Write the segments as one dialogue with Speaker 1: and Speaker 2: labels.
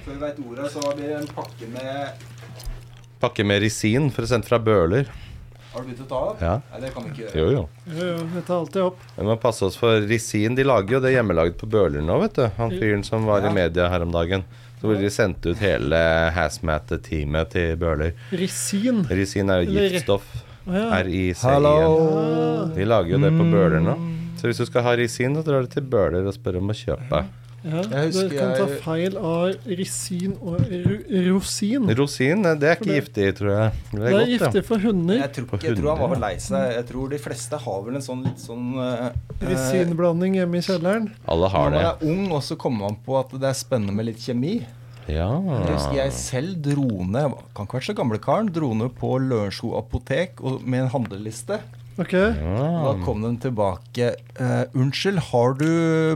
Speaker 1: Før vi veit ordet, så blir det en pakke med
Speaker 2: Pakke med resin, for sendt fra Bøhler.
Speaker 1: Har du begynt å ta opp?
Speaker 2: Ja.
Speaker 1: Nei, det kan vi ikke gjøre.
Speaker 2: Jo, jo.
Speaker 3: Jo, jo, jeg tar alltid opp.
Speaker 2: Vi må passe oss for resin. De lager jo det hjemmelaget på Bøhler nå, vet du. Han fyren som var i media her om dagen. Så hvor de sendte ut hele hazmat-teamet til Bøhler.
Speaker 3: Resin.
Speaker 2: Resin er jo
Speaker 3: Eller-
Speaker 2: giftstoff.
Speaker 3: Å ja. Ah.
Speaker 2: RIC-en. De lager jo det på Bøhler nå. Så hvis du skal ha resin, så drar du til Bøhler og spør om å kjøpe.
Speaker 3: Ja,
Speaker 4: Jeg husker
Speaker 3: Dere kan ta
Speaker 4: jeg-
Speaker 3: feil av resin og ru rosin.
Speaker 2: Rosin, eh, det er ikke
Speaker 3: For
Speaker 2: giftig, tror jeg. Det
Speaker 3: Det
Speaker 2: er
Speaker 3: er
Speaker 2: godt, ja.
Speaker 3: giftig for hunder.
Speaker 1: Jeg tror,
Speaker 2: På
Speaker 1: ikke, jeg tror han var
Speaker 2: hunder,
Speaker 1: for lei seg. Jeg tror de fleste har vel en sånn litt sånn eh,
Speaker 3: Resinblanding hjemme i kjelleren.
Speaker 2: Alle
Speaker 4: Når
Speaker 2: har
Speaker 4: man
Speaker 2: det.
Speaker 4: er ung, og så kommer man på at det er spennende med litt kjemi.
Speaker 2: Ja.
Speaker 4: Jeg husker jeg selv dro ned jeg kan ikke være så gamle karen, dro ned på Lørenskog apotek og, med en handleliste.
Speaker 3: Ok,
Speaker 4: Og
Speaker 2: Ah.
Speaker 4: Da kom de tilbake. Eh, 'Unnskyld, har du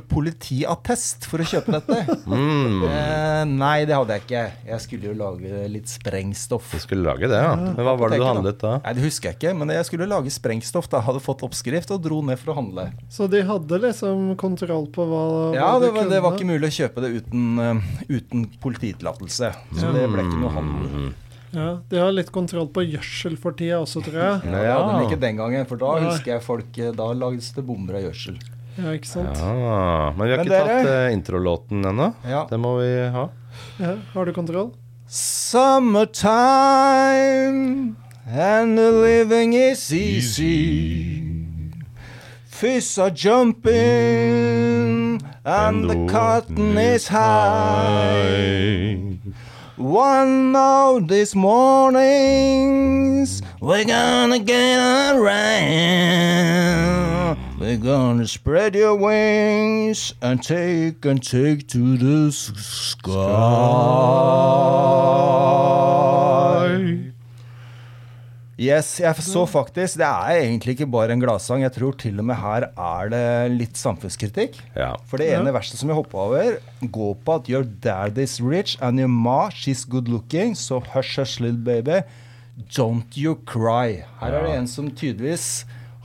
Speaker 4: politiattest for å kjøpe dette?'
Speaker 2: Mm.
Speaker 4: eh, nei, det hadde jeg ikke. Jeg skulle jo lage litt sprengstoff.
Speaker 2: Du skulle lage det, ja. Men hva var det du
Speaker 4: Apoteket,
Speaker 2: handlet da?
Speaker 4: Nei, Det husker jeg ikke, men jeg skulle lage sprengstoff. da Hadde fått oppskrift og dro ned for å handle.
Speaker 3: Så de hadde liksom kontroll på hva, hva
Speaker 4: Ja,
Speaker 3: de
Speaker 4: det var, det var ikke
Speaker 3: kunne.
Speaker 4: mulig å kjøpe det uten, eh, uten polititillatelse. Så det ble ikke noe handel.
Speaker 3: Ja, de har litt kontroll på gjødsel for tida også, tror jeg.
Speaker 4: Ja, det hadde de
Speaker 2: Ja.
Speaker 4: ikke den gangen, for da
Speaker 3: Nei.
Speaker 4: husker jeg folk eh, Da lagdes det bomber av gjødsel.
Speaker 3: Ja, ikke sant?
Speaker 2: Ah, men vi
Speaker 4: Men
Speaker 2: har ikke
Speaker 4: dere-
Speaker 2: tatt eh, introlåten ennå.
Speaker 4: Ja.
Speaker 2: Det må vi ha.
Speaker 3: Ja, har du kontroll?
Speaker 4: Summertime and the living is easy. Fish are jumping Mm. and the cotton is high. One of these mornings, we're gonna get around. We're gonna spread your wings and take and take to the s- sky. Yes, jeg så faktisk Det er egentlig ikke bare en gladsang. Jeg tror til og med her er det litt samfunnskritikk.
Speaker 2: Ja.
Speaker 4: For det ene verset som jeg hoppa over, går på at your dad is rich and your ma she's good looking, so hush hush little baby, don't you cry. Her er det en som tydeligvis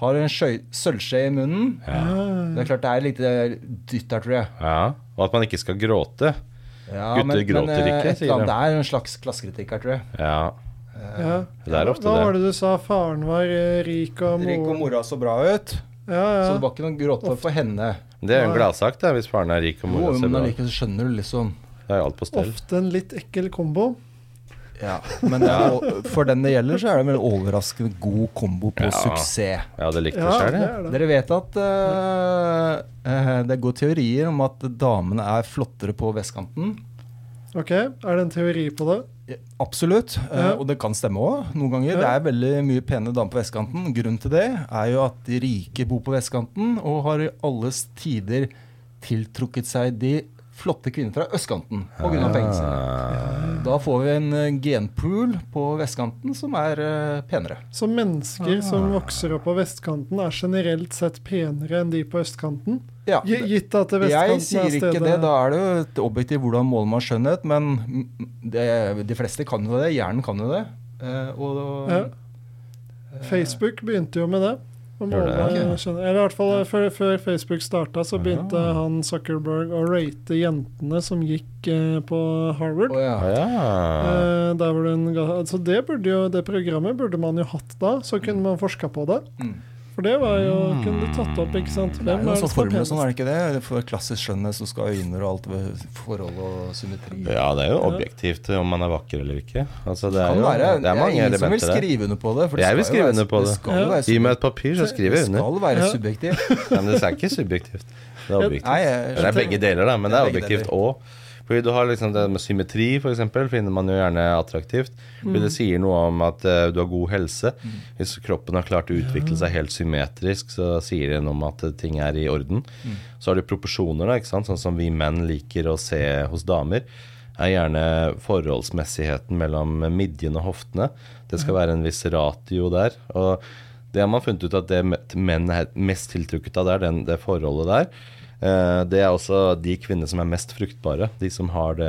Speaker 4: har en skjøy- sølvskje i munnen.
Speaker 3: Ah.
Speaker 4: Det er klart det er litt eh, dytt her, tror jeg.
Speaker 2: ja. Og at man ikke skal gråte.
Speaker 4: Ja,
Speaker 2: Gutter gråter
Speaker 4: eh,
Speaker 2: ikke,
Speaker 4: et
Speaker 2: sier
Speaker 4: eller annet-
Speaker 2: de.
Speaker 4: Det er en slags klassekritikk her, tror jeg.
Speaker 2: Ja.
Speaker 3: Ja.
Speaker 2: Det er ofte
Speaker 3: Hva var
Speaker 2: det.
Speaker 3: det du sa? Faren var eh, rik og
Speaker 4: Rik og
Speaker 3: mor...
Speaker 4: mora så bra ut,
Speaker 3: Ja,
Speaker 4: så det
Speaker 3: ja.
Speaker 4: var ikke noe gråte for henne.
Speaker 2: Det er jo en gladsak, da, hvis faren er rik og
Speaker 4: Jo,
Speaker 2: mora ser
Speaker 4: men
Speaker 2: bra ut.
Speaker 4: allikevel så skjønner du liksom
Speaker 2: Det er jo alt på stell.
Speaker 3: Ofte en litt ekkel kombo.
Speaker 4: Ja, men det er jo- for den det gjelder, så er det en veldig overraskende god kombo på
Speaker 2: Ja.
Speaker 4: suksess.
Speaker 2: Ja, det likte
Speaker 3: Ja,
Speaker 2: vi sjøl,
Speaker 3: det
Speaker 2: det.
Speaker 3: er det.
Speaker 4: Dere vet at eh, eh, det er gode teorier om at damene er flottere på vestkanten.
Speaker 3: Ok, er det en teori på det?
Speaker 4: Absolutt, eh,
Speaker 3: Ja.
Speaker 4: og det kan stemme òg noen ganger. Det
Speaker 3: Ja.
Speaker 4: er veldig mye pene damer på vestkanten. Grunnen til det er jo at de rike bor på vestkanten og har i alles tider tiltrukket seg de flotte kvinner fra østkanten pga. pengene
Speaker 2: Ah.
Speaker 4: sine. Da får vi en eh, genpool på vestkanten som er eh, penere.
Speaker 3: Så mennesker
Speaker 4: Ah.
Speaker 3: som vokser opp på vestkanten, er generelt sett penere enn de på østkanten?
Speaker 4: Ja,
Speaker 3: Gi- Gitt at det vestkanten
Speaker 4: Jeg sier
Speaker 3: er
Speaker 4: ikke
Speaker 3: stedet
Speaker 4: det, da er det jo et objektivt hvordan måler man skjønnhet, men mm, det, de fleste kan jo det, hjernen kan jo det. eh, Og, og
Speaker 3: Ja. Facebook begynte jo med det. å
Speaker 2: Gjør det,
Speaker 3: måle-
Speaker 4: ok.
Speaker 3: skjønner- Eller i hvert fall før, før Facebook starta, så begynte han Zuckerberg å rate jentene som gikk eh, på Harvard.
Speaker 4: Å ja.
Speaker 2: Å, Ja.
Speaker 3: Eh, der hvor den ga, altså det, burde jo, det programmet burde man jo hatt da, så kunne man forska på det.
Speaker 4: Mm.
Speaker 3: For det var jo Kunne du tatt opp, ikke sant?
Speaker 4: Det er
Speaker 3: Hvem
Speaker 4: jo
Speaker 3: er
Speaker 4: en
Speaker 3: det
Speaker 4: sånn
Speaker 3: som er
Speaker 4: formel sånn,
Speaker 3: penest?
Speaker 4: er det ikke det? For klassisk skjønnhet så skal øyner og alt ved forhold og symmetri
Speaker 2: ja, det er jo objektivt om man er vakker eller ikke. Altså, det er
Speaker 4: Kan
Speaker 2: jo
Speaker 4: være.
Speaker 2: det er mange
Speaker 4: ingen som vil
Speaker 2: elementer der.
Speaker 4: skrive under på det. for det
Speaker 2: Jeg vil
Speaker 4: skal jo
Speaker 2: skrive
Speaker 4: være-
Speaker 2: under på det.
Speaker 4: skal jo
Speaker 3: Ja.
Speaker 4: være
Speaker 2: Gi
Speaker 4: subjektiv.
Speaker 2: meg et papir, så skriver
Speaker 4: Det
Speaker 2: jeg under.
Speaker 4: skal være
Speaker 3: Ja.
Speaker 4: subjektivt.
Speaker 2: Nei, Men det er ikke subjektivt. Det er objektivt.
Speaker 4: Nei,
Speaker 2: Det
Speaker 4: jeg,
Speaker 2: er begge deler, da, men det er
Speaker 4: Det er begge
Speaker 2: objektivt òg. Fordi du har liksom det med symmetri, f.eks., finner man jo gjerne attraktivt. Fordi
Speaker 4: Mm.
Speaker 2: det sier noe om at eh, du har god helse. Hvis kroppen har klart å utvikle seg helt symmetrisk, så sier det noe om at eh, ting er i orden.
Speaker 4: Mm.
Speaker 2: Så har du proporsjoner, da, ikke sant? sånn som vi menn liker å se hos damer. Er gjerne forholdsmessigheten mellom midjen og hoftene. Det skal være en viss ratio der. Og det har man funnet ut at det menn er mest tiltrukket av, det er den, det forholdet der. Eh, Det er også de kvinnene som er mest fruktbare. De som har det,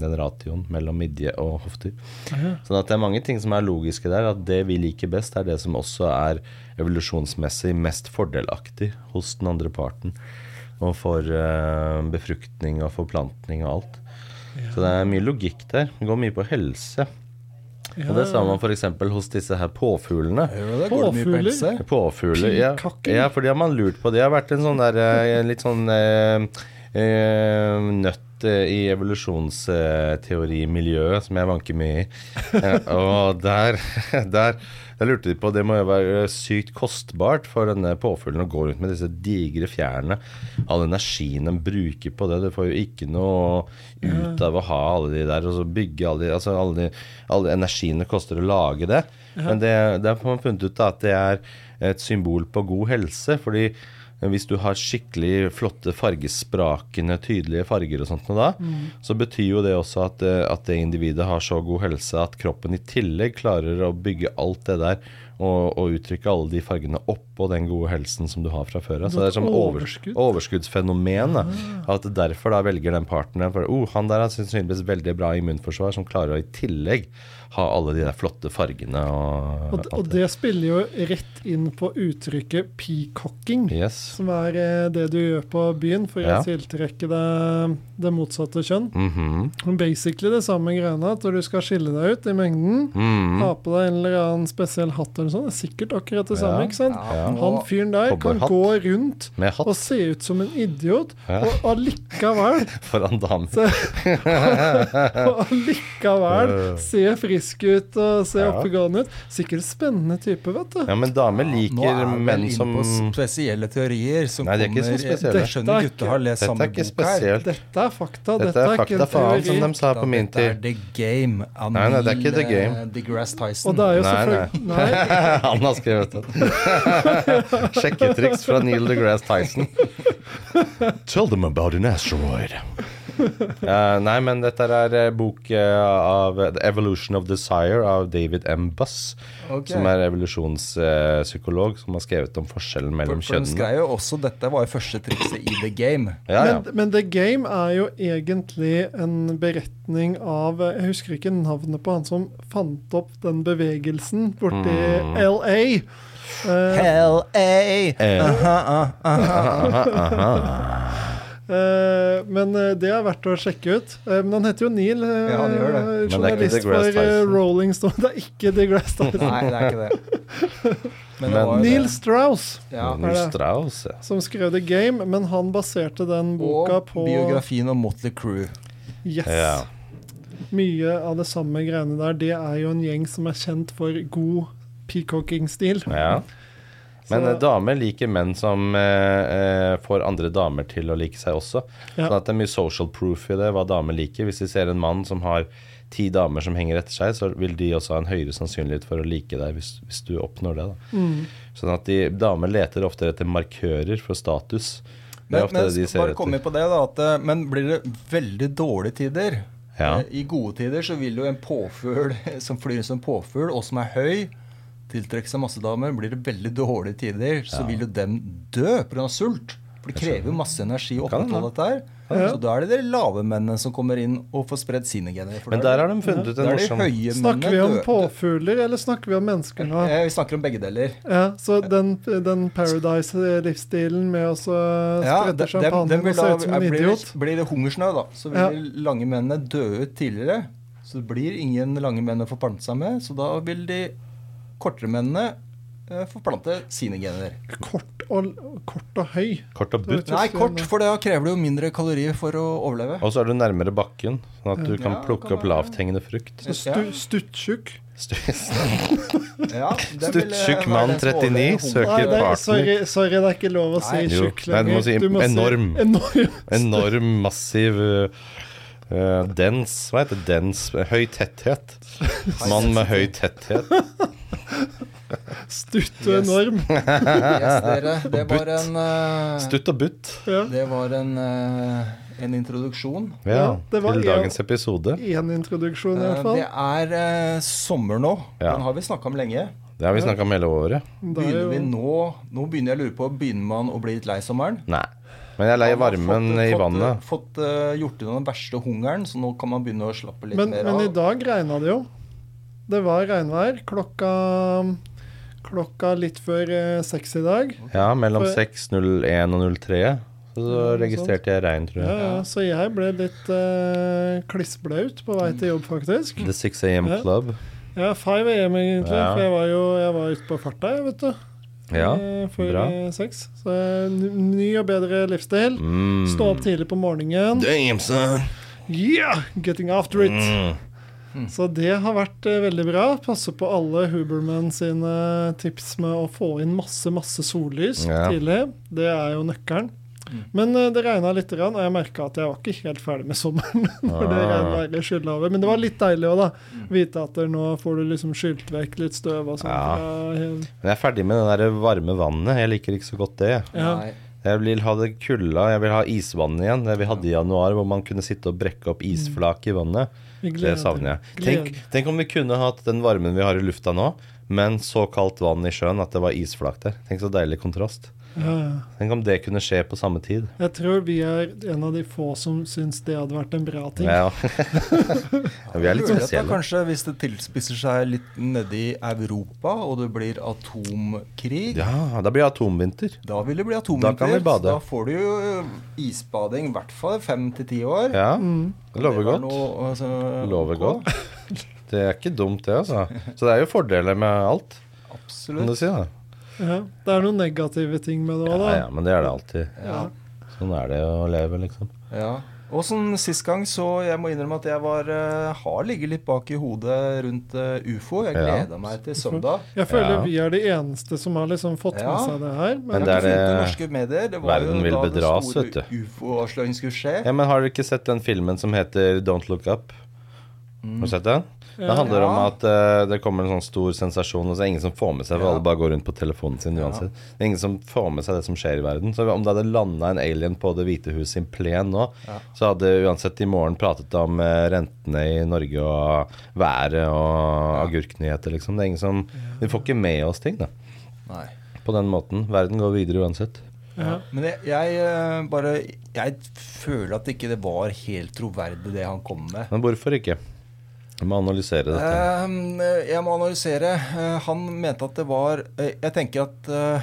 Speaker 2: den ratioen mellom midje og hofter. Sånn at det er mange ting som er logiske der. At det vi liker best, er det som også er evolusjonsmessig mest fordelaktig hos den andre parten. Og for eh, befruktning og forplantning og alt. Så det er mye logikk der. Det går mye på helse. Og det ser man f.eks. hos disse her påfuglene.
Speaker 4: Hører du det? Går det mye på
Speaker 3: Påfugler?
Speaker 4: helse?
Speaker 2: Påfugler. Ja.
Speaker 3: Pilkakken.
Speaker 2: ja, for det har man lurt på. Det har vært en sånn der eh, en litt sånn eh, eh, nøtt eh, i evolusjonsteorimiljøet som jeg vanker mye i. Eh, og der, der der lurte de på Det må jo være eh, sykt kostbart for denne påfuglen å gå rundt med disse digre fjærene. All energien den bruker på det. Du får jo ikke noe ut av å ha alle de der og så bygge alle de Altså alle, de, alle energien det koster å lage det. Men det, der har man funnet ut da, at det er et symbol på god helse. fordi eh, hvis du har skikkelig flotte fargesprakende, tydelige farger og sånt, noe da, så betyr jo det også at, eh, at det individet har så god helse at kroppen i tillegg klarer å bygge alt det der og, og uttrykke alle de fargene oppå den gode helsen som du har fra før av. Så det er som overs
Speaker 3: Overskudd.
Speaker 2: overskuddsfenomen. Da. At derfor da velger den partneren for, oh, Han der har sannsynligvis veldig bra immunforsvar som klarer å i tillegg ha alle de der flotte fargene og,
Speaker 3: Og, og
Speaker 2: alt
Speaker 3: det spiller jo rett inn på uttrykket peacocking.
Speaker 2: Yes.
Speaker 3: Som er eh, det du gjør på byen for
Speaker 2: Ja.
Speaker 3: å tiltrekke deg det motsatte kjønn.
Speaker 2: Mhm.
Speaker 3: Men Basically det samme greiene, at når du skal skille deg ut i mengden,
Speaker 2: Mhm.
Speaker 3: ha på deg en eller annen spesiell hatt eller sånn, det er sikkert akkurat det samme.
Speaker 2: Ja.
Speaker 3: ikke sant?
Speaker 4: Ja,
Speaker 3: Han
Speaker 4: nå-
Speaker 3: fyren der kan
Speaker 2: Cowboyhatt.
Speaker 3: gå rundt
Speaker 2: Med hatt
Speaker 3: og se ut som en idiot,
Speaker 2: Ja.
Speaker 3: og allikevel
Speaker 2: foran damer.
Speaker 3: Så, og allikevel se frisk ut og se
Speaker 2: Ja.
Speaker 3: oppegående ut. Sikkert spennende type, vet du.
Speaker 2: Ja, men damer
Speaker 4: Nå er
Speaker 2: liker
Speaker 4: vi vel
Speaker 2: menn
Speaker 4: inn
Speaker 2: som
Speaker 4: på spesielle teorier som
Speaker 2: Nei, det er ikke
Speaker 4: kommer
Speaker 2: så spesielle.
Speaker 4: Jeg skjønner
Speaker 3: Dette er
Speaker 4: gutta har lest
Speaker 2: Dette
Speaker 4: samme
Speaker 2: er
Speaker 4: bok
Speaker 2: ikke
Speaker 4: her.
Speaker 2: spesielt.
Speaker 3: Dette er fakta.
Speaker 2: Dette er
Speaker 3: ikke
Speaker 2: fakta
Speaker 3: en
Speaker 2: faen, som
Speaker 3: teori.
Speaker 2: de sa på min
Speaker 4: Dette er
Speaker 2: tid.
Speaker 4: The Game. av
Speaker 2: Nei, nei, det er ikke The
Speaker 4: Neil,
Speaker 2: Game.
Speaker 4: eh, deGrasse Tyson.
Speaker 3: Og det er jo
Speaker 2: Nei,
Speaker 3: selvfølgelig Nei,
Speaker 2: Han har skrevet det. Sjekketriks fra Neil deGrasse Tyson. Tell them about an asteroid. Eh, nei, men dette er eh, bok eh, av The Evolution of Desire av David M. Buss,
Speaker 4: Ok.
Speaker 2: som er evolusjonspsykolog, som har skrevet om forskjellen mellom
Speaker 4: For, for de
Speaker 2: kjønnene.
Speaker 4: skrev jo også Dette var jo første trikset i The Game.
Speaker 2: Ja, ja.
Speaker 3: Men, men The Game er jo egentlig en beretning av Jeg husker ikke navnet på han som fant opp den bevegelsen borti
Speaker 2: Mm.
Speaker 3: LA. Eh,
Speaker 4: LA!
Speaker 2: Eh,
Speaker 3: eh, men eh, det er verdt å sjekke ut. Eh, men han heter jo Neil. eh,
Speaker 4: Ja, han gjør det.
Speaker 3: eh,
Speaker 2: Men det er ikke
Speaker 3: Journalist
Speaker 2: DeGrasse
Speaker 3: for eh,
Speaker 2: Tyson.
Speaker 3: Rolling Stone. Det er ikke DeGrasse Tyson.
Speaker 4: Nei, det er ikke det. Men det
Speaker 2: Men-
Speaker 4: var jo
Speaker 3: Neil
Speaker 4: det.
Speaker 3: Strauss,
Speaker 4: Ja.
Speaker 2: Neil Strauss, ja.
Speaker 3: som skrev The Game, men han baserte den boka
Speaker 4: Og
Speaker 3: på
Speaker 4: biografien om Motley Crew.
Speaker 3: Yes.
Speaker 2: Ja.
Speaker 3: Mye av det samme greiene der. Det er jo en gjeng som er kjent for god peacocking-stil.
Speaker 2: Ja. Men
Speaker 3: Så-
Speaker 2: eh, damer liker menn som eh, eh, får andre damer til å like seg også.
Speaker 3: Ja.
Speaker 2: Sånn at det er mye social proof i det, hva damer liker. Hvis de ser en mann som har ti damer som henger etter seg, så vil de også ha en høyere sannsynlighet for å like deg hvis, hvis du oppnår det. Da.
Speaker 4: Mm.
Speaker 2: Sånn at de, damer leter ofte etter markører for status. Det er
Speaker 4: Men,
Speaker 2: ofte
Speaker 4: men
Speaker 2: det de ser
Speaker 4: bare komme
Speaker 2: etter.
Speaker 4: på det da at, eh, Men blir det veldig dårlige tider?
Speaker 2: Ja.
Speaker 4: Eh, I gode tider så vil jo en påfugl som flyr som påfugl, og som er høy, tiltrekke seg masse damer. Blir det veldig dårlige tider, så vil jo dem dø pga. sult. For det krever jo masse energi å
Speaker 2: Kan hende.
Speaker 4: opprettholde dette her. Så da er det de lave mennene som kommer inn og får spredd sine gener. For
Speaker 2: Men
Speaker 4: da
Speaker 2: der
Speaker 4: er
Speaker 2: har de funnet ut
Speaker 4: det-
Speaker 2: en
Speaker 4: da er de
Speaker 2: morsom
Speaker 4: høye
Speaker 3: Snakker vi om
Speaker 4: mennene døde.
Speaker 3: påfugler, eller snakker vi om mennesker nå?
Speaker 4: Eh, Vi snakker om begge deler.
Speaker 3: Ja, så den, den Paradise-livsstilen med å så
Speaker 4: Ja,
Speaker 3: sprette
Speaker 4: de- dem- dem
Speaker 3: champagnen
Speaker 4: vil
Speaker 3: og se
Speaker 4: da-
Speaker 3: ut som en
Speaker 4: blir,
Speaker 3: idiot.
Speaker 4: det, blir det hungersnø, da, så vil
Speaker 3: Ja.
Speaker 4: de lange mennene dø ut tidligere. Så det blir ingen lange menn å forplante seg med, så da vil de kortere mennene eh, forplante sine gener.
Speaker 3: Kort og, kort og høy.
Speaker 2: Kort og butt.
Speaker 4: Nei, kort, for da krever det jo mindre kalorier for å overleve.
Speaker 2: Og så er du nærmere bakken, sånn at du kan
Speaker 4: Ja,
Speaker 2: plukke
Speaker 4: kan
Speaker 2: opp
Speaker 4: være-
Speaker 2: lavthengende frukt.
Speaker 3: Så stu, Stuttjukk.
Speaker 4: Ja, det vil, eh,
Speaker 2: Stuttjukk
Speaker 4: være
Speaker 2: mann
Speaker 4: den som
Speaker 2: 39
Speaker 4: overlever
Speaker 2: søker
Speaker 3: Nei,
Speaker 4: hungersnø.
Speaker 3: det,
Speaker 2: partner.
Speaker 3: sorry, sorry, det er ikke lov å si
Speaker 4: Nei.
Speaker 2: Jo.
Speaker 3: tjukk
Speaker 2: Nei, du må si enorm.
Speaker 3: Si enorm.
Speaker 2: Enorm, massiv uh, uh, Dens, hva heter dens? eh, Høy tetthet Mann med høy tetthet
Speaker 3: Stutt og
Speaker 4: Yes.
Speaker 3: enorm.
Speaker 4: Yes, dere, det var
Speaker 2: Butt.
Speaker 4: en eh,
Speaker 2: Stutt og butt
Speaker 3: Ja.
Speaker 4: Det var en, eh, en introduksjon.
Speaker 2: ja,
Speaker 3: Ja, det var
Speaker 2: Til
Speaker 3: en-
Speaker 2: dagens episode
Speaker 3: Én introduksjon, i
Speaker 4: Eh,
Speaker 3: hvert fall.
Speaker 4: Det er eh, sommer nå.
Speaker 2: Ja.
Speaker 4: Den har vi snakka om lenge.
Speaker 2: Det har vi snakket om hele året
Speaker 3: Det er
Speaker 4: Begynner
Speaker 3: jo-
Speaker 4: vi nå Nå begynner jeg å lure på Begynner man å bli litt lei sommeren?
Speaker 2: Nei Men jeg er lei
Speaker 4: Man har
Speaker 2: varmen
Speaker 4: fått-
Speaker 2: i
Speaker 4: fått,
Speaker 2: vannet
Speaker 4: Fått eh, gjort unna den verste hungeren, så nå kan man begynne å slappe litt
Speaker 3: men,
Speaker 4: mer
Speaker 3: men i
Speaker 4: av.
Speaker 3: dag regna det jo. Det var regnvær klokka, klokka litt før eh, seks i dag.
Speaker 2: Ja, mellom
Speaker 3: For-
Speaker 2: 6.01 og 03 Og så
Speaker 3: Ja, det er sant.
Speaker 2: registrerte jeg rein, tror
Speaker 3: Ja,
Speaker 2: jeg.
Speaker 3: ja, så jeg ble litt eh, klissblaut på vei til jobb, faktisk.
Speaker 2: The 6 AM
Speaker 3: Ja.
Speaker 2: Club.
Speaker 3: Ja, 5 AM egentlig,
Speaker 2: Ja.
Speaker 3: for jeg var jo jeg var ute på farta, jeg, vet du.
Speaker 2: Ja.
Speaker 3: eh, Før
Speaker 2: bra.
Speaker 3: eh, sex. Så eh, n- ny og bedre livsstil.
Speaker 2: Mm.
Speaker 3: Stå opp tidlig på morgenen.
Speaker 2: Damn, son!
Speaker 3: Yeah! Getting after it.
Speaker 2: Mm.
Speaker 3: Så det har vært eh, veldig bra. Passe på alle Huberman sine tips med å få inn masse, masse sollys
Speaker 2: Ja.
Speaker 3: tidlig. Det er jo nøkkelen. Men eh, det regna litt, grann, og jeg merka at jeg var ikke helt ferdig med sommeren. når det
Speaker 2: Ah.
Speaker 3: regnet skyllet over. Men det var litt deilig òg, da. Vite at det, nå får du liksom skylt vekk litt støv og sånn.
Speaker 2: Ja.
Speaker 3: Ja.
Speaker 2: Men jeg er ferdig med det der varme vannet. Jeg liker ikke så godt det. jeg.
Speaker 3: Ja.
Speaker 4: Nei.
Speaker 2: Jeg vil ha det kulda, jeg vil ha isvann igjen. Det vi hadde i januar, hvor man kunne sitte og brekke opp isflak i vannet.
Speaker 3: Vi gleder-
Speaker 2: Det savner jeg. Tenk,
Speaker 3: gleder-
Speaker 2: tenk om vi kunne hatt den varmen vi har i lufta nå, men så kaldt vann i sjøen at det var isflak der. Tenk så deilig kontrast.
Speaker 3: Ja, ja.
Speaker 2: Tenk om det kunne skje på samme tid.
Speaker 3: Jeg tror vi er en av de få som syns det hadde vært en bra ting.
Speaker 2: Ja. Ja, vi er litt
Speaker 4: Mulig at da
Speaker 2: spesielle.
Speaker 4: Kanskje hvis det tilspisser seg litt nedi Europa, og det blir atomkrig,
Speaker 2: Ja, da blir det atomvinter.
Speaker 4: da vil det bli
Speaker 2: Da kan vi
Speaker 4: atomvinter. så
Speaker 2: bade.
Speaker 4: Da får du jo eh, isbading i hvert fall fem til ti år.
Speaker 2: Ja,
Speaker 3: Mm.
Speaker 2: det
Speaker 4: Det
Speaker 2: lover
Speaker 4: var
Speaker 2: godt.
Speaker 4: noe, altså,
Speaker 2: Lover
Speaker 4: ok.
Speaker 2: godt. Det er ikke dumt, det, altså. Så det er jo fordeler med alt, kan
Speaker 4: Absolutt.
Speaker 2: du si. da
Speaker 3: Ja. Det er noen negative ting med det òg, da.
Speaker 2: Ja, ja, men det er det alltid.
Speaker 4: Ja.
Speaker 2: Sånn er det å leve, liksom.
Speaker 4: Ja. Og som sist gang, så jeg må innrømme at jeg var, eh, har ligget litt bak i hodet rundt eh, ufo. Jeg
Speaker 2: Ja.
Speaker 4: gleda meg til søndag.
Speaker 3: Jeg føler
Speaker 2: Ja.
Speaker 3: vi er de eneste som har liksom fått med
Speaker 4: Ja.
Speaker 3: seg det her. Men,
Speaker 2: Men
Speaker 4: Det
Speaker 2: det
Speaker 4: er
Speaker 2: er
Speaker 4: det
Speaker 2: det-
Speaker 4: norske medier. Det var jo
Speaker 2: Verden vil
Speaker 4: da
Speaker 2: bedras,
Speaker 4: den
Speaker 2: vet du.
Speaker 4: store ufo-avsløringen skulle skje.
Speaker 2: Ja, men har dere ikke sett den filmen som heter Don't Look Up? Har du sett den? Det handler om
Speaker 4: Ja.
Speaker 2: at eh, det kommer en sånn stor sensasjon, og så er det ingen som får med seg For
Speaker 4: Ja.
Speaker 2: alle bare går rundt på telefonen sin uansett. Det er ingen som får med seg det som skjer i verden. Så om det hadde landa en alien på Det hvite hus sin plen nå, så hadde uansett i morgen pratet om eh, rentene i Norge og været og agurknyheter, liksom. Det er ingen som Vi får ikke med oss ting, da.
Speaker 4: Nei.
Speaker 2: På den måten. Verden går videre uansett.
Speaker 3: ja.
Speaker 4: Men jeg, jeg eh, bare Jeg føler at ikke det var helt troverdig, det han kom med.
Speaker 2: Men hvorfor ikke? Vi må analysere dette.
Speaker 4: Ehm, jeg må analysere. Eh, han mente at det var eh, Jeg tenker at eh,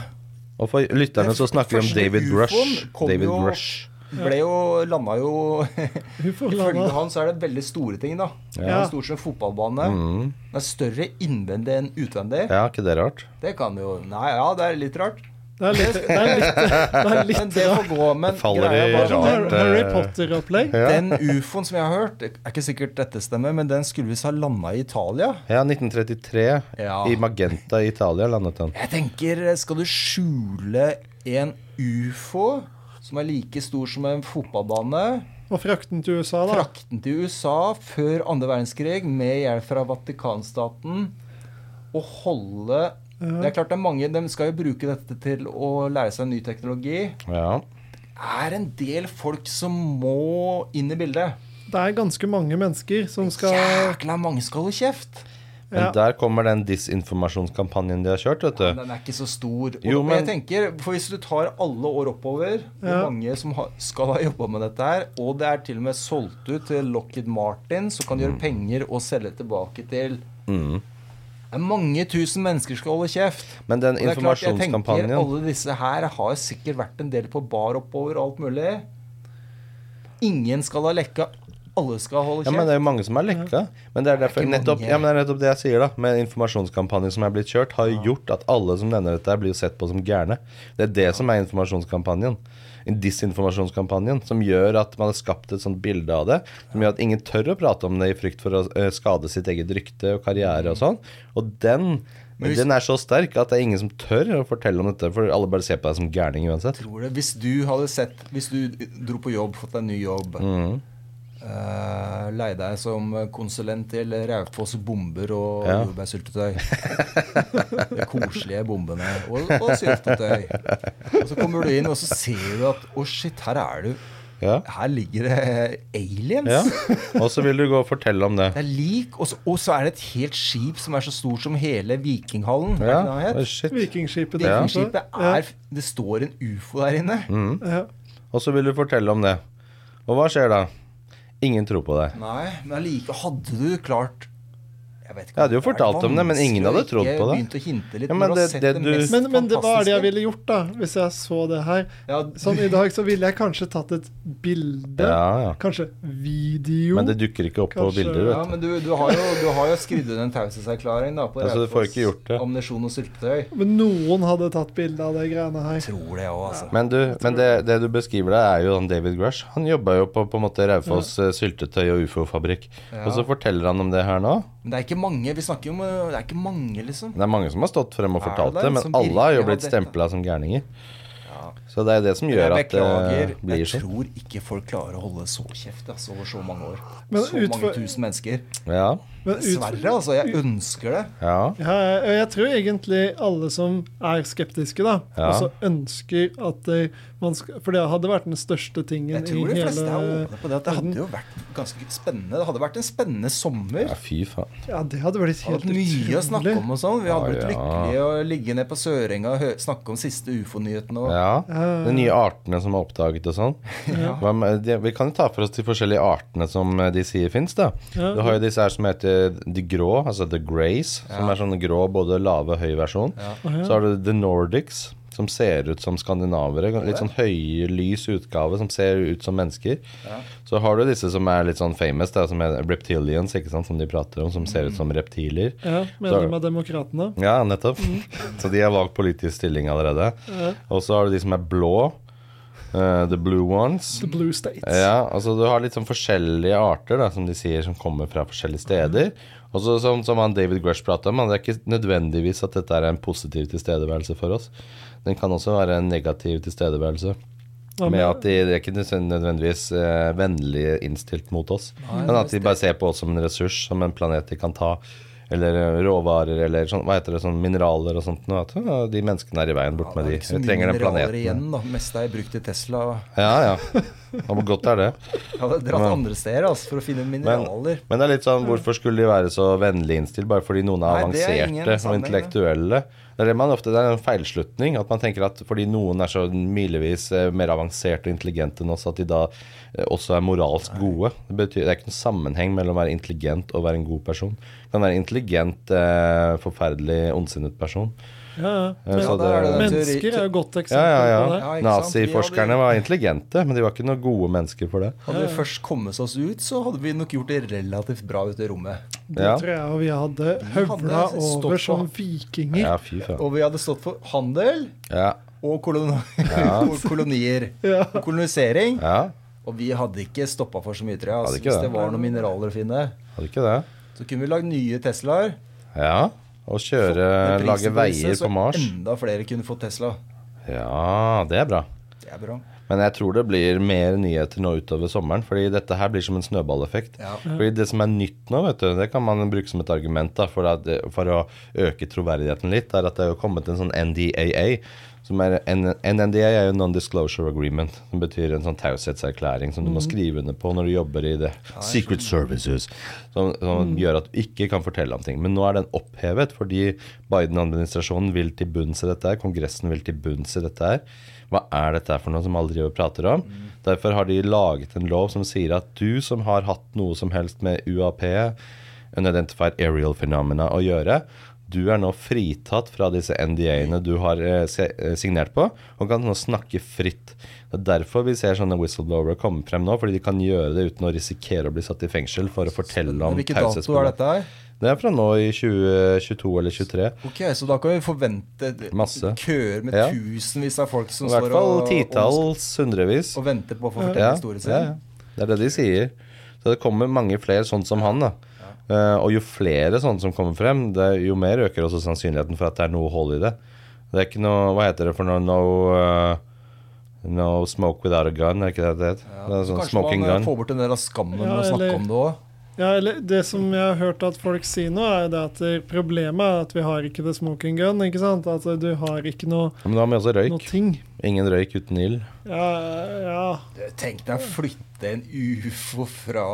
Speaker 2: Og for lytterne så snakker vi om
Speaker 4: første
Speaker 2: David
Speaker 4: ufoen
Speaker 2: Rush.
Speaker 4: kom
Speaker 2: David
Speaker 4: jo-
Speaker 2: Rush.
Speaker 4: Ble jo Landa jo
Speaker 3: Hun får
Speaker 4: Ifølge
Speaker 3: landa.
Speaker 4: han så er det veldig store ting, da. Det
Speaker 3: Ja.
Speaker 4: er Stort som en fotballbane.
Speaker 2: Mm.
Speaker 4: Det er større innvendig enn utvendig.
Speaker 2: Ja, ikke det rart?
Speaker 4: Det kan jo Nei, ja, det er litt rart.
Speaker 3: Det er litt, det er litt, det er
Speaker 4: Men
Speaker 3: litt
Speaker 4: det får gå. Men
Speaker 2: Det faller
Speaker 4: greia
Speaker 2: i
Speaker 4: var at
Speaker 2: rart,
Speaker 4: den-
Speaker 3: Har- Harry
Speaker 2: eh,
Speaker 3: Potter-opplegg.
Speaker 2: Ja.
Speaker 4: Den ufoen som jeg har hørt, det er ikke sikkert dette stemmer, men den skulle visst ha landa i Italia.
Speaker 2: Ja, 1933.
Speaker 4: Ja.
Speaker 2: I Magenta i Italia landet han.
Speaker 4: Jeg tenker, skal du skjule en ufo som er like stor som en fotballbane,
Speaker 3: Og frakten til USA, da.
Speaker 4: frakte den til USA før andre verdenskrig med hjelp fra Vatikanstaten, og holde Det er klart det er mange, De skal jo bruke dette til å lære seg ny teknologi.
Speaker 2: Ja.
Speaker 4: Det er en del folk som må inn i bildet.
Speaker 3: Det er ganske mange mennesker som skal
Speaker 4: Jækla mange skal holde kjeft.
Speaker 2: Men
Speaker 3: Ja.
Speaker 2: der kommer den disinformasjonskampanjen de har kjørt, vet du.
Speaker 4: Den er ikke så stor. Og
Speaker 2: Jo,
Speaker 4: da-
Speaker 2: men-
Speaker 4: jeg tenker, for Hvis du tar alle år oppover, hvor
Speaker 3: Ja.
Speaker 4: mange som har, skal ha jobba med dette her, og det er til og med solgt ut til Lockheed Martin, så kan de
Speaker 2: Mm.
Speaker 4: gjøre penger og selge tilbake til Det er Mange tusen mennesker skal holde kjeft.
Speaker 2: Men den
Speaker 4: Og det er klart, jeg tenker
Speaker 2: informasjonskampanjen
Speaker 4: Alle disse her har sikkert vært en del på bar oppover og alt mulig. Ingen skal ha lekka. Alle skal holde
Speaker 2: ja,
Speaker 4: kjeft.
Speaker 2: men Det er jo mange som er lekka. Men det er, derfor,
Speaker 4: ikke mange.
Speaker 2: nettopp, ja, men det er nettopp det jeg sier, da. Med informasjonskampanjen som er blitt kjørt, har jo gjort at alle som nevner dette, her blir jo sett på som gærne. Det er det som er informasjonskampanjen. Disinformasjonskampanjen som gjør at man har skapt et sånt bilde av det. Som gjør at ingen tør å prate om det i frykt for å eh, skade sitt eget rykte og karriere og sånn. Og den
Speaker 4: Mm. Men hvis-
Speaker 2: den er så sterk at det er ingen som tør å fortelle om dette. For alle bare ser på deg som gærning uansett.
Speaker 4: tror det. Hvis du hadde sett Hvis du dro på jobb, fått deg en ny jobb
Speaker 2: Mm.
Speaker 4: eh, Leie deg som konsulent til Raufoss bomber og
Speaker 2: Ja.
Speaker 4: jordbærsyltetøy. De koselige bombene og, og syltetøy. Og så kommer du inn, og så ser du at Å, shit, her er du.
Speaker 2: Ja.
Speaker 4: Her ligger det aliens.
Speaker 2: ja. Og så vil du gå og fortelle om det.
Speaker 4: Det er lik, og så, og så er det et helt skip som er så stort som hele Vikinghallen. er det ikke det han
Speaker 2: Ja. Oh,
Speaker 4: het?
Speaker 2: shit.
Speaker 3: Vikingskipet der borte.
Speaker 4: Vikingskipet er Det står en ufo der inne.
Speaker 3: Ja. Ja.
Speaker 2: Og så vil du fortelle om det. Og hva skjer da? Ingen tror på deg.
Speaker 4: Nei, men allike hadde du klart Jeg Jeg vet ikke
Speaker 2: Jeg hadde jo
Speaker 4: om det er
Speaker 2: fortalt om det, men ingen hadde
Speaker 4: vanskelig å
Speaker 2: trodd
Speaker 4: ikke
Speaker 2: på det.
Speaker 4: Begynte å hinte litt
Speaker 2: Ja, men
Speaker 4: når du har
Speaker 2: det-
Speaker 4: sett
Speaker 2: det
Speaker 4: det
Speaker 2: du-
Speaker 4: mest
Speaker 3: Men, men det, hva er det jeg
Speaker 4: fantastiske.
Speaker 3: ville gjort, da? Hvis jeg så det her?
Speaker 4: ja,
Speaker 3: Sånn i dag så ville jeg kanskje tatt et bilde.
Speaker 2: Ja, ja.
Speaker 3: Kanskje video.
Speaker 2: Men det dukker ikke opp
Speaker 3: Kanskje-
Speaker 2: på bilder,
Speaker 4: ja,
Speaker 2: vet du.
Speaker 4: men du, du har jo, du har jo skrevet under en taushetserklæring da, på
Speaker 2: Ja, så du får
Speaker 4: Raufoss
Speaker 2: ikke gjort det.
Speaker 4: ammunisjon og syltetøy.
Speaker 3: Men noen hadde tatt bilde av det greiene her.
Speaker 4: Tror det òg, altså.
Speaker 2: Men, du, men det, det du beskriver der, er jo han David Grush. Han jobba jo på, på en måte Raufoss eh, syltetøy- og ufo-fabrikk.
Speaker 4: Ja.
Speaker 2: Og så forteller han om det her nå.
Speaker 4: Men det er ikke mange. Vi snakker jo om eh, Det er ikke mange, liksom.
Speaker 2: Det er mange som har stått frem og
Speaker 4: Er det
Speaker 2: fortalt
Speaker 4: det
Speaker 2: det,
Speaker 4: som
Speaker 2: men alle har
Speaker 4: virkelig
Speaker 2: jo
Speaker 4: har
Speaker 2: blitt
Speaker 4: dette?
Speaker 2: stempla som gærninger.
Speaker 4: Ja.
Speaker 2: Så det er det som gjør
Speaker 4: jeg
Speaker 2: at eh, det
Speaker 4: beklager.
Speaker 2: blir
Speaker 4: jeg
Speaker 2: sånn.
Speaker 4: tror ikke folk klarer å holde så kjeft altså, over så mange år.
Speaker 3: Men
Speaker 4: så mange
Speaker 3: utfor-
Speaker 4: tusen mennesker.
Speaker 2: Ja,
Speaker 3: Men ut,
Speaker 4: Dessverre, altså. Jeg ønsker det.
Speaker 2: ja.
Speaker 3: ja, jeg, jeg tror egentlig alle som er skeptiske, da,
Speaker 2: Ja.
Speaker 3: også ønsker at eh, man skal For det hadde vært den største tingen
Speaker 4: Jeg tror
Speaker 3: i
Speaker 4: de fleste er
Speaker 3: hele
Speaker 4: åpne på det. At det hadde jo vært ganske spennende. Det hadde vært en spennende sommer.
Speaker 2: ja fy faen.
Speaker 3: Ja, det hadde blitt
Speaker 4: Det
Speaker 3: helt
Speaker 4: hadde vært mye å snakke om og sånn. Vi hadde
Speaker 2: Ja,
Speaker 4: blitt
Speaker 2: ja.
Speaker 4: lykkelige og ligge ned på Sørenga og hø- snakke om siste ufo-nyhetene og
Speaker 2: Ja.
Speaker 3: Ja.
Speaker 4: Eh.
Speaker 2: De nye artene som er oppdaget og sånn.
Speaker 4: Ja.
Speaker 2: Hva med- de- Vi kan jo ta for oss de forskjellige artene som eh, de sier fins, da.
Speaker 3: Ja.
Speaker 2: Du har jo disse her som heter de grå, altså the grays, som
Speaker 4: Ja.
Speaker 2: er sånn grå både lave og høy versjon.
Speaker 4: Ja.
Speaker 2: Så har du the nordics, som ser ut som skandinavere. Litt sånn høy, lys utgave som ser ut som mennesker.
Speaker 4: Ja.
Speaker 2: Så har du disse som er litt sånn famous, da, som er reptilians, ikke sant, som de prater om, som ser ut som reptiler.
Speaker 3: Mm. Ja, medlem av Demokratene.
Speaker 2: Ja, nettopp. Så de har valgt politisk stilling allerede.
Speaker 3: Ja.
Speaker 2: Og så har du de som er blå. eh, the blue ones.
Speaker 3: The Blue States.
Speaker 2: Ja, altså du har litt sånn forskjellige arter da, som de sier som kommer fra forskjellige steder.
Speaker 4: Mm.
Speaker 2: Og så som, som han David Grush pratet om, han- det er ikke nødvendigvis at dette er en positiv tilstedeværelse for oss. Den kan også være en negativ tilstedeværelse.
Speaker 3: Hva
Speaker 2: Med
Speaker 3: med-
Speaker 2: at de, de er ikke nødvendigvis eh, vennlig innstilt mot oss. Men at de bare ser på oss som en ressurs, som en planet de kan ta. Eller eh, råvarer eller sånn, hva heter det, sånn mineraler og sånt. noe, At, «Å, de menneskene er i veien, bort med
Speaker 4: det
Speaker 2: de.
Speaker 4: er ikke så
Speaker 2: Vi
Speaker 4: mye
Speaker 2: trenger den
Speaker 4: mineraler
Speaker 2: planeten.
Speaker 4: Igjen, da. Det meste er brukt til Tesla.
Speaker 2: Ja, ja. Og hvor godt er det?
Speaker 4: Jeg hadde dratt andre steder altså, for å finne
Speaker 2: Men,
Speaker 4: mineraler.
Speaker 2: men det er litt sånn, hvorfor skulle de være så vennlig innstilt bare fordi noen er
Speaker 4: Mm. Nei, det er ingen
Speaker 2: avanserte og
Speaker 4: sammenheng, det.
Speaker 2: intellektuelle? Det er, det man ofte, det er en feilslutning. At man tenker at fordi noen er så milevis eh, mer avanserte og intelligente enn oss, at de da eh, også er moralsk gode. Det, betyr, det er ikke noen sammenheng mellom å være intelligent og være en god person. Du kan være intelligent, eh, forferdelig ondsinnet person.
Speaker 3: Ja, ja.
Speaker 2: Eh, så
Speaker 3: Men,
Speaker 4: der er det den teori-
Speaker 3: mennesker er jo et godt
Speaker 2: ja,
Speaker 3: eksempel
Speaker 2: ja,
Speaker 3: på
Speaker 2: ja.
Speaker 4: Ja,
Speaker 3: det.
Speaker 4: ikke sant? De
Speaker 2: Naziforskerne
Speaker 4: hadde-
Speaker 2: var intelligente, men de var ikke noen gode mennesker for det.
Speaker 4: Hadde vi først kommet oss ut, så hadde vi nok gjort det relativt bra ute i rommet.
Speaker 3: Det
Speaker 2: Ja.
Speaker 3: tror jeg og vi hadde høvla
Speaker 4: hadde stått
Speaker 3: over
Speaker 4: på-
Speaker 3: som vikinger.
Speaker 2: Ja, fy faen.
Speaker 4: Og vi hadde stått for handel
Speaker 2: Ja,
Speaker 4: og, kolon og kolonier.
Speaker 3: Ja.
Speaker 4: Og kolonisering.
Speaker 2: ja.
Speaker 4: Og vi hadde ikke stoppa for så mye, tror jeg.
Speaker 2: Hadde
Speaker 4: Altså,
Speaker 2: ikke
Speaker 4: hvis
Speaker 2: det.
Speaker 4: det var noen mineraler å finne,
Speaker 2: Hadde ikke det.
Speaker 4: så kunne vi lagd nye Teslaer.
Speaker 2: Ja, og kjøre,
Speaker 4: Med
Speaker 2: lage
Speaker 4: prisen
Speaker 2: veier
Speaker 4: disse, så
Speaker 2: på Mars.
Speaker 4: Enda flere kunne fått Tesla.
Speaker 2: Ja, det er bra.
Speaker 4: Det er bra.
Speaker 2: Men jeg tror det blir mer nyheter nå utover sommeren, fordi dette her blir som en snøballeffekt.
Speaker 4: Ja.
Speaker 2: Fordi det som er nytt nå, vet du, det kan man bruke som et argument da, for, at, for å øke troverdigheten litt, er at det har jo kommet en sånn NDAA, som er en, en NDAA er jo Non-Disclosure Agreement, som betyr en sånn taushetserklæring som du må skrive under på når du jobber i det. Secret Services, som, som gjør at du ikke kan fortelle om ting. Men nå er den opphevet, fordi Biden-administrasjonen vil til bunns i dette her, Kongressen vil til bunns i dette her. Hva er dette her for noe som alle driver og prater om? Derfor har de laget en lov som sier at du som har hatt noe som helst med UAP, Unidentified Aerial Phenomena, å gjøre, du er nå fritatt fra disse NDA-ene du har eh, se- eh, signert på, og kan nå snakke fritt. Det er derfor vi ser sånne whistleblowere komme frem nå, fordi de kan gjøre det uten å risikere å bli satt i fengsel for å fortelle om
Speaker 4: Hvilken dato er
Speaker 2: taushetsbelagt-
Speaker 4: dette her?
Speaker 2: Det er fra nå i 2022 eller 2023.
Speaker 4: Ok, Så da kan vi forvente
Speaker 2: Masse.
Speaker 4: køer med
Speaker 2: Ja.
Speaker 4: tusenvis av folk som
Speaker 2: I hvert
Speaker 4: står og,
Speaker 2: fall
Speaker 4: og,
Speaker 2: titalls, hundrevis.
Speaker 4: og venter på å få fortelle
Speaker 2: Ja,
Speaker 4: historien
Speaker 2: ja,
Speaker 4: sin?
Speaker 2: ja. Det er det de sier. Så det kommer mange flere sånn som han. da. Eh, og jo flere sånne som kommer frem, det, er- jo mer øker også sannsynligheten for at det er noe hold i det. Det er ikke noe Hva heter det for noe No, eh, no smoke without a gun, er ikke det det heter?
Speaker 4: Ja,
Speaker 2: Det er
Speaker 4: så
Speaker 2: sånn
Speaker 4: kanskje
Speaker 2: smoking
Speaker 4: man eh,
Speaker 2: gun.
Speaker 4: får bort en del av skammen med
Speaker 3: Ja,
Speaker 4: å snakke
Speaker 3: eller-
Speaker 4: om det òg.
Speaker 3: Ja, eller Det som jeg har hørt at folk sier nå, er jo det at eh, problemet er at vi har ikke the smoking gun. ikke sant? At eh, du har ikke noe,
Speaker 2: Ja, Men da har vi også
Speaker 3: noe
Speaker 2: røyk.
Speaker 3: ting.
Speaker 2: Ingen røyk uten ild.
Speaker 3: Ja, ja.
Speaker 4: Tenk deg å flytte en ufo fra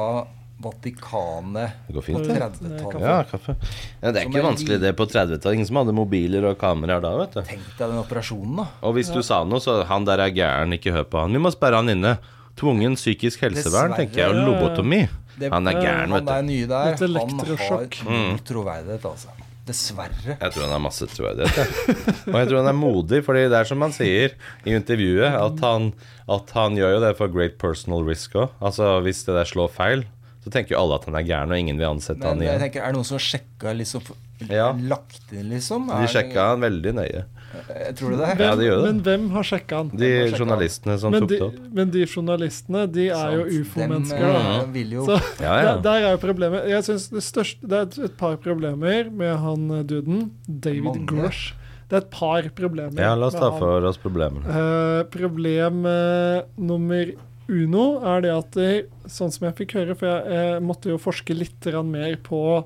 Speaker 4: Vatikanet
Speaker 2: Det går
Speaker 4: på
Speaker 2: fint, det.
Speaker 4: 30-tallet.
Speaker 2: Ja, kaffe. Ja, det er
Speaker 4: Som
Speaker 2: ikke
Speaker 4: en
Speaker 2: vanskelig det på 30-tallet. Ingen som hadde mobiler og kameraer da, vet du.
Speaker 4: Tenk deg den operasjonen, da.
Speaker 2: Og hvis du sa noe, så han der er gæren, ikke hør på han. Vi må sperre han inne. Tvungen psykisk helsevern,
Speaker 4: Dessverre.
Speaker 2: tenker jeg, og lobotomi.
Speaker 4: det,
Speaker 2: Han er gæren,
Speaker 4: han
Speaker 2: vet du. Mm.
Speaker 4: er nye der.
Speaker 3: Litt elektrosjokk.
Speaker 4: Han har null troverdighet, altså. Dessverre.
Speaker 2: Jeg tror han har masse troverdighet. jeg. Og jeg tror han er modig, Fordi det er som han sier i intervjuet, at han, at han gjør jo det for great personal risk òg. Altså, hvis det der slår feil, så tenker jo alle at han er gæren, og ingen vil ansette
Speaker 4: Men
Speaker 2: han
Speaker 4: jeg
Speaker 2: igjen.
Speaker 4: tenker, er det noen som har sjekka liksom f-
Speaker 2: Ja.
Speaker 4: Lagt inn, liksom? Er
Speaker 2: De
Speaker 4: det-
Speaker 2: sjekka han veldig nøye.
Speaker 4: Jeg tror det er.
Speaker 2: Ja, det gjør det.
Speaker 3: Men hvem har sjekka han?
Speaker 2: De
Speaker 4: sjekka han.
Speaker 2: journalistene som
Speaker 3: Men
Speaker 2: tok
Speaker 3: de,
Speaker 2: det opp.
Speaker 3: men de journalistene, de er jo
Speaker 4: Sant.
Speaker 3: ufo-mennesker,
Speaker 4: Dem,
Speaker 3: da.
Speaker 4: eh, vil jo
Speaker 3: Så
Speaker 2: Ja, ja.
Speaker 3: der, der er jo problemet. Jeg synes Det største Det er et- et par problemer med han eh, duden. David
Speaker 4: Mange.
Speaker 3: Grush. Det er et par problemer.
Speaker 2: Ja, la oss
Speaker 3: med
Speaker 2: ta
Speaker 3: han.
Speaker 2: for oss problemene.
Speaker 3: Eh, problem eh, nummer uno er det at det, Sånn som jeg fikk høre, for jeg, eh, måtte jo forske litt grann mer på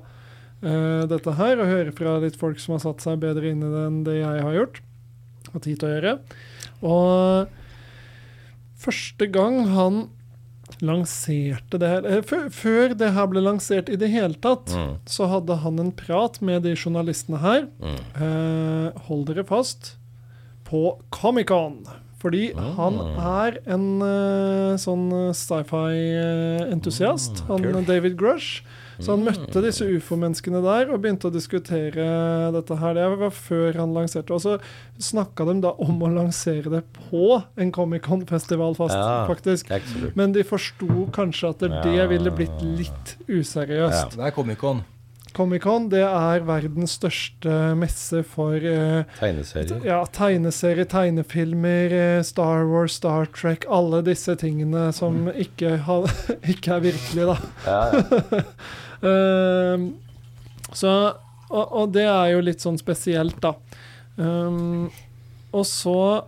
Speaker 3: eh, dette her, og høre fra litt folk som har satt seg bedre inn i det enn det jeg har gjort. Hatt tid til å gjøre. Og eh, første gang han lanserte det her eh, før- Før det her ble lansert i det hele tatt,
Speaker 2: Mm.
Speaker 3: så hadde han en prat med de journalistene her.
Speaker 2: Mm.
Speaker 3: Eh, hold dere fast på Comic-Con. Fordi han
Speaker 2: Ah.
Speaker 3: er en eh, sånn eh, sci-fi-entusiast,
Speaker 2: Ah,
Speaker 3: han eh, David Grush.
Speaker 2: Mm.
Speaker 3: Så han møtte disse ufo-menneskene der og begynte å diskutere dette her. Det var før han lanserte. Og så snakka de da om å lansere det på en Comic-Con-festival, fast,
Speaker 2: Ja.
Speaker 3: faktisk.
Speaker 2: Det er ikke så lurt.
Speaker 3: Men de forsto kanskje at det
Speaker 2: Ja.
Speaker 3: ville blitt litt useriøst.
Speaker 4: Det er Comic-Con.
Speaker 3: Comic-Con det er verdens største messe for eh,
Speaker 2: Tegneserier.
Speaker 3: ja, tegneserier, tegnefilmer, eh, Star Wars, Star Trek Alle disse tingene som ikke, ha, ikke er virkelige, da.
Speaker 2: Ja, ja.
Speaker 3: Ehm, så, og, og det er jo litt sånn spesielt, da. Ehm, og så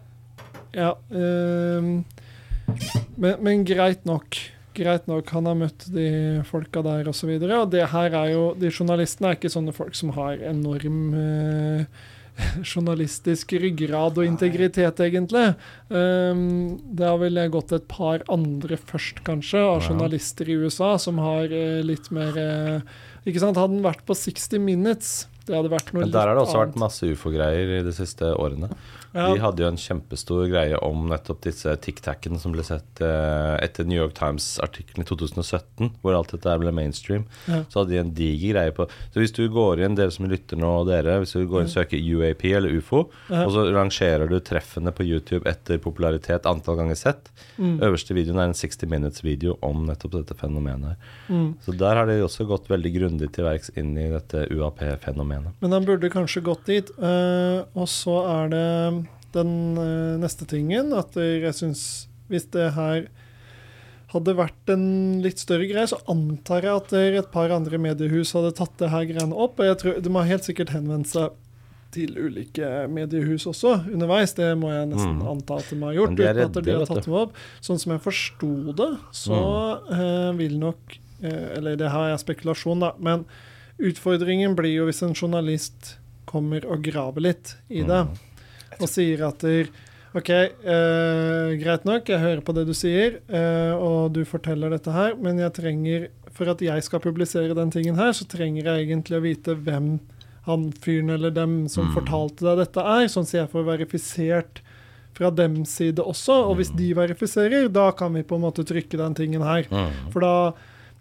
Speaker 3: Ja. ehm, men, men greit nok. Greit nok, han har møtt de folka der osv. Og, og det her er jo De journalistene er ikke sånne folk som har enorm eh, journalistisk ryggrad og integritet, egentlig. Um, det har vel gått et par andre først, kanskje, av
Speaker 2: Ja.
Speaker 3: journalister i USA som har eh, litt mer eh, Ikke sant, hadde den vært på 60 Minutes, det hadde vært noe
Speaker 2: Men der har det også vært masse ufo-greier i de siste årene. De hadde jo en kjempestor greie om nettopp disse tic-tacene som ble sett eh, etter New York Times-artikkelen i 2017, hvor alt dette her ble mainstream.
Speaker 3: Ja.
Speaker 2: Så hadde de en diger greie på Så hvis du går inn, dere som lytter nå, og dere, hvis du går inn og søker UAP eller ufo,
Speaker 3: Ja.
Speaker 2: og så rangerer du treffene på YouTube etter popularitet antall ganger sett
Speaker 3: Mm,
Speaker 2: Øverste videoen er en 60 minutes-video om nettopp dette fenomenet her.
Speaker 3: mm.
Speaker 2: Så der har de også gått veldig grundig til verks inn i dette UAP-fenomenet.
Speaker 3: Men han burde kanskje gått dit. eh, og så er det den eh, neste tingen at jeg syns Hvis det her hadde vært en litt større greie, så antar jeg at det et par andre mediehus hadde tatt det her greiene opp. Og jeg tror, de har helt sikkert henvendt seg til ulike mediehus også underveis. Det må jeg nesten
Speaker 2: Mm.
Speaker 3: anta at de har
Speaker 2: Men
Speaker 3: gjort.
Speaker 2: de er
Speaker 3: uten at
Speaker 2: redde,
Speaker 3: de har
Speaker 2: vet du. Mm.
Speaker 3: tatt dem opp. Sånn som jeg forsto det, så eh, vil nok eh, Eller det her er spekulasjon, da. Men utfordringen blir jo hvis en journalist kommer og graver litt i det
Speaker 2: Mm.
Speaker 3: og sier at der, OK, eh, greit nok, jeg hører på det du sier, eh, og du forteller dette her, men jeg trenger, for at jeg skal publisere den tingen her, så trenger jeg egentlig å vite hvem han fyren eller dem som fortalte deg dette er, sånn at jeg får verifisert fra dems side også. Og hvis de verifiserer, da kan vi på en måte trykke den tingen her.
Speaker 2: Mm.
Speaker 3: For da,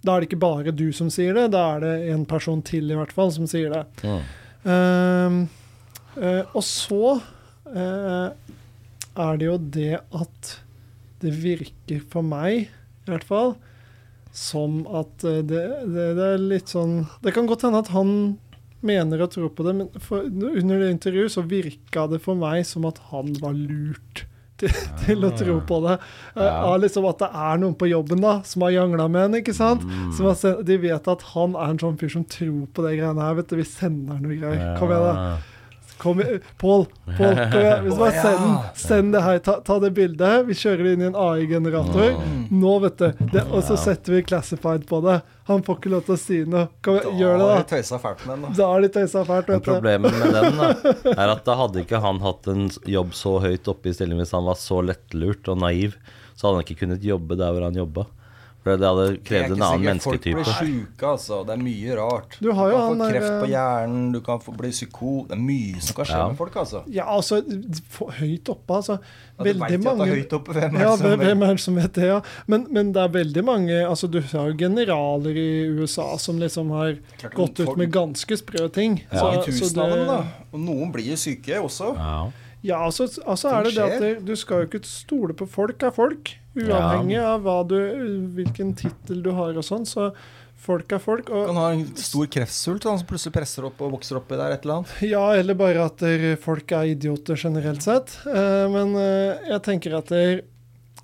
Speaker 3: da er det ikke bare du som sier det, da er det en person til i hvert fall som sier det.
Speaker 2: Mm.
Speaker 3: Ehm, eh, og så eh, er det jo det at det virker for meg, i hvert fall, som at eh, det, det, det er litt sånn Det kan godt hende at han mener og tror på det, men for, under det intervjuet så virka det for meg som at han var lurt til, til å tro på det. Eh,
Speaker 2: Ah, Ja.
Speaker 3: av liksom At det er noen på jobben da som har jangla med henne, ikke sant? Som har sen- de vet at han er en sånn fyr som tror på det greiene her. vet du, Vi sender noe greier. Kom igjen, da. Kom, i- Pål, Pål, kom igjen. Hvis du bare send, send det her. Ta, ta det bildet. Vi kjører det inn i en AI-generator. Nå, vet du. Det, og så setter vi classified på det. Han får ikke lov til å si noe. Kom, igjen, gjør
Speaker 4: Da har
Speaker 3: det,
Speaker 4: de tøysa fælt med den. da.
Speaker 3: da. Da er de tøysa fælt,
Speaker 2: Men
Speaker 3: vet du.
Speaker 2: problemet med den da, er at da hadde ikke han hatt en jobb så høyt oppe i stillingen hvis han var så lettlurt og naiv, så hadde han ikke kunnet jobbe der hvor han jobba. For det hadde
Speaker 4: Det er
Speaker 2: krevd
Speaker 4: ikke
Speaker 2: en annen
Speaker 4: sikkert Folk
Speaker 2: mennesketype.
Speaker 4: blir syke, altså. Det er mye rart.
Speaker 3: Du har jo
Speaker 4: kan
Speaker 3: han
Speaker 4: få
Speaker 3: der- eh,
Speaker 4: kreft på hjernen, du kan få bli psyko Det er mye som kan skje
Speaker 2: Ja.
Speaker 4: med folk, altså.
Speaker 3: Ja, altså for høyt oppe, altså.
Speaker 4: Ja, du vet
Speaker 3: Veldig
Speaker 4: jo at det
Speaker 3: mange
Speaker 4: er høyt oppe. Hvem er
Speaker 3: Ja,
Speaker 4: det som
Speaker 3: hvem hvem er det som vet det, ja? Men, men det er veldig mange altså Du har jo generaler i USA som liksom har
Speaker 4: Klart det,
Speaker 3: gått ut
Speaker 4: folk-
Speaker 3: med ganske sprø ting.
Speaker 4: Mange
Speaker 3: Så- så
Speaker 4: tusen av
Speaker 3: det-
Speaker 4: dem, da. Og noen blir jo syke også.
Speaker 2: Ja.
Speaker 3: Ja, altså, altså er det det at det- du skal jo ikke stole på folk er folk, uavhengig av hva du, hvilken tittel du har og sånn. Så folk er folk.
Speaker 4: Du
Speaker 3: Og,
Speaker 4: kan ha en stor kreftsvult da, som plutselig presser opp og vokser oppi der et eller annet.
Speaker 3: ja, eller bare at der, folk er idioter generelt sett. Eh, men eh, jeg tenker at der,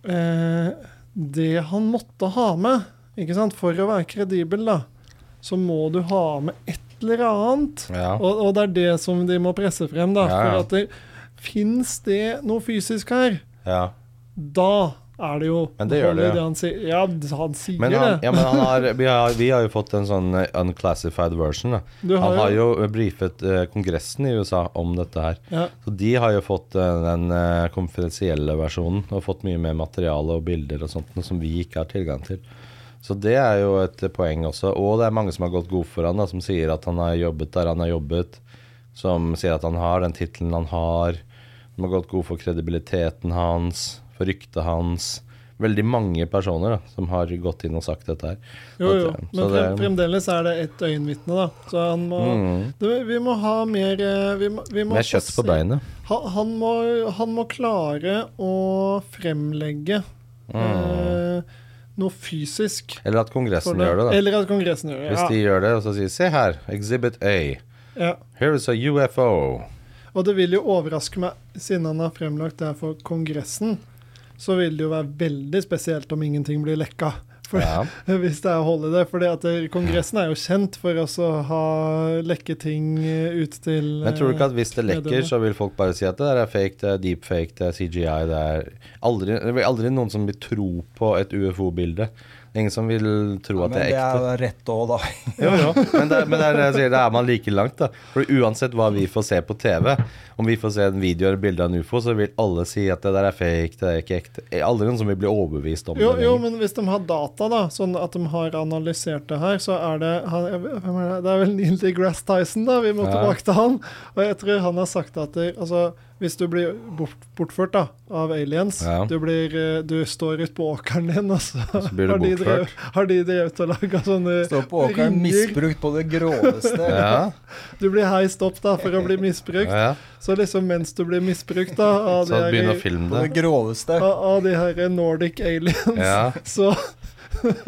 Speaker 3: eh, det han måtte ha med, ikke sant, for å være kredibel, da, så må du ha med et eller annet.
Speaker 2: Ja.
Speaker 3: Og, og det er det som de må presse frem, da.
Speaker 2: Ja, ja.
Speaker 3: For at der, Fins det noe fysisk her?
Speaker 2: ja.
Speaker 3: Da er det jo
Speaker 2: Men det gjør det,
Speaker 3: holder
Speaker 2: ja.
Speaker 3: han sier. Ja, han sier
Speaker 2: Men, han,
Speaker 3: det.
Speaker 2: ja, men han har, vi, har, vi har jo fått en sånn eh, unclassified version. Da.
Speaker 3: Du har
Speaker 2: han har jo
Speaker 3: jo-
Speaker 2: brifet eh, Kongressen i USA om dette her.
Speaker 3: Ja.
Speaker 2: Så de har jo fått eh, den eh, konfidensielle versjonen og fått mye mer materiale og bilder og sånt noe som vi ikke har tilgang til. Så det er jo et eh, poeng også. Og det er mange som har gått god for han da, som sier at han har jobbet der han har jobbet, som sier at han har den tittelen han har, som har gått god for kredibiliteten hans, for ryktet hans. Veldig mange personer da, som har gått inn og sagt dette her. eh,
Speaker 3: Jo, jo.
Speaker 2: Så
Speaker 3: Men
Speaker 2: det-
Speaker 3: frem, fremdeles er det ett øyenvitne, da. Så han må det, Vi må ha mer eh, vi må, vi
Speaker 2: Med
Speaker 3: må
Speaker 2: Mm. kjøtt på
Speaker 3: se-
Speaker 2: beinet.
Speaker 3: Ha, han, må, han må klare å fremlegge
Speaker 2: Mm.
Speaker 3: eh, noe fysisk.
Speaker 2: Eller at
Speaker 3: for
Speaker 2: Kongressen gjør det, da.
Speaker 3: Eller at Kongressen gjør
Speaker 2: Hvis de
Speaker 3: det.
Speaker 2: gjør det, og så sier Se her, Exhibit A.
Speaker 3: Ja, ja.
Speaker 2: Here is a UFO.
Speaker 3: Og det vil jo overraske meg, siden han har fremlagt det her for Kongressen, så vil det jo være veldig spesielt om ingenting blir lekka. For
Speaker 2: Ja.
Speaker 3: Hvis det er hold i det. For Kongressen er jo kjent for oss å ha lekke ting eh, ut til
Speaker 2: Men tror du ikke at
Speaker 3: eh,
Speaker 2: hvis det lekker,
Speaker 3: mediene?
Speaker 2: så vil folk bare si at det der er fake, det er deepfake, det er CGI, det er aldri, Det blir aldri noen som vil tro på et UFO-bilde. Det er Ingen som vil tro
Speaker 4: Men
Speaker 2: at det
Speaker 4: det
Speaker 2: er ekte.
Speaker 4: er rett òg, da.
Speaker 2: Jo, jo. Men, det, men det er det jeg sier, da er man like langt, da. For uansett hva vi får se på TV, om vi får se en video eller bilde av en ufo, så vil alle si at det der er fake, det er ikke ekte. Det er Aldri noen som vil bli overbevist om
Speaker 3: eh, jo,
Speaker 2: det.
Speaker 3: jo,
Speaker 2: lenger.
Speaker 3: men hvis de har data, da, sånn at de har analysert det her, så er det han, jeg vet- hvem er det? det er vel Neil deGrasse Tyson, da. Vi må
Speaker 2: Ja.
Speaker 3: tilbake til han. Og jeg tror han har sagt at det, altså, hvis du blir bort, bortført da, av aliens
Speaker 2: Ja.
Speaker 3: du, blir, eh, du står ute på åkeren din, og så,
Speaker 2: blir du
Speaker 3: har, de
Speaker 2: bortført.
Speaker 3: drevet, har de drevet og laga sånne
Speaker 4: Står på åkeren, misbrukt på det groveste.
Speaker 2: ja,
Speaker 3: Du blir heist opp da for å bli misbrukt.
Speaker 2: ja.
Speaker 3: Så liksom mens du blir misbrukt da av
Speaker 2: Så
Speaker 3: de
Speaker 2: begynn å
Speaker 3: her,
Speaker 2: filme
Speaker 4: På det
Speaker 2: det.
Speaker 4: groveste.
Speaker 3: av, av de her Nordic aliens,
Speaker 2: Ja,
Speaker 3: så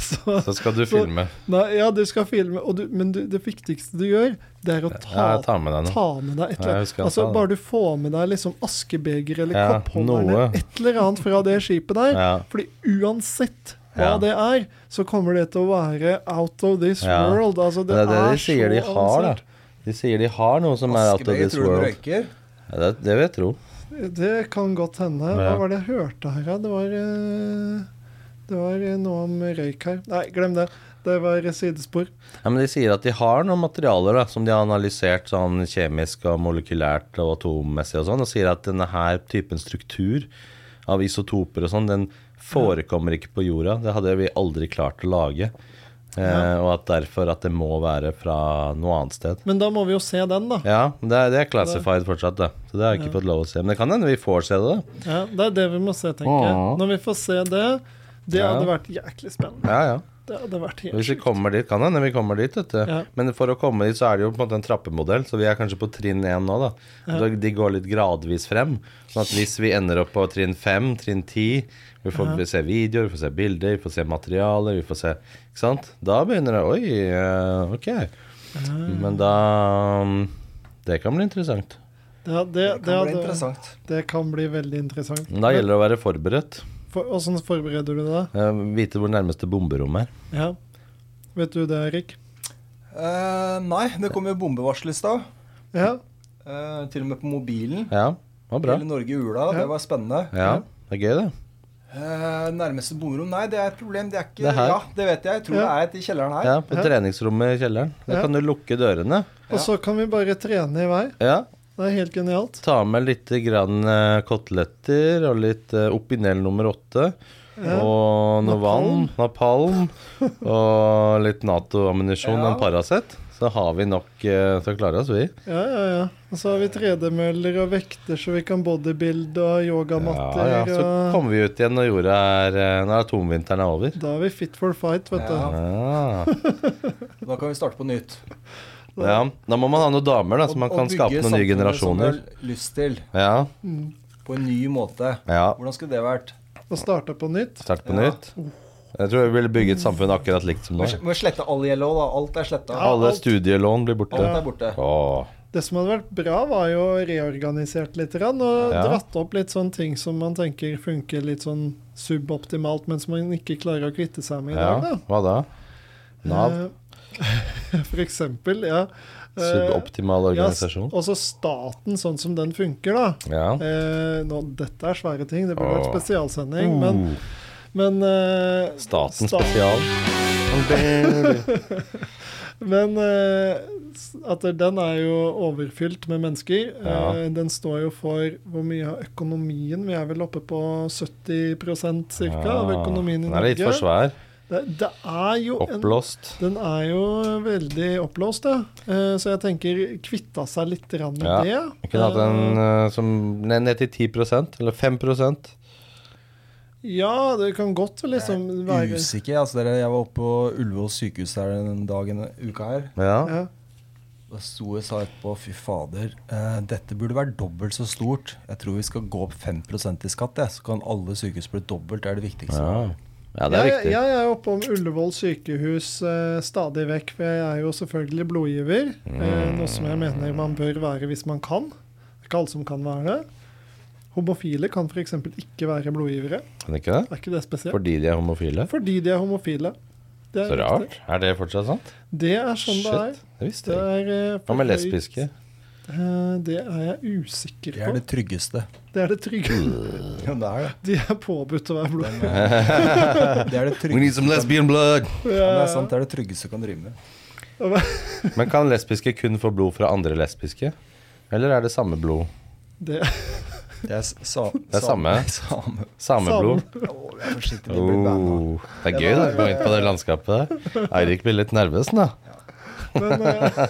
Speaker 3: så
Speaker 2: så skal du filme.
Speaker 3: Nei, ja, du skal filme, og du, men du, det viktigste du gjør, det er å ta,
Speaker 2: Ja, jeg tar med deg noe.
Speaker 3: ta med deg et
Speaker 2: Ja,
Speaker 3: eller
Speaker 2: jeg
Speaker 3: annet.
Speaker 2: husker jeg
Speaker 3: altså,
Speaker 2: sa det.
Speaker 3: bare du får med deg liksom askebeger eller
Speaker 2: Ja,
Speaker 3: koppholder
Speaker 2: noe.
Speaker 3: eller et eller annet fra det skipet der.
Speaker 2: Ja.
Speaker 3: Fordi uansett hva
Speaker 2: Ja.
Speaker 3: det er, så kommer det til å være out of this
Speaker 2: Ja.
Speaker 3: world. Altså,
Speaker 2: Det
Speaker 3: det,
Speaker 2: er det de
Speaker 3: er
Speaker 2: sier de har,
Speaker 3: så avansert.
Speaker 2: da. De sier de har noe som er out of
Speaker 4: Askeberg
Speaker 2: this
Speaker 4: tror du
Speaker 2: world.
Speaker 4: røyker.
Speaker 2: Ja, det, det vil jeg tro.
Speaker 3: Det kan godt hende. Hva
Speaker 2: Ja.
Speaker 3: var det jeg hørte her, da? Det var eh, Det var eh, noe om røyk her. Nei, glem det. Det var sidespor.
Speaker 2: Ja, men de sier at de har noen materialer da, som de har analysert sånn kjemisk og molekylært og atommessig og sånn, og sier at denne her typen struktur av isotoper og sånn, den forekommer ikke på jorda. Det hadde vi aldri klart å lage. Eh, og at derfor at det må være fra noe annet sted.
Speaker 3: Men da må vi jo se den, da.
Speaker 2: Ja, det er, det er classified fortsatt, da. Så det har jeg ikke fått lov å se. Men det kan hende vi får se det, da.
Speaker 3: Ja, Det er det vi må se, tenker jeg.
Speaker 2: Ja.
Speaker 3: Når vi får se det Det
Speaker 2: Ja.
Speaker 3: hadde vært jæklig spennende.
Speaker 2: Ja, ja.
Speaker 3: Det hadde vært
Speaker 2: Og
Speaker 3: helt
Speaker 2: Hvis vi
Speaker 3: sjukt.
Speaker 2: kommer dit, kan hende vi kommer dit, vet du.
Speaker 3: Ja.
Speaker 2: Men for å komme dit, så er det jo på en måte en trappemodell, så vi er kanskje på trinn én nå, da. Så De går litt gradvis frem. Sånn at hvis vi ender opp på trinn fem, trinn ti, vi får se videoer, vi får se bilder, vi får se materiale, vi får se Ikke sant? Da begynner det Oi, eh, ok. Men da mm, Det kan bli interessant.
Speaker 3: Ja, det,
Speaker 4: Det
Speaker 3: det,
Speaker 4: kan bli
Speaker 3: hadde,
Speaker 4: interessant.
Speaker 3: det kan bli veldig interessant.
Speaker 2: Men da gjelder det å være forberedt.
Speaker 3: For, Åssen forbereder du deg?
Speaker 2: Eh, Vite hvor nærmeste bomberom er.
Speaker 3: Ja. Vet du det, Erik?
Speaker 4: Eh, nei, det kom jo bombevarsel i stad.
Speaker 3: Ja.
Speaker 4: Eh, til og med på mobilen.
Speaker 2: Ja, det var bra.
Speaker 4: Hele Norge i ula.
Speaker 3: Ja.
Speaker 4: Det var spennende.
Speaker 2: Ja, det er gøy, det.
Speaker 4: Eh, nærmeste bomrom Nei, det er et problem. Det er ikke
Speaker 2: Det er her.
Speaker 4: Ja, det vet jeg. Jeg tror
Speaker 3: Ja.
Speaker 4: det er et i kjelleren her.
Speaker 2: Ja, på treningsrommet i kjelleren. Da
Speaker 3: Ja.
Speaker 2: kan du lukke dørene.
Speaker 3: Og så kan vi bare trene i vei.
Speaker 2: Ja,
Speaker 3: Det er helt genialt.
Speaker 2: Ta med litt grann eh, koteletter og litt eh, Opinel nummer åtte. og noe vann, napalm og litt Nato-ammunisjon og en Paracet. Så har vi nok eh, til å klare oss, vi.
Speaker 3: Ja, ja, ja. Og så har vi tredemøller og vekter, så vi kan bodybuilde og
Speaker 2: Ja,
Speaker 3: yogamatter.
Speaker 2: ja. Så
Speaker 3: og
Speaker 2: kommer vi ut igjen når jorda er eh, Når atomvinteren er over.
Speaker 3: da er vi fit for fight, vet du.
Speaker 2: Ja.
Speaker 4: Da kan vi starte på nytt.
Speaker 2: ja. Da må man ha noen damer, da, så man
Speaker 4: Og- og
Speaker 2: kan
Speaker 4: bygge
Speaker 2: skape noen nye
Speaker 4: samfunnet
Speaker 2: generasjoner.
Speaker 4: Som du har lyst til,
Speaker 2: Ja.
Speaker 4: på en ny måte.
Speaker 2: ja.
Speaker 4: Hvordan skulle det vært?
Speaker 3: Og starte på nytt.
Speaker 2: Start på
Speaker 4: Ja.
Speaker 2: nytt. Jeg tror vi ville bygge et samfunn akkurat likt som
Speaker 4: Må
Speaker 2: nå.
Speaker 4: sl- Må slette all yellow, da. Alt er sletta.
Speaker 2: Alle
Speaker 3: alt.
Speaker 2: studielån blir borte.
Speaker 4: Alt er borte.
Speaker 2: Åh.
Speaker 3: Det som hadde vært bra, var jo reorganisert litt grann, og
Speaker 2: Ja.
Speaker 3: dratt opp litt sånn ting som man tenker funker litt sånn suboptimalt, men som man ikke klarer å kvitte seg med i
Speaker 2: Ja,
Speaker 3: dag.
Speaker 2: hva da?
Speaker 3: da.
Speaker 2: Nav?
Speaker 3: Eh, For eksempel, ja. Eh,
Speaker 2: Suboptimal
Speaker 3: ja,
Speaker 2: organisasjon?
Speaker 3: s- også staten, sånn som den funker, da.
Speaker 2: Ja.
Speaker 3: Eh, nå, dette er svære ting, det burde vært
Speaker 2: Åh.
Speaker 3: spesialsending, men,
Speaker 2: Uh,
Speaker 3: men eh,
Speaker 2: Staten
Speaker 3: sta-
Speaker 2: spesial.
Speaker 3: Men eh, s- at den er jo overfylt med mennesker.
Speaker 2: Ja.
Speaker 3: Eh, den står jo for hvor mye av økonomien Vi er vel oppe på 70 ca. av
Speaker 2: Ja,
Speaker 3: økonomien i
Speaker 2: Den er
Speaker 3: Norge.
Speaker 2: litt for svær.
Speaker 3: Det, det er jo en,
Speaker 2: Oppblåst.
Speaker 3: den er jo veldig oppblåst, ja. Eh, så jeg tenker kvitta seg litt grann med
Speaker 2: Ja,
Speaker 3: det.
Speaker 2: Vi kunne hatt en eh, som ned, ned til 10 eller 5
Speaker 3: Ja, det kan godt liksom være
Speaker 4: Usikker. altså dere, Jeg var oppe på Ullevål sykehus her den dagen uka her.
Speaker 2: Ja.
Speaker 3: ja.
Speaker 4: Da sto jeg og sa etterpå fy fader, eh, dette burde være dobbelt så stort. Jeg tror vi skal gå opp 5 i skatt, jeg. så kan alle sykehus bli dobbelt. Det er det viktigste.
Speaker 2: ja. Ja, det er
Speaker 3: jeg,
Speaker 2: viktig.
Speaker 3: jeg er oppe om Ullevål sykehus eh, stadig vekk, for jeg er jo selvfølgelig blodgiver. Eh, noe som jeg mener man bør være hvis man kan. Det er ikke alle som kan være det. Homofile kan f.eks. ikke være blodgivere.
Speaker 2: Kan det ikke det?
Speaker 3: Er ikke det spesielt?
Speaker 2: Fordi de er homofile?
Speaker 3: Fordi de er homofile. Det
Speaker 2: Så
Speaker 3: riktig.
Speaker 2: rart. Er det fortsatt sant?
Speaker 3: Det er sånn det er.
Speaker 2: Shit, det visste
Speaker 3: Det
Speaker 2: jeg ikke.
Speaker 3: er eh,
Speaker 2: Hva med
Speaker 3: for høyt.
Speaker 2: lesbiske?
Speaker 3: Eh, det er jeg usikker
Speaker 4: Det
Speaker 3: på.
Speaker 4: er det tryggeste.
Speaker 3: Det er det trygge.
Speaker 4: Ja, det er det.
Speaker 3: De er påbudt å være blodgivere.
Speaker 4: Det er det
Speaker 2: We need
Speaker 4: tryggeste,
Speaker 2: some lesbian blood!
Speaker 4: ja, det er sant, det er det tryggeste du kan drive med.
Speaker 2: Men kan lesbiske kun få blod fra andre lesbiske? Eller er det samme blod?
Speaker 3: Det,
Speaker 4: Det er, s- sa,
Speaker 2: er samme.
Speaker 4: Same.
Speaker 2: Samme
Speaker 3: Samme.
Speaker 2: blod?
Speaker 4: Å, jeg er forsiktig, vi blir banna.
Speaker 2: Oh, det er gøy da, å gå inn på det landskapet der. Eirik blir litt nervøs nå.
Speaker 3: men eh,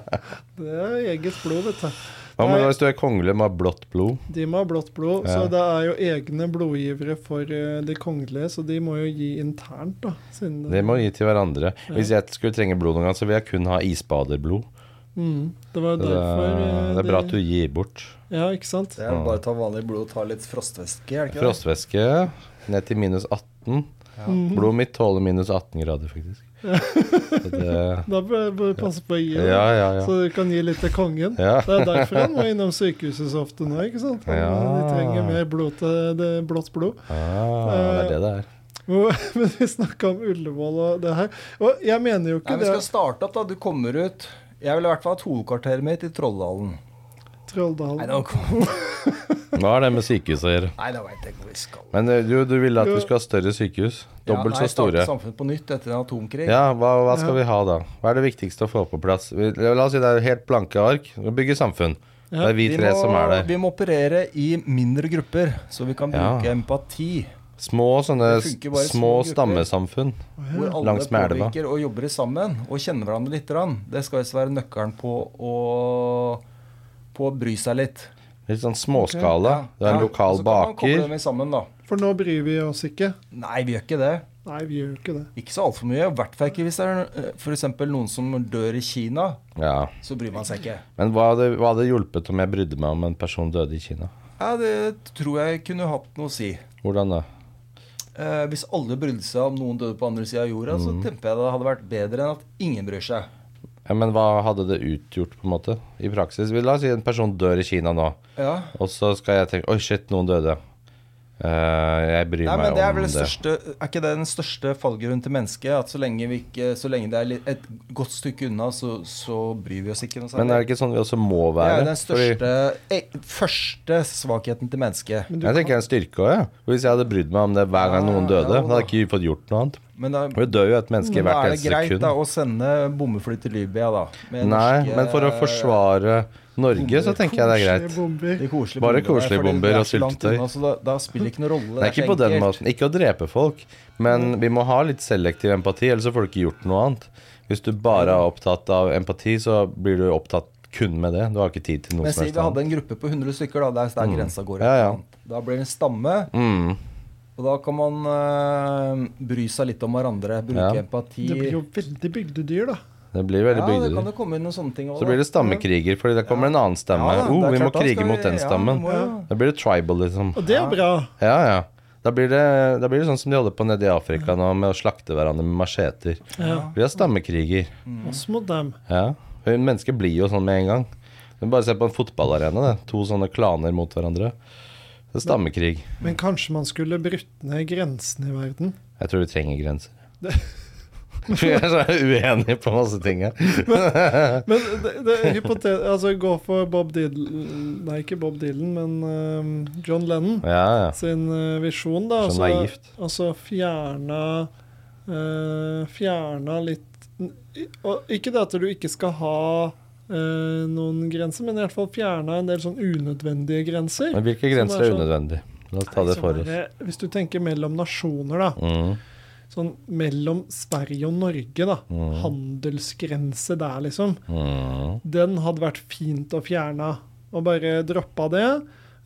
Speaker 3: det er eget blod, vet du.
Speaker 2: Hva med
Speaker 3: Nei.
Speaker 2: hvis du er kongelig med blått blod?
Speaker 3: De må ha blått blod,
Speaker 2: Ja.
Speaker 3: så det er jo egne blodgivere for eh, de kongelige, så de må jo gi internt, da. Siden det,
Speaker 2: Det må vi gi til hverandre. Hvis jeg skulle trenge blod noen gang, så vil jeg kun ha isbaderblod.
Speaker 3: mm, det var jo
Speaker 2: Det
Speaker 3: derfor
Speaker 2: er,
Speaker 3: eh,
Speaker 2: det er bra at du gir bort.
Speaker 3: Ja, ikke sant?
Speaker 4: Det er bare å ta vanlig blod og ta litt frostvæske, er det ikke det?
Speaker 2: Frostvæske ned til minus 18.
Speaker 3: Mm.
Speaker 2: Blodet mitt tåler minus 18 grader, faktisk. Så det,
Speaker 3: Da bør bør du passe på å gi, da.
Speaker 2: ja, ja, ja.
Speaker 3: så du kan gi litt til kongen.
Speaker 2: Ja.
Speaker 3: Det er derfor han må innom sykehuset så ofte nå, ikke sant? Han,
Speaker 2: Ja.
Speaker 3: De trenger mer blod til det blått blod.
Speaker 2: Ah, det er det det er.
Speaker 3: Og- Men vi snakka om Ullevål og det her, og jeg mener
Speaker 4: Nei,
Speaker 3: jo ikke
Speaker 4: vi skal
Speaker 3: det.
Speaker 4: starte opp, da. Du kommer ut. Jeg ville i hvert fall hatt hovedkvarteret mitt i Trolldalen. Nei,
Speaker 3: Trolldalen.
Speaker 4: nå kom-
Speaker 2: Hva har det med sykehus å gjøre?
Speaker 4: Nei, da veit jeg ikke hvor vi skal.
Speaker 2: Men eh, du, du ville at vi skulle ha større sykehus? Dobbelt
Speaker 4: Ja, nei,
Speaker 2: så store?
Speaker 4: Starte samfunnet på nytt etter en atomkrig.
Speaker 2: Ja, hva, hva skal vi ha da? Hva er det viktigste å få på plass? Vi, la oss si det er helt blanke ark. Vi bygger samfunn. Det er vi
Speaker 4: Vi
Speaker 2: tre
Speaker 4: må,
Speaker 2: som er der.
Speaker 4: vi må operere i mindre grupper, så vi kan
Speaker 2: Ja.
Speaker 4: bruke empati.
Speaker 2: Små sånne
Speaker 4: Det funker bare i
Speaker 2: små,
Speaker 4: små grupper.
Speaker 2: stammesamfunn.
Speaker 4: Hvor alle
Speaker 2: Langs med elva.
Speaker 4: påvirker og jobber sammen og kjenner hverandre litt. grann. Det skal visst være nøkkelen på å, på å bry seg litt.
Speaker 2: Litt sånn småskala. Du er en
Speaker 4: Ja, så
Speaker 2: lokal
Speaker 4: Altså, kan man koble
Speaker 2: baker.
Speaker 4: dem i sammen, da.
Speaker 3: For nå bryr vi oss ikke.
Speaker 4: Nei, vi gjør ikke det.
Speaker 3: Nei, vi gjør jo ikke det.
Speaker 4: Ikke så altfor mye. I hvert fall ikke hvis det er f.eks. noen som dør i Kina.
Speaker 2: Ja.
Speaker 4: Så bryr man seg ikke.
Speaker 2: Men hva hadde, hva hadde hjulpet om jeg brydde meg om en person døde i Kina?
Speaker 4: Ja, Det tror jeg kunne hatt noe å si.
Speaker 2: Hvordan da?
Speaker 4: Eh, hvis alle brydde seg om noen døde på andre sida av jorda,
Speaker 2: Mm.
Speaker 4: så tenker jeg det hadde vært bedre enn at ingen bryr seg.
Speaker 2: Ja, men hva hadde det utgjort, på en måte? I praksis? La oss si en person dør i Kina nå,
Speaker 4: Ja.
Speaker 2: og så skal jeg tenke Oi, shit, noen døde. Eh, jeg bryr
Speaker 4: Nei,
Speaker 2: meg
Speaker 4: men det er
Speaker 2: om
Speaker 4: vel den
Speaker 2: det.
Speaker 4: største, er ikke det den største fallgrunnen til mennesket? At så lenge, vi ikke, så lenge det er litt- et godt stykke unna, så, så bryr vi oss ikke noe
Speaker 2: Men er
Speaker 4: særlig.
Speaker 2: det ikke sånn vi også må
Speaker 4: Det
Speaker 2: være?
Speaker 4: er den
Speaker 2: Fordi-
Speaker 4: største, eh, første svakheten til mennesket.
Speaker 3: Men du
Speaker 2: Jeg tenker det er en styrke òg, jeg. Ja. Hvis jeg hadde brydd meg om det hver gang
Speaker 4: Ja,
Speaker 2: noen døde,
Speaker 4: ja,
Speaker 2: hadde jeg ikke fått gjort noe annet.
Speaker 4: Men da,
Speaker 2: Og det dør jo et menneske i
Speaker 4: men da
Speaker 2: hvert
Speaker 4: er det
Speaker 2: eneste
Speaker 4: greit
Speaker 2: sekund.
Speaker 4: da, å sende bombefly til Libya, da. med
Speaker 2: Nei,
Speaker 4: norske- eh,
Speaker 2: men for å forsvare Norge, så tenker jeg det er
Speaker 3: Koselige
Speaker 2: greit.
Speaker 3: bomber.
Speaker 4: de koselige bombene
Speaker 2: Bare
Speaker 4: der,
Speaker 2: koselige
Speaker 4: fordi
Speaker 2: bomber
Speaker 4: det er
Speaker 2: og
Speaker 4: så langt
Speaker 2: syltetøy.
Speaker 4: unna, så da, da spiller det ikke noen rolle. det
Speaker 2: Nei,
Speaker 4: er
Speaker 2: ikke
Speaker 4: så
Speaker 2: på den
Speaker 4: enkelt.
Speaker 2: måten. Ikke å drepe folk, men vi må ha litt selektiv empati, ellers så får du ikke gjort noe annet. Hvis du bare er opptatt av empati, så blir du opptatt kun med det. Du har ikke tid til noe
Speaker 4: Men
Speaker 2: som
Speaker 4: si
Speaker 2: helst
Speaker 4: vi hadde
Speaker 2: annet. Mm.
Speaker 4: en gruppe på 100 stykker, da, der, der grensa går.
Speaker 2: Ja, ja.
Speaker 4: Da blir det en stamme,
Speaker 2: Mm.
Speaker 4: og da kan man eh, bry seg litt om hverandre. Bruke
Speaker 2: Ja.
Speaker 4: empati.
Speaker 3: Det blir jo veldig bygdedyr, da.
Speaker 2: Det blir veldig
Speaker 4: ja, det kan
Speaker 2: bygdelig.
Speaker 4: det komme inn noen sånne ting også,
Speaker 2: Så
Speaker 4: da.
Speaker 2: blir det stammekriger, fordi da kommer en annen stemme.
Speaker 4: Ja, da,
Speaker 2: oh,
Speaker 4: det er
Speaker 2: vi må
Speaker 4: klart, da
Speaker 2: krige
Speaker 4: skal
Speaker 2: mot
Speaker 4: vi-
Speaker 2: den
Speaker 4: ja, vi
Speaker 2: stammen.
Speaker 4: må jo-
Speaker 2: Da blir det tribal, liksom.
Speaker 3: Og det er bra.
Speaker 2: Ja, ja. Da blir, det, da blir det sånn som de holder på nede i Afrika nå, med å slakte hverandre med macheter.
Speaker 3: Ja.
Speaker 2: Vi har stammekriger.
Speaker 3: Oss Mm. mot dem.
Speaker 2: Ja. Men Mennesker blir jo sånn med en gang. Men bare se på en fotballarena. Det. To sånne klaner mot hverandre. Det er stammekrig.
Speaker 3: Men kanskje man skulle brutt ned grensene i verden?
Speaker 2: Jeg tror vi trenger grenser. Vi er så uenige på masse ting her.
Speaker 3: Men det, det er hypotet... Altså, gå for Bob Dylan Nei, ikke Bob Dylan, men eh, John Lennon
Speaker 2: Ja, ja.
Speaker 3: sin eh, visjon, da.
Speaker 2: Så
Speaker 3: og
Speaker 2: naivt.
Speaker 3: Og så fjerna eh, Fjerna litt og Ikke det at du ikke skal ha eh, noen grenser, men i hvert fall fjerna en del sånn unødvendige grenser.
Speaker 2: Men hvilke
Speaker 3: Som
Speaker 2: grenser
Speaker 3: er
Speaker 2: er
Speaker 3: så-
Speaker 2: unødvendig? La oss ta det
Speaker 3: Som
Speaker 2: for oss.
Speaker 3: er, Hvis du tenker mellom nasjoner, da.
Speaker 2: Mm.
Speaker 3: Sånn mellom Sverige og Norge, da. Handelsgrense der, liksom.
Speaker 2: Mm.
Speaker 3: Den hadde vært fint å fjerne. Og bare droppa det.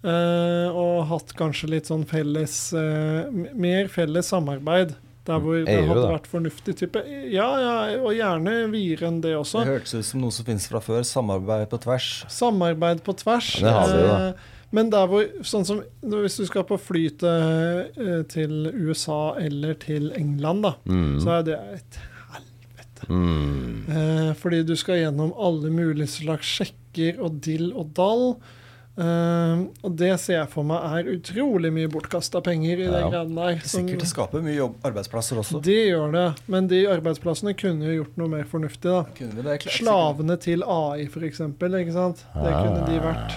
Speaker 3: eh, og hatt kanskje litt sånn felles eh, m- Mer felles samarbeid. Der hvor det
Speaker 2: EU,
Speaker 3: hadde
Speaker 2: Mm. E da.
Speaker 3: vært fornuftig type. Ja, ja, og gjerne videre enn det også.
Speaker 4: Det hørtes ut som noe som finnes fra før. Samarbeid på tvers.
Speaker 3: Samarbeid på tvers.
Speaker 2: Ja, det har vi jo, da.
Speaker 3: Eh, Men der hvor, sånn som hvis du skal på fly til, eh, til USA eller til England, da,
Speaker 2: Mm.
Speaker 3: så er det et helvete. Eh, Fordi du skal gjennom alle mulige slags sjekker og dill og dall. Eh, og det ser jeg for meg er utrolig mye bortkasta penger i
Speaker 2: Ja.
Speaker 3: den graden der. som-
Speaker 4: Sikkert det skaper mye jobb, arbeidsplasser også.
Speaker 3: det gjør det, men de arbeidsplassene kunne jo gjort noe mer fornuftig, da.
Speaker 4: Kunne vi det? Klart-
Speaker 3: Slavene til AI, for eksempel. Ikke sant? Det kunne de vært.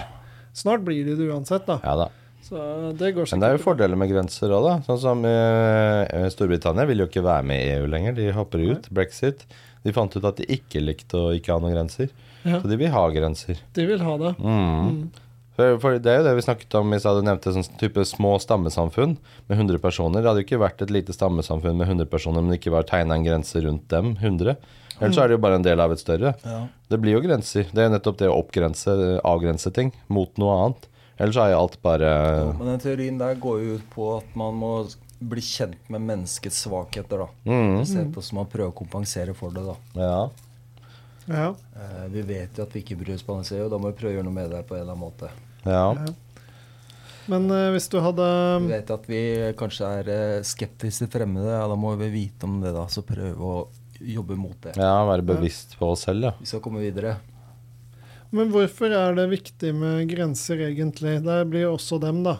Speaker 3: Snart blir de det uansett, da.
Speaker 2: Ah. Ja da.
Speaker 3: Så det går
Speaker 2: Men det er jo
Speaker 3: sikkert bra.
Speaker 2: fordeler med grenser òg, da. Sånn som eh, Storbritannia vil jo ikke være med i EU lenger. De hopper ut. Brexit. De fant ut at de ikke likte å ikke ha noen grenser.
Speaker 3: Ja.
Speaker 2: Så de vil ha grenser.
Speaker 3: De vil ha det.
Speaker 2: Mm. For, for Det er jo det vi snakket om i stad. Du nevnte sånn type små stammesamfunn med 100 personer. Det hadde jo ikke vært et lite stammesamfunn med 100 personer om det ikke var tegna en grense rundt dem. 100. Ellers så er det jo bare en del av et større.
Speaker 4: Ja.
Speaker 2: Det blir jo grenser. Det er jo nettopp det å oppgrense, eh, avgrense ting mot noe annet. Ellers er jo alt bare
Speaker 4: Jo, Men den teorien der går jo ut på at man må bli kjent med menneskets svakheter, da.
Speaker 2: mm,
Speaker 4: I stedet for som man prøver å kompensere for det, da.
Speaker 2: Ja.
Speaker 3: Ja.
Speaker 4: Eh, Vi vet jo at vi ikke bryr oss på den siden, og da må vi prøve å gjøre noe med det på en eller annen måte.
Speaker 2: ja.
Speaker 3: Men eh, hvis du hadde
Speaker 4: Vi vet at vi kanskje er eh, skeptiske til fremmede, ja, da må vi vite om det, da. Så prøve å jobbe mot det.
Speaker 2: Ja, være bevisst på oss selv, ja.
Speaker 4: Vi skal komme videre.
Speaker 3: Men hvorfor er det viktig med grenser, egentlig? Det blir jo også dem, da.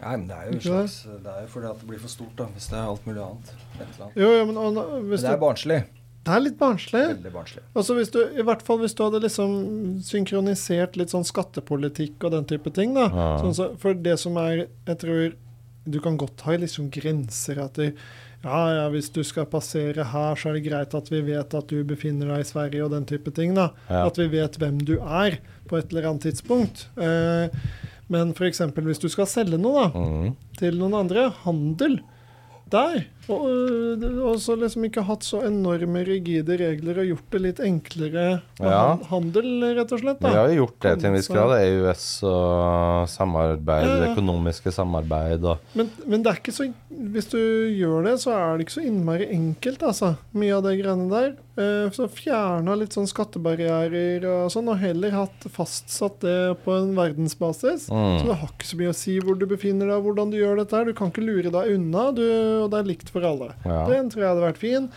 Speaker 4: Nei, men det er jo en
Speaker 3: Ikke det?
Speaker 4: slags Det er jo fordi at det blir for stort, da. Hvis det er alt mulig annet. Et eller annet.
Speaker 3: Jo, jo, men og, nå-
Speaker 4: Men
Speaker 3: hvis
Speaker 4: det er
Speaker 3: du,
Speaker 4: barnslig.
Speaker 3: det er litt barnslig.
Speaker 4: Veldig barnslig.
Speaker 3: Altså hvis du, I hvert fall hvis du hadde liksom synkronisert litt sånn skattepolitikk og den type ting. da.
Speaker 2: Ja.
Speaker 3: Sånn så, for det som er Jeg tror du kan godt ha liksom grenser at du, ja, ja, hvis du skal passere her, så er det greit at vi vet at du befinner deg i Sverige og den type ting. da.
Speaker 2: Ja.
Speaker 3: At vi vet hvem du er på et eller annet tidspunkt. Eh, men f.eks. hvis du skal selge noe, da
Speaker 2: Mm.
Speaker 3: til noen andre. Handel. Der. Og, øh, og så liksom ikke hatt så enorme rigide regler og gjort det litt enklere med
Speaker 2: Ja.
Speaker 3: han- handel, rett og slett.
Speaker 2: Vi har
Speaker 3: da.
Speaker 2: jo gjort det til en viss grad. det er EØS og samarbeid,
Speaker 3: Ja, ja.
Speaker 2: økonomiske samarbeid og
Speaker 3: Men, men det er ikke så, hvis du gjør det, så er det ikke så innmari enkelt, altså. Mye av det greiene der. Eh, Så fjerna litt sånn skattebarrierer og sånn, og heller hatt fastsatt det på en verdensbasis. Så
Speaker 2: Mm.
Speaker 3: det har ikke så mye å si hvor du befinner deg, og hvordan du gjør dette. her. Du kan ikke lure deg unna, du, og det er likt for alle.
Speaker 2: Ja.
Speaker 3: Den tror jeg hadde vært fin.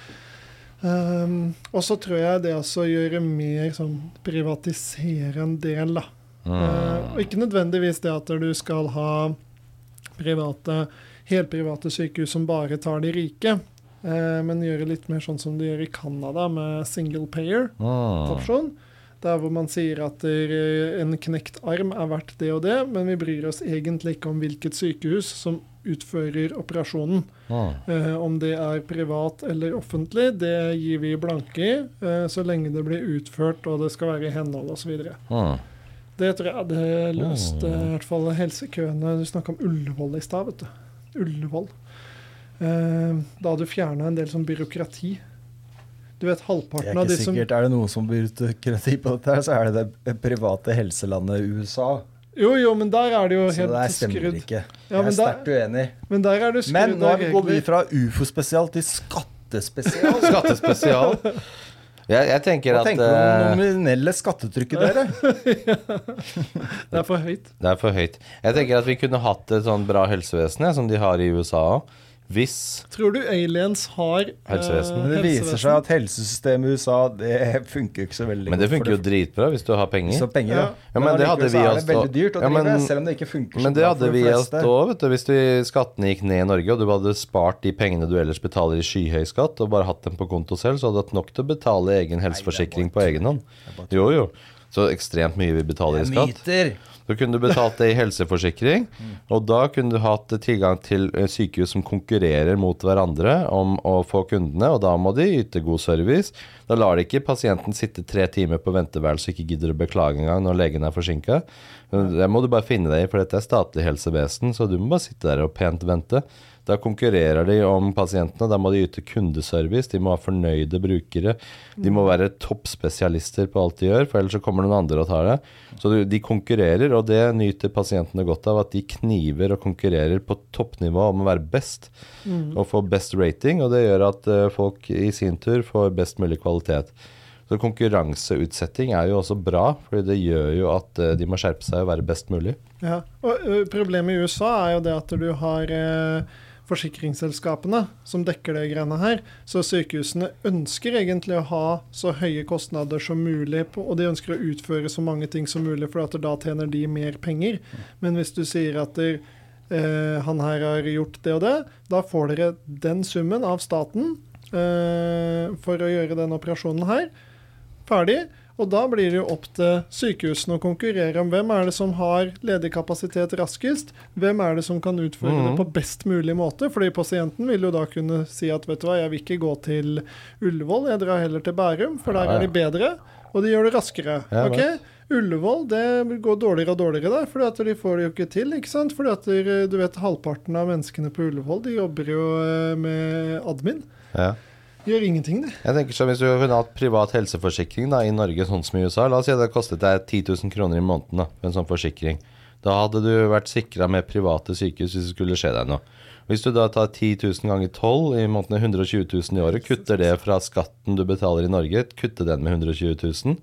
Speaker 3: Ehm, og så tror jeg det også å gjøre mer sånn privatisere en del, da. Eh,
Speaker 2: Mm.
Speaker 3: og ikke nødvendigvis det at du skal ha private, helprivate sykehus som bare tar de rike, eh, men gjøre litt mer sånn som de gjør i Canada, med single payer
Speaker 2: mm.
Speaker 3: opsjon. Der hvor man sier at eh, en knekt arm er verdt det og det, men vi bryr oss egentlig ikke om hvilket sykehus som utfører operasjonen.
Speaker 2: Mm.
Speaker 3: Eh, om det er privat eller offentlig, det gir vi blanke i, eh, så lenge det blir utført og det skal være i henhold osv.
Speaker 2: Mm.
Speaker 3: Det tror jeg hadde løst
Speaker 2: Mm.
Speaker 3: eh, i hvert fall helsekøene. Du snakka om Ullevål i stad, vet du. Ullevål. Eh, da hadde du fjerna en del sånn byråkrati. Du vet,
Speaker 4: Det
Speaker 3: halvparten
Speaker 4: er
Speaker 3: av de
Speaker 4: ikke
Speaker 3: som
Speaker 4: sikkert. Er det noen som byråkrati på dette, her, så er det det private helselandet USA.
Speaker 3: Jo, jo, men der er det jo
Speaker 4: Så
Speaker 3: helt
Speaker 4: det her stemmer
Speaker 3: skrudd.
Speaker 4: ikke.
Speaker 3: Ja,
Speaker 4: Jeg
Speaker 3: men
Speaker 4: er
Speaker 3: da-
Speaker 4: sterkt uenig.
Speaker 3: Men der er det skrudd
Speaker 4: Men nå
Speaker 3: av
Speaker 4: har vi gått
Speaker 3: regler.
Speaker 4: fra ufo-spesial til skattespesial.
Speaker 2: Skattespesial. Jeg, jeg tenker
Speaker 4: Hva
Speaker 2: at
Speaker 4: tenker du om
Speaker 2: eh,
Speaker 4: det nominelle skattetrykket, dere?
Speaker 3: Det er for høyt.
Speaker 2: Det er for høyt. Jeg tenker at vi kunne hatt et sånn bra helsevesen ja, som de har i USA òg. Hvis
Speaker 3: Tror du aliens har eh,
Speaker 2: Helsevesen.
Speaker 4: Men det viser seg at helsesystemet i USA det funker ikke så veldig
Speaker 2: Men
Speaker 4: godt,
Speaker 2: det
Speaker 4: for
Speaker 2: funker jo dritbra hvis du har penger.
Speaker 4: Så penger,
Speaker 3: Ja.
Speaker 4: ja.
Speaker 2: Ja, men det hadde
Speaker 4: allikevel så
Speaker 2: vi
Speaker 4: er det
Speaker 2: også-
Speaker 4: veldig dyrt å
Speaker 2: Ja,
Speaker 4: drive,
Speaker 2: men-
Speaker 4: selv om det ikke funker så
Speaker 2: Men det
Speaker 4: bra
Speaker 2: hadde
Speaker 4: for de
Speaker 2: vi hatt
Speaker 4: fleste.
Speaker 2: òg, vet du. Hvis de skattene gikk ned i Norge, og du hadde spart de pengene du ellers betaler i skyhøy skatt, og bare hatt dem på konto selv, så hadde du hatt nok til å betale egen helseforsikring på egen hånd. Jo, jo. Så ekstremt mye vi betaler i skatt.
Speaker 4: Myter!
Speaker 2: Så kunne du betalt det i helseforsikring, og da kunne du hatt tilgang til eh, sykehus som konkurrerer mot hverandre om å få kundene, og da må de yte god service. Da lar de ikke pasienten sitte tre timer på venteværelset og ikke gidder å beklage engang når legen er forsinka. Det må du bare finne deg i, for dette er statlig helsevesen, så du må bare sitte der og pent vente. Da konkurrerer de om pasientene, da må de yte kundeservice, de må ha fornøyde brukere. De må være toppspesialister på alt de gjør, for ellers så kommer noen andre og tar det. Så du- de konkurrerer, og det nyter pasientene godt av, at de kniver og konkurrerer på toppnivå om å være best, og få best rating, og det gjør at eh, folk i sin tur får best mulig kvalitet. Så konkurranseutsetting er jo også bra, for det gjør jo at eh, de må skjerpe seg og være best mulig.
Speaker 3: Ja. Og ø, Problemet i USA er jo det at du har eh, forsikringsselskapene som dekker det greiene her. Så sykehusene ønsker egentlig å ha så høye kostnader som mulig, på, og de ønsker å utføre så mange ting som mulig, for at da tjener de mer penger. Men hvis du sier at der, eh, han her har gjort det og det, da får dere den summen av staten eh, for å gjøre den operasjonen her. Ferdig. Og da blir det jo opp til sykehusene å konkurrere om hvem er det som har ledig kapasitet raskest, hvem er det som kan utføre
Speaker 2: Mhm.
Speaker 3: det på best mulig måte. Fordi pasienten vil jo da kunne si at vet du hva, jeg vil ikke gå til Ullevål, jeg drar heller til Bærum, for der
Speaker 2: Ja,
Speaker 3: er de bedre, og de gjør det raskere.
Speaker 2: Ja,
Speaker 3: ok?
Speaker 2: vet.
Speaker 3: Ullevål det går dårligere og dårligere der, fordi at de får det jo ikke til. ikke sant? Fordi at der, du vet, Halvparten av menneskene på Ullevål de jobber jo eh, med admin.
Speaker 2: Ja.
Speaker 3: Gjør ingenting, de.
Speaker 2: Jeg tenker sånn, Hvis du kunne hatt privat helseforsikring da, i Norge, sånn som i USA La oss si det kostet deg 10 000 kroner i måneden da, for en sånn forsikring. Da hadde du vært sikra med private sykehus hvis det skulle skje deg noe. Hvis du da tar 10 000 ganger 12 i måneden, 120 000 i året, kutter det fra skatten du betaler i Norge, kutter den med 120 000,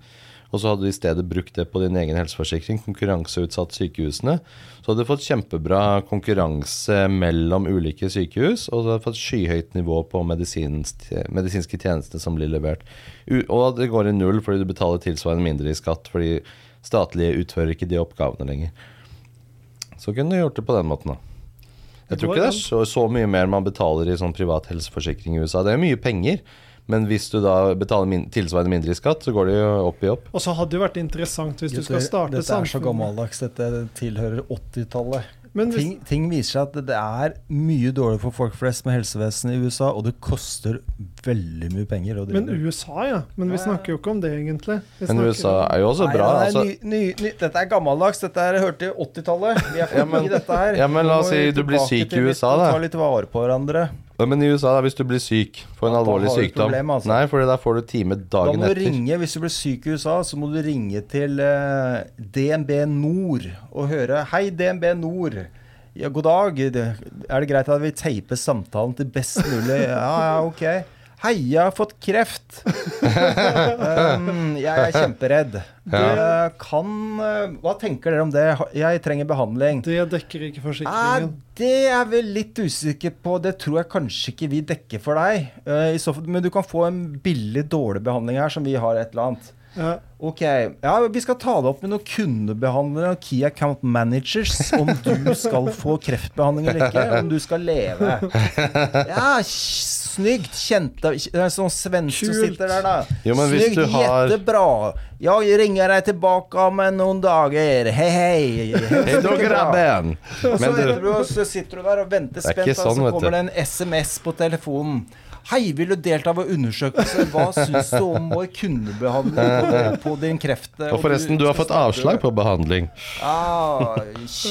Speaker 2: og så hadde du i stedet brukt det på din egen helseforsikring, konkurranseutsatt sykehusene, så hadde du fått kjempebra konkurranse mellom ulike sykehus, og så hadde du fått skyhøyt nivå på medisinsk, medisinske tjenester som blir levert. U og det går i null fordi du betaler tilsvarende mindre i skatt, fordi statlige utfører ikke de oppgavene lenger. Så kunne du gjort det på den måten, da. Jeg tror ikke det er så, så mye mer man betaler i sånn privat helseforsikring i USA. Det er mye penger, men hvis du da betaler min tilsvarende mindre i skatt, så går det jo opp i opp.
Speaker 3: Og så hadde det jo vært interessant hvis du skal
Speaker 4: Gutter,
Speaker 3: starte
Speaker 4: dette er så
Speaker 3: samfunn-
Speaker 4: gammeldags. Dette tilhører 80-tallet.
Speaker 3: Men hvis-
Speaker 4: Ting, ting viser seg at det- det er mye dårlig for folk flest med helsevesenet i USA, og det koster veldig mye penger. å drive
Speaker 3: Men
Speaker 4: det.
Speaker 3: USA, ja. Men vi snakker jo ikke om det, egentlig. Vi
Speaker 2: Men
Speaker 3: snakker
Speaker 2: USA
Speaker 3: om-
Speaker 2: er jo også
Speaker 4: Nei,
Speaker 2: bra.
Speaker 4: det er
Speaker 2: Altså,
Speaker 4: ny, ny, ny, dette er gammeldags. Dette er hørte i 80-tallet. Vi er
Speaker 2: Ja,
Speaker 4: forbi
Speaker 2: men-
Speaker 4: dette her.
Speaker 2: ja, men la oss
Speaker 4: Nå må vi
Speaker 2: si du blir
Speaker 4: tilbake
Speaker 2: syk i
Speaker 4: til litt
Speaker 2: USA,
Speaker 4: og
Speaker 2: da.
Speaker 4: Ta litt vare på hverandre.
Speaker 2: Ja, men i USA, da, hvis du blir syk, får en
Speaker 4: Da
Speaker 2: alvorlig
Speaker 4: har du et
Speaker 2: sykdom
Speaker 4: problem, altså.
Speaker 2: Nei, for da får du time
Speaker 4: Da
Speaker 2: dagen
Speaker 4: må du
Speaker 2: etter.
Speaker 4: ringe, Hvis du blir syk i USA, så må du ringe til eh, DNB Nord og høre Hei, DNB Nord. Ja, god dag. Det- Er det greit at vi teiper samtalen til best mulig? Ja, ja, ok. Hei, jeg har fått kreft. um, jeg er kjemperedd.
Speaker 3: Ja.
Speaker 4: Det kan eh, Hva tenker dere om det? Jeg trenger behandling.
Speaker 3: Det dekker ikke
Speaker 4: Nei,
Speaker 3: forsikringen.
Speaker 4: Ah, det er vi litt usikker på. Det tror jeg kanskje ikke vi dekker for deg. Eh, i så fall, men du kan få en billig, dårlig behandling her, som vi har et eller annet.
Speaker 3: Ja.
Speaker 4: Ok, ja, Vi skal ta det opp med noen kundebehandlere og Key Account Managers om du skal få kreftbehandling eller ikke, om du skal leve. Ja, kj- Snygt. Kjente Det er sånn svensk som
Speaker 3: Kult.
Speaker 4: sitter der, da.
Speaker 2: Jo, men hvis
Speaker 4: Snygt.
Speaker 2: du har-
Speaker 4: Jettebra. Ja, ring ringer jeg tilbake om noen dager. Hei, hei.
Speaker 2: Hei, da, grabben!
Speaker 4: Og så,
Speaker 2: Men
Speaker 4: venter
Speaker 2: du,
Speaker 4: du, og så sitter du der og venter
Speaker 2: Det er
Speaker 4: spent,
Speaker 2: ikke sånn,
Speaker 4: og så
Speaker 2: vet
Speaker 4: kommer
Speaker 2: du.
Speaker 4: det en SMS på telefonen. Hei, vil du delta ved undersøkelse? Hva syns du om vår kundebehandling på din kreft?
Speaker 2: og forresten, du har fått avslag på behandling.
Speaker 4: Ja,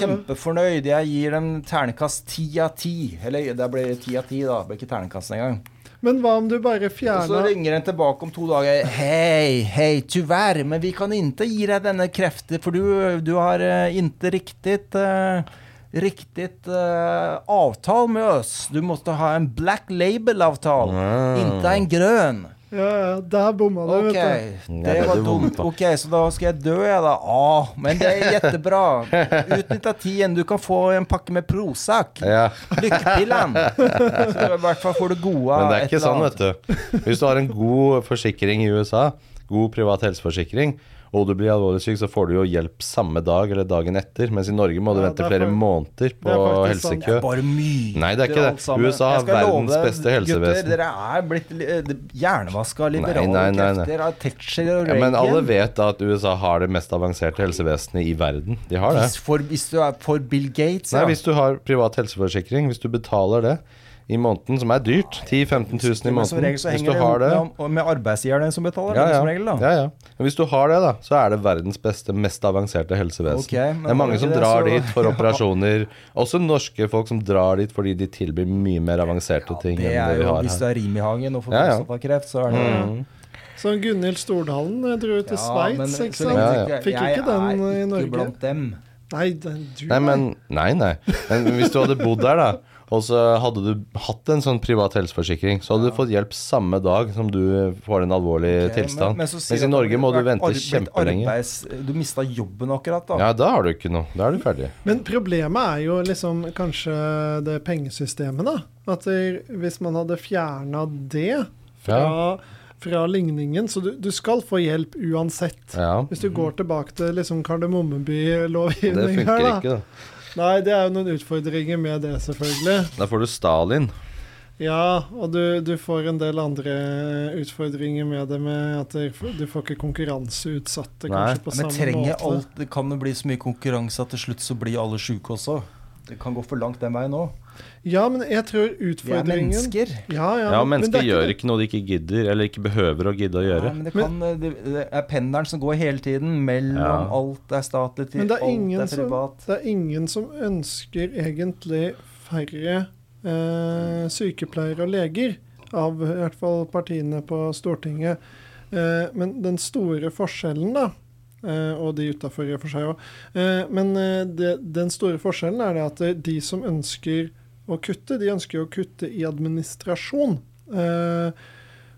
Speaker 4: kjempefornøyd. Jeg gir dem ternekast ti av ti. Eller det blir ti av ti, da. Det blir ikke ternekast engang.
Speaker 3: Men hva om du bare
Speaker 4: Og så
Speaker 3: fjerna
Speaker 4: ringer den tilbake om to dager. Hei, hei, tyvärr, men vi kan ikke gi deg denne kreften, for du, du har eh, ikke riktig eh, Riktig eh, avtal med oss. Du måtte ha en black label-avtal,
Speaker 2: Ah.
Speaker 4: ikke en grønn.
Speaker 3: Ja, ja, der bomma du,
Speaker 4: Ok,
Speaker 3: vet
Speaker 4: det
Speaker 2: det er
Speaker 4: var
Speaker 2: du vond
Speaker 4: dumt.
Speaker 2: på.
Speaker 4: Ok, så da skal jeg dø, jeg, da. Ah, men det er kjempebra. Utnytt av tiden. Du kan få en pakke med Prozac.
Speaker 2: Ja,
Speaker 4: Lykkepillene. Så i hvert fall får du gode Ah,
Speaker 2: men det er
Speaker 4: et
Speaker 2: ikke
Speaker 4: eller
Speaker 2: sånn,
Speaker 4: annet.
Speaker 2: vet du. Hvis du har en god forsikring i USA, god privat helseforsikring, og du blir alvorlig syk, så får du jo hjelp samme dag eller dagen etter. Mens i Norge må du
Speaker 3: Ja, det
Speaker 2: vente
Speaker 3: er
Speaker 2: flere
Speaker 3: for-
Speaker 2: måneder på
Speaker 3: det er
Speaker 4: sånn,
Speaker 3: faktisk sant.
Speaker 2: helsekø.
Speaker 4: Bare myter
Speaker 2: Nei, det er ikke
Speaker 4: og
Speaker 2: det.
Speaker 4: alt sammen.
Speaker 2: USA har
Speaker 4: Jeg skal love
Speaker 2: verdens
Speaker 4: dere,
Speaker 2: beste
Speaker 4: Gutter,
Speaker 2: helsevesen.
Speaker 4: dere er blitt li- eh, hjernevaska av liberale
Speaker 2: Nei, nei, nei, nei.
Speaker 4: krefter av Thatcher og
Speaker 2: Ja, men
Speaker 4: Reagan.
Speaker 2: alle vet da at USA har det mest avanserte helsevesenet i verden. De har det.
Speaker 4: hvis, for, hvis du er for Bill Gates,
Speaker 2: Nei,
Speaker 4: ja.
Speaker 2: hvis du har privat helseforsikring, hvis du betaler det i måneden, som er dyrt, 10 000-15 000 i
Speaker 4: Men som
Speaker 2: måneden,
Speaker 4: regel så
Speaker 2: hvis
Speaker 4: henger
Speaker 2: du
Speaker 4: det
Speaker 2: har
Speaker 4: ihop
Speaker 2: det
Speaker 4: med, og med arbeidsgiverne som betaler,
Speaker 2: ja,
Speaker 4: det,
Speaker 2: ja.
Speaker 4: som regel, da.
Speaker 2: ja, ja. Men hvis du har det, da, så er det verdens beste, mest avanserte helsevesen.
Speaker 4: Ok, men
Speaker 2: det er
Speaker 4: var
Speaker 2: mange
Speaker 4: det
Speaker 2: som
Speaker 4: det,
Speaker 2: drar
Speaker 4: så-
Speaker 2: dit for operasjoner. Også norske folk som drar dit fordi de tilbyr mye mer avanserte ting
Speaker 4: Det
Speaker 2: enn det
Speaker 4: er
Speaker 2: vi
Speaker 4: jo,
Speaker 2: har
Speaker 4: Hvis du
Speaker 2: her.
Speaker 4: er rim i hagen og får
Speaker 2: Ja, Mm. ja.
Speaker 4: motsatt av kreft, så er det
Speaker 3: du. Så Gunhild Stordalen eh, dro jo til Sveits, ikke sant?
Speaker 2: lenge- Ja,
Speaker 3: Fikk jo ikke den eh, i
Speaker 4: Jeg er ikke
Speaker 3: Norge.
Speaker 4: blant dem.
Speaker 3: Nei, den, du
Speaker 2: Nei, men, nei, nei. Men hvis du hadde bodd der, da, og så hadde du hatt en sånn privat helseforsikring, så hadde du fått hjelp samme dag som du får en alvorlig
Speaker 4: Ok,
Speaker 2: tilstand.
Speaker 4: men så sier
Speaker 2: Mens
Speaker 4: at
Speaker 2: i Norge må du
Speaker 4: har vært
Speaker 2: vente
Speaker 4: arbeid-
Speaker 2: kjempelenge.
Speaker 4: arbeids- Du mista jobben akkurat, da.
Speaker 2: Ja, da har du ikke noe. Da er du ferdig.
Speaker 3: Men problemet er jo liksom kanskje det pengesystemet, da. At det, hvis man hadde fjerna det fra, fra ligningen Så du, du skal få hjelp uansett.
Speaker 2: Ja.
Speaker 3: Hvis du går tilbake til liksom
Speaker 2: Det
Speaker 3: Kardemommeby-lovgivning her,
Speaker 2: funker
Speaker 3: da.
Speaker 2: ikke, da.
Speaker 3: Nei, det er jo noen utfordringer med det, selvfølgelig.
Speaker 2: Da får du Stalin.
Speaker 3: Ja, og du, du får en del andre utfordringer med det, med at det- du får ikke konkurranseutsatte
Speaker 2: Nei.
Speaker 3: kanskje på
Speaker 4: Men
Speaker 3: samme
Speaker 4: trenger
Speaker 3: måte.
Speaker 4: alt Det kan jo bli så mye konkurranse at til slutt så blir alle sjuke også. Det kan gå for langt den veien òg.
Speaker 3: Ja, men jeg tror
Speaker 4: Vi er
Speaker 3: utfordringen
Speaker 4: mennesker.
Speaker 3: Ja, ja,
Speaker 2: Ja,
Speaker 3: men det er
Speaker 2: mennesker gjør
Speaker 3: det-
Speaker 2: ikke noe de ikke gidder, eller ikke behøver å gidde å
Speaker 4: Nei,
Speaker 2: gjøre.
Speaker 4: men det, kan, eh, det, det er pendelen som går hele tiden mellom
Speaker 2: Ja.
Speaker 4: alt er statlig til
Speaker 3: Men det er
Speaker 4: alt
Speaker 3: ingen
Speaker 4: er
Speaker 3: som-
Speaker 4: privat.
Speaker 3: Det er ingen som ønsker egentlig færre eh, sykepleiere og leger, av i hvert fall partiene på Stortinget. Eh, men den store forskjellen, da, eh, og de utafor i og for seg òg, eh, men eh, det, den store forskjellen er det at det- de som ønsker å kutte, de ønsker å kutte i administrasjon. Eh,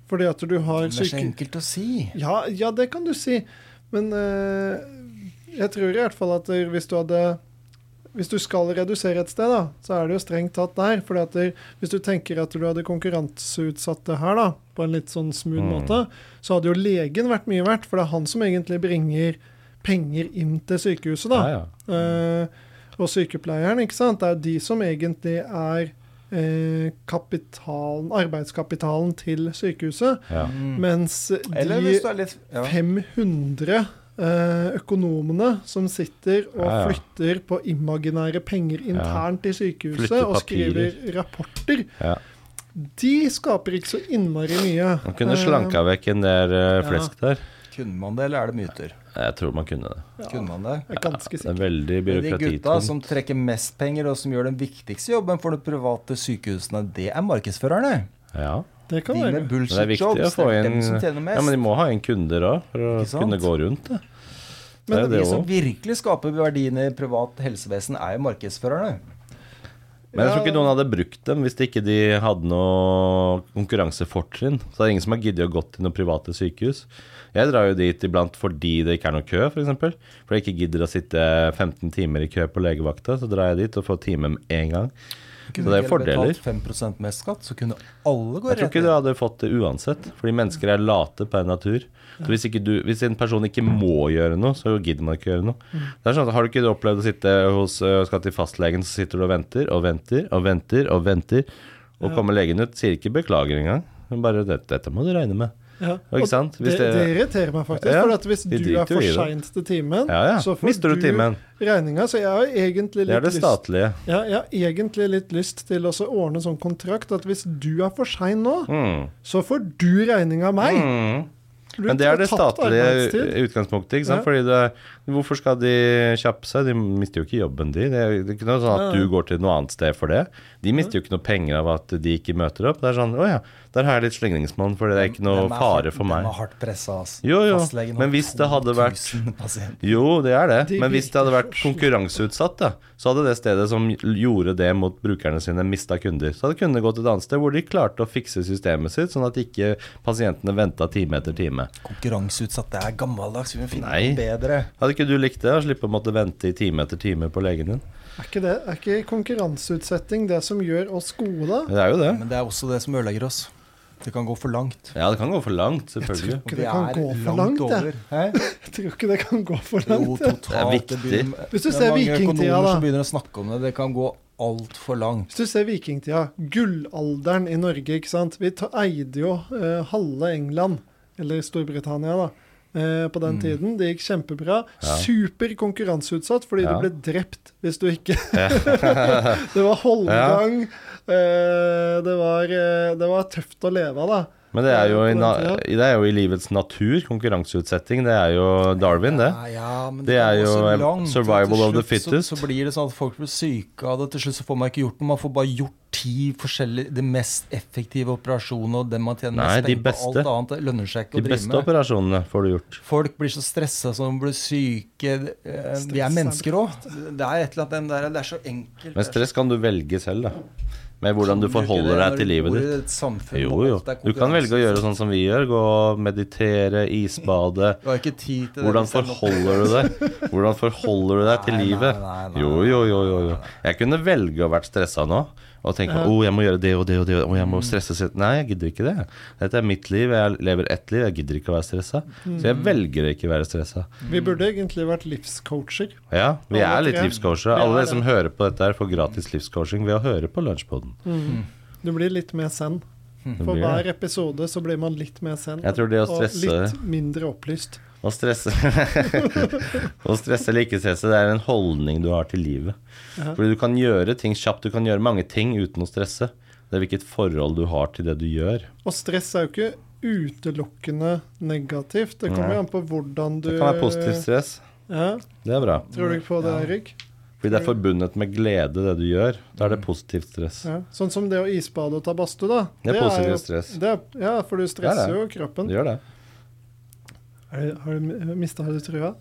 Speaker 3: fordi at du har
Speaker 4: Men Det er så
Speaker 3: syke...
Speaker 4: enkelt å si.
Speaker 3: Ja, ja, det kan du si. Men eh, jeg tror i hvert fall at der, hvis du hadde Hvis du skal redusere et sted, da, så er det jo strengt tatt der. For at der, hvis du tenker at du hadde konkurranseutsatt det her, da, på en litt sånn smooth
Speaker 2: Mm.
Speaker 3: måte, så hadde jo legen vært mye verdt. For det er han som egentlig bringer penger inn til sykehuset, da.
Speaker 2: Ja, ja.
Speaker 3: Eh, og sykepleieren, ikke sant. Det er de som egentlig er eh, kapitalen, arbeidskapitalen til sykehuset.
Speaker 2: Ja.
Speaker 4: Mm.
Speaker 3: Mens de
Speaker 4: Eller hvis du er litt ja.
Speaker 3: 500 eh, økonomene som sitter og
Speaker 2: Ja, ja.
Speaker 3: flytter på imaginære penger internt i sykehuset
Speaker 2: Flytter
Speaker 3: og
Speaker 2: papirer.
Speaker 3: skriver rapporter,
Speaker 2: Ja.
Speaker 3: de skaper ikke så innmari mye.
Speaker 2: Man kunne
Speaker 3: Eh,
Speaker 2: slanka vekk en del eh,
Speaker 3: ja.
Speaker 2: flesk der.
Speaker 4: Kunne man det, eller er det myter?
Speaker 2: Jeg tror man kunne det.
Speaker 4: Kunne man det?
Speaker 3: Jeg er ganske
Speaker 2: Det er
Speaker 3: sikker.
Speaker 2: veldig
Speaker 4: Men De gutta
Speaker 2: byråkratitung.
Speaker 4: som trekker mest penger, og som gjør den viktigste jobben for de private sykehusene, det er markedsførerne.
Speaker 2: Ja.
Speaker 3: Det kan
Speaker 4: De med
Speaker 3: være.
Speaker 2: Men det er
Speaker 4: bullshit
Speaker 2: viktig å
Speaker 4: jobs,
Speaker 2: få
Speaker 4: det er
Speaker 2: inn
Speaker 4: dem som tjener
Speaker 2: Ja,
Speaker 4: mest.
Speaker 2: men de må ha inn kunder òg, for å
Speaker 4: Ikke sant?
Speaker 2: kunne gå rundt. Det, det
Speaker 3: Men
Speaker 2: er jo
Speaker 4: de
Speaker 2: det
Speaker 4: som
Speaker 2: òg.
Speaker 4: virkelig skaper verdiene i privat helsevesen, er jo markedsførerne.
Speaker 2: Men jeg tror ikke
Speaker 3: Ja.
Speaker 2: noen hadde brukt dem hvis ikke de hadde noe konkurransefortrinn. Så det er ingen som har giddet å gå til noen private sykehus. Jeg drar jo dit iblant fordi det ikke er noe kø, f.eks. For eksempel. Fordi jeg ikke gidder å sitte 15 timer i kø på legevakta, så drar jeg dit og får time med en gang. Så det er
Speaker 4: ikke dere
Speaker 2: fordeler.
Speaker 4: betalt 5 mer skatt, så kunne alle gå
Speaker 2: Jeg tror
Speaker 4: rett
Speaker 2: ikke du hadde fått det uansett, fordi mennesker er late per natur. Så hvis, ikke du, hvis en person ikke må gjøre noe, så gidder man ikke gjøre noe. Det er sånn at Har du ikke opplevd å sitte hos øh, skal til fastlegen, så sitter du og venter og venter og venter og venter, og kommer legen ut, sier ikke beklager engang. Men bare dette, dette må du regne med.
Speaker 3: Ja.
Speaker 2: Og ikke sant? Hvis
Speaker 3: det, det,
Speaker 2: det-
Speaker 3: irriterer meg faktisk.
Speaker 2: Ja,
Speaker 3: For at hvis
Speaker 2: de
Speaker 3: du er
Speaker 2: driter jo
Speaker 3: for
Speaker 2: i det.
Speaker 3: seint til timen,
Speaker 2: Ja, ja.
Speaker 3: så får
Speaker 2: Mister du timen?
Speaker 3: regninga. Så jeg har egentlig
Speaker 2: Det er
Speaker 3: litt
Speaker 2: det
Speaker 3: lyst
Speaker 2: statlige.
Speaker 3: ja, Jeg har egentlig litt lyst til å så ordne en sånn kontrakt at hvis du er for sein nå,
Speaker 2: Mm.
Speaker 3: så får du regninga av meg.
Speaker 2: Mm.
Speaker 3: Du
Speaker 2: Men det er
Speaker 3: har
Speaker 2: det
Speaker 3: tapt
Speaker 2: statlige
Speaker 3: arbeidstid.
Speaker 2: u- utgangspunktet. Ikke sant?
Speaker 3: Ja.
Speaker 2: Fordi det, hvorfor skal de kjappe seg? De mister jo ikke jobben, de. Det er det er ikke noe sånn at
Speaker 3: Nei, nei.
Speaker 2: du går til noe annet sted for det. De mister jo ikke noe penger av at de ikke møter opp. Det er sånn Å ja, der har jeg litt slingringsmonn, for det er ikke noe
Speaker 4: Dem er hardt-
Speaker 2: fare for
Speaker 4: dem
Speaker 2: meg.
Speaker 4: er hardt pressa, altså.
Speaker 2: Jo, jo,
Speaker 4: Fastlegen har
Speaker 2: men hvis det hadde vært-
Speaker 4: 2000 pasienter.
Speaker 2: Jo, det er det.
Speaker 3: De
Speaker 2: Men hvis det hadde vært
Speaker 3: virker så
Speaker 2: konkurranseutsatt, da, så hadde det stedet som gjorde det mot brukerne sine, mista kunder. Så hadde kundene gått et annet sted hvor de klarte å fikse systemet sitt, sånn at ikke pasientene venta time etter time.
Speaker 4: Konkurranseutsatt, det er gammeldags. Vi må finne
Speaker 2: Nei.
Speaker 4: noe bedre.
Speaker 2: Hadde ikke du likt det? Å slippe å måtte vente i time etter time på legen din?
Speaker 3: Er ikke, det, er ikke konkurranseutsetting det som gjør oss gode, da?
Speaker 2: Det er jo det.
Speaker 4: Men det er også det som ødelegger oss. Det kan gå for langt.
Speaker 2: Ja, det kan gå for langt, selvfølgelig.
Speaker 3: tror ikke det kan gå for langt, det. Jeg tror ikke det kan gå for langt.
Speaker 4: Jo, totalt.
Speaker 2: Det er viktig.
Speaker 4: begynner-
Speaker 3: Hvis du
Speaker 4: det er
Speaker 3: ser
Speaker 4: mange
Speaker 3: vikingtida,
Speaker 4: økonomer
Speaker 3: da.
Speaker 4: som begynner å snakke om det. Det kan gå altfor langt.
Speaker 3: Hvis du ser vikingtida, gullalderen i Norge, ikke sant. Vi ta, eide jo eh, halve England, eller Storbritannia, da. eh, på den tiden. Det gikk kjempebra.
Speaker 2: Mm. Ja.
Speaker 3: Super konkurranseutsatt, fordi
Speaker 2: Ja.
Speaker 3: du ble drept hvis du ikke Det var holdgang. eh, det, var, eh, det var tøft å leve av, da.
Speaker 2: Men det er jo i, na
Speaker 3: På den
Speaker 2: det er jo i livets natur, konkurranseutsetting. Det er jo Darwin, det.
Speaker 4: Ja, Ah, ja, men
Speaker 2: Det
Speaker 4: kan
Speaker 2: er
Speaker 4: gå
Speaker 2: jo,
Speaker 4: så
Speaker 2: eh,
Speaker 4: langt, og til
Speaker 2: survival of the
Speaker 4: slutt
Speaker 2: fittest.
Speaker 4: Så, så blir det sånn at folk blir syke av det. Til slutt så får man ikke gjort noe. Man får bare gjort ti forskjellige De mest effektive operasjonene og dem man tjener
Speaker 2: Nei,
Speaker 4: mest
Speaker 2: de
Speaker 4: penger på.
Speaker 2: beste.
Speaker 4: Alt annet det lønner seg ikke
Speaker 2: De
Speaker 4: å drive
Speaker 2: beste
Speaker 4: med.
Speaker 2: operasjonene får du gjort.
Speaker 4: Folk blir så stressa som de blir syke. Eh, Vi er mennesker òg. Det er et eller annet med dem der, det er så enkelt.
Speaker 2: Men stress kan du velge selv, da. Med hvordan du forholder deg til livet ditt. Jo, jo. Du kan velge å gjøre sånn som vi gjør. Gå og meditere, isbade.
Speaker 4: Du har ikke tid til det.
Speaker 2: Hvordan
Speaker 4: hvis jeg må-
Speaker 2: forholder du deg Hvordan forholder du deg til
Speaker 4: Nei, nei,
Speaker 2: livet?
Speaker 4: nei, nei,
Speaker 2: Jo, jo, jo. jo, jo. Jeg kunne velge å vært stressa nå. Og tenke
Speaker 3: Ja. Mm.
Speaker 2: at oh, jeg må gjøre det og det og det. Og jeg må stresse sitt. Nei, jeg gidder ikke det. Dette er mitt liv. Jeg lever ett liv. Jeg gidder ikke å være stressa. Så
Speaker 3: Mm.
Speaker 2: jeg velger å ikke være stressa.
Speaker 3: Vi burde egentlig vært livscoacher.
Speaker 2: Ja, vi
Speaker 3: Alle
Speaker 2: er litt
Speaker 3: tre.
Speaker 2: livscoachere.
Speaker 3: Vi er
Speaker 2: Alle
Speaker 3: det.
Speaker 2: som hører på dette, her får gratis livscoaching ved å høre på Lunsjpoden.
Speaker 3: Du blir litt mer zen.
Speaker 2: Det
Speaker 3: For
Speaker 2: blir det.
Speaker 3: hver episode så blir man litt mer zen.
Speaker 2: Jeg tror det å
Speaker 3: og
Speaker 2: stresse-
Speaker 3: litt mindre opplyst.
Speaker 2: Å stresse Å stresse eller ikke stresse, det er en holdning du har til livet.
Speaker 3: Ja.
Speaker 2: Fordi du kan gjøre ting kjapt, du kan gjøre mange ting uten å stresse. Det er hvilket forhold du har til det du gjør.
Speaker 3: Og stress er jo ikke utelukkende negativt. Det kommer
Speaker 2: Nei.
Speaker 3: jo an på hvordan du
Speaker 2: Det kan være positivt stress.
Speaker 3: Ja,
Speaker 2: Det er bra.
Speaker 3: Tror du ikke på det,
Speaker 4: Ja.
Speaker 3: Erik?
Speaker 2: Fordi det er forbundet med glede, det du gjør. Da er det positivt stress.
Speaker 3: Ja. Sånn som det å isbade og ta badstue, da.
Speaker 2: Det er positivt
Speaker 3: jo-
Speaker 2: stress.
Speaker 3: Det er, ja, for du stresser
Speaker 2: Det
Speaker 3: jo
Speaker 2: Du
Speaker 3: kroppen.
Speaker 2: gjør det.
Speaker 3: Har du, har du mista har du trua?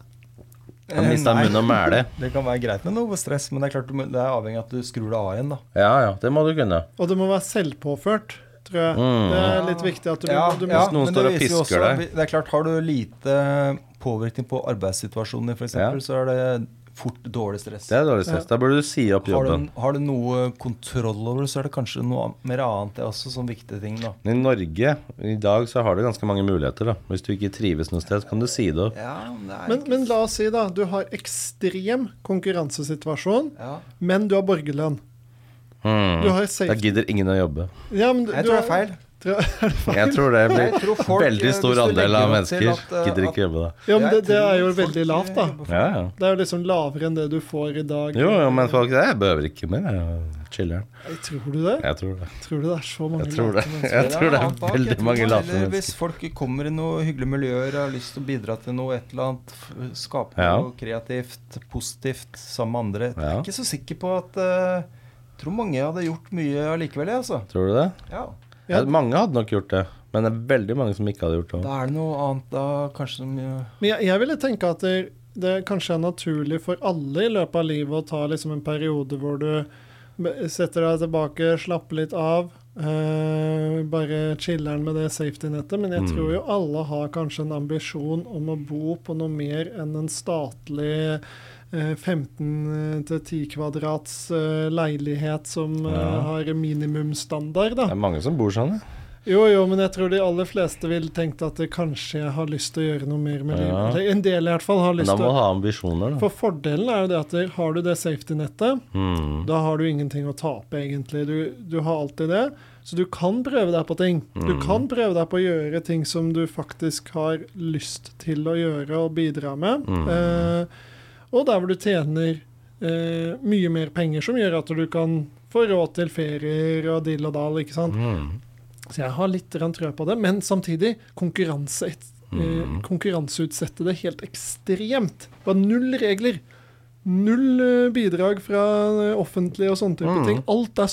Speaker 2: Jeg mista
Speaker 4: Nei.
Speaker 2: munn og mæle.
Speaker 4: Det kan være greit med noe stress, men det er klart du må- det er avhengig av at du skrur det av igjen, da.
Speaker 2: Ja ja, det må du kunne.
Speaker 3: Og det må være selvpåført, tror jeg.
Speaker 2: Mm.
Speaker 3: Det er litt viktig at du,
Speaker 4: Ja,
Speaker 3: du må
Speaker 4: ja,
Speaker 2: Hvis noen
Speaker 4: men
Speaker 2: står
Speaker 4: det
Speaker 2: og
Speaker 4: viser jo
Speaker 2: pisker
Speaker 4: også-
Speaker 2: deg.
Speaker 4: Det er klart, har du lite påvirkning på arbeidssituasjonen din, f.eks.,
Speaker 2: Ja.
Speaker 4: eksempel, så er det fort dårlig stress.
Speaker 2: Det er dårlig stress. Da burde du si opp
Speaker 4: har, du,
Speaker 2: jobben.
Speaker 4: har du noe kontroll over det, så er det kanskje noe mer annet. Det er også sånn viktige ting, da.
Speaker 2: I Norge i dag så har du ganske mange muligheter. da Hvis du ikke trives noe sted, så kan du si det opp.
Speaker 4: Ja, men det er
Speaker 3: Men,
Speaker 4: ikke-
Speaker 3: men la oss si, da, du har ekstrem konkurransesituasjon,
Speaker 4: ja.
Speaker 3: men du har borgerlønn.
Speaker 2: Mm.
Speaker 3: Du har
Speaker 2: Da
Speaker 3: safe...
Speaker 2: gidder ingen å jobbe.
Speaker 3: Ja, men du,
Speaker 4: Jeg
Speaker 3: du
Speaker 4: tror det er
Speaker 3: har-
Speaker 4: feil.
Speaker 3: Tror-
Speaker 2: Jeg tror det blir
Speaker 4: Jeg tror folk,
Speaker 2: veldig
Speaker 4: eh, hvis
Speaker 2: stor
Speaker 4: du
Speaker 2: andel av
Speaker 4: legger opp til
Speaker 2: mennesker
Speaker 4: at, eh,
Speaker 2: gidder
Speaker 4: at-
Speaker 2: ikke jobbe da.
Speaker 3: Ja, men det,
Speaker 4: Jeg
Speaker 3: det er jo
Speaker 4: tror folk,
Speaker 3: veldig lavt,
Speaker 4: eh,
Speaker 3: da.
Speaker 4: jobber for-
Speaker 2: Ja, ja.
Speaker 3: Det er jo liksom lavere enn det du får i dag.
Speaker 2: Jo, jo, men folk Jeg behøver ikke mer. jeg Chiller'n.
Speaker 3: Nei, Tror du det?
Speaker 2: Jeg tror det.
Speaker 3: Tror du det er så mange
Speaker 2: Jeg tror det.
Speaker 3: late mennesker?
Speaker 2: Jeg
Speaker 4: Det er
Speaker 2: tror det
Speaker 4: noe
Speaker 2: er
Speaker 4: annet bak. Jeg
Speaker 2: veldig
Speaker 4: tror
Speaker 2: mange
Speaker 4: heller
Speaker 2: late mennesker.
Speaker 4: Hvis folk kommer i noe hyggelige miljøer og har lyst til å bidra til noe, et eller annet, f- skape
Speaker 2: Ja.
Speaker 4: noe kreativt, positivt sammen med andre Jeg
Speaker 2: Ja.
Speaker 4: er ikke så sikker på at eh, Tror mange hadde gjort mye allikevel, jeg, altså.
Speaker 2: Tror du det?
Speaker 4: Ja.
Speaker 3: Ja.
Speaker 2: Ja, mange hadde nok gjort det, men det er veldig mange som ikke hadde gjort det.
Speaker 4: Da er det noe annet da, kanskje som eh,
Speaker 3: Men jeg, jeg ville tenke at det, det kanskje er naturlig for alle i løpet av livet å ta liksom en periode hvor du be- setter deg tilbake, slapper litt av, eh, bare chiller'n med det safety-nettet. Men jeg
Speaker 2: Mm.
Speaker 3: tror jo alle har kanskje en ambisjon om å bo på noe mer enn en statlig eh, 15-10 kvadrats eh, leilighet som eh,
Speaker 2: Ja.
Speaker 3: har minimumsstandard, da.
Speaker 2: Det er mange som bor sånn, ja.
Speaker 3: Jo, jo, men jeg tror de aller fleste vil tenkt at eh, kanskje jeg har lyst til å gjøre noe mer med livet.
Speaker 2: Ja.
Speaker 3: Eller En del i hvert fall har
Speaker 2: Men
Speaker 3: lyst
Speaker 2: da må
Speaker 3: til
Speaker 2: du
Speaker 3: å
Speaker 2: ha ambisjoner, da.
Speaker 3: For fordelen er jo det at eh, har du det safety-nettet,
Speaker 2: Mm.
Speaker 3: da har du ingenting å tape, egentlig. Du, du har alltid det. Så du kan prøve deg på ting. Du
Speaker 2: Mm.
Speaker 3: kan prøve deg på å gjøre ting som du faktisk har lyst til å gjøre og bidra med.
Speaker 2: Mm.
Speaker 3: Eh, og der hvor du tjener eh, mye mer penger, som gjør at du kan få råd til ferier og dill og dal, ikke sant.
Speaker 2: Mm.
Speaker 3: Så jeg har litt grann trø på det, men samtidig konkurranse,
Speaker 2: Mm.
Speaker 3: eh, konkurranseutsette det helt ekstremt. Det var null regler. Null eh, bidrag fra eh, offentlig og sånne type
Speaker 2: Mm.
Speaker 3: ting. Alt er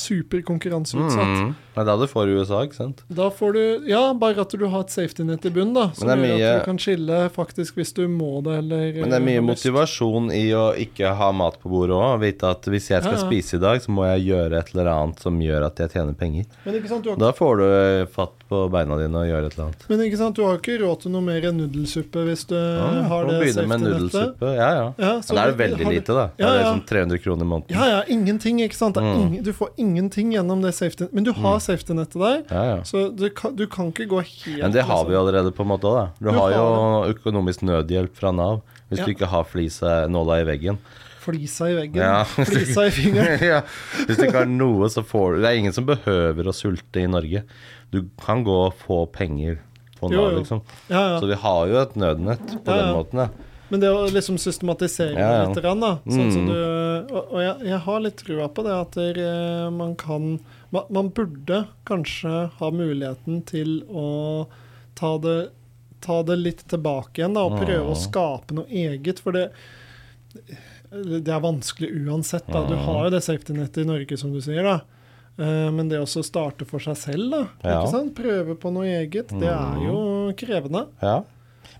Speaker 3: superkonkurranseutsatt.
Speaker 2: Mm. Det er da du får i USA, ikke sant?
Speaker 3: Da får du Ja, bare at du har et safety-nett i bunnen, da. Som
Speaker 2: Men det er
Speaker 3: gjør at
Speaker 2: mye-
Speaker 3: du kan skille faktisk hvis du må det, eller
Speaker 2: Men det er mye
Speaker 3: eh, har lyst.
Speaker 2: motivasjon i å ikke ha mat på bordet òg. Vite at hvis jeg skal
Speaker 3: Ja, ja.
Speaker 2: spise i dag, så må jeg gjøre et eller annet som gjør at jeg tjener penger.
Speaker 3: Men ikke sant, du har
Speaker 2: Da får du fatt på beina dine og gjør et eller annet.
Speaker 3: men ikke sant, du har ikke råd til noe mer enn nudelsuppe hvis du
Speaker 2: Ja,
Speaker 3: Eh, har
Speaker 2: må
Speaker 3: det
Speaker 2: begynne med
Speaker 3: safety-nettet.
Speaker 2: nudelsuppe. Ja, ja.
Speaker 3: Ja,
Speaker 2: Men da er det veldig
Speaker 3: har du-
Speaker 2: lite, da.
Speaker 3: Ja,
Speaker 2: Det er
Speaker 3: ja.
Speaker 2: sånn 300 kroner i måneden.
Speaker 3: Ja, ja, ingenting, ikke sant? Det er
Speaker 2: Mm.
Speaker 3: ingen, du får ingenting gjennom det safety Men du har safety-nettet der,
Speaker 2: Ja, ja.
Speaker 3: så du kan, du kan ikke gå helt
Speaker 2: Men det har vi jo allerede på en måte òg, da. Du,
Speaker 3: Du
Speaker 2: har jo
Speaker 3: har
Speaker 2: økonomisk nødhjelp fra Nav hvis
Speaker 3: Ja.
Speaker 2: du ikke har flisa nåla i veggen.
Speaker 3: liksom Flisa i veggen,
Speaker 2: Ja.
Speaker 3: flisa i fingeren.
Speaker 2: ja. Hvis du ikke har noe, så får du Det er ingen som behøver å sulte i Norge. Du kan gå og få penger på
Speaker 3: Jo,
Speaker 2: Nav,
Speaker 3: jo.
Speaker 2: liksom.
Speaker 3: Ja,
Speaker 2: Så
Speaker 3: ja.
Speaker 2: vi har jo et nødnett på
Speaker 3: Ja,
Speaker 2: den
Speaker 3: ja.
Speaker 2: måten, ja.
Speaker 3: Men det å liksom systematisere det
Speaker 2: Ja, ja.
Speaker 3: litt, grann, da, sånn som
Speaker 2: Mm.
Speaker 3: du Og, og jeg, jeg har litt trua på det at der, eh, man kan man, man burde kanskje ha muligheten til å ta det ta det litt tilbake igjen da, og prøve å skape noe eget. For det, det er vanskelig uansett. da. Du har jo det safety-nettet i Norge, som du sier. da. Eh, Men det også å starte for seg selv, da.
Speaker 2: Ja. Mm.
Speaker 3: ikke sant? Prøve på noe eget. Det er jo krevende.
Speaker 2: ja.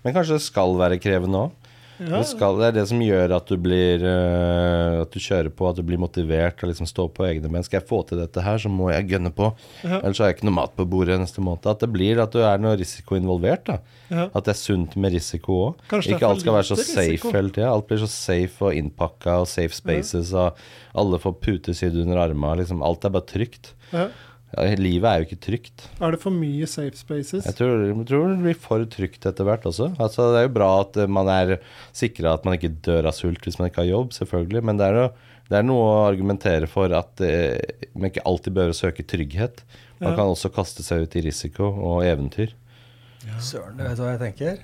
Speaker 2: Men kanskje det skal være krevende òg.
Speaker 3: Ja,
Speaker 2: Det, skal, det er det som gjør at du blir eh, At du kjører på, at du blir motivert og liksom står på egne ben. Skal jeg få til dette her, så må jeg gønne på.
Speaker 3: Ja.
Speaker 2: Ellers har jeg ikke noe mat på bordet neste måned. At det blir at du er noe risiko involvert. da
Speaker 3: ja.
Speaker 2: At det er sunt med risiko òg.
Speaker 3: Kanskje det er
Speaker 2: Ikke
Speaker 3: for
Speaker 2: alt skal være så
Speaker 3: lite risiko.
Speaker 2: safe hele tida. Alt blir så safe og innpakka og safe spaces, og alle får puter sydd under armene. Liksom. Alt er bare trygt.
Speaker 3: Ja.
Speaker 2: Ja, livet er jo ikke trygt.
Speaker 3: Er det for mye safe spaces?
Speaker 2: Jeg tror, jeg tror det blir for trygt etter hvert også. Altså, det er jo bra at eh, man er sikra at man ikke dør av sult hvis man ikke har jobb, selvfølgelig. Men det er, jo, det er noe å argumentere for at eh, man ikke alltid behøver å søke trygghet. Man
Speaker 3: Ja.
Speaker 2: kan også kaste seg ut i risiko og eventyr.
Speaker 4: Søren, vet du hva jeg tenker?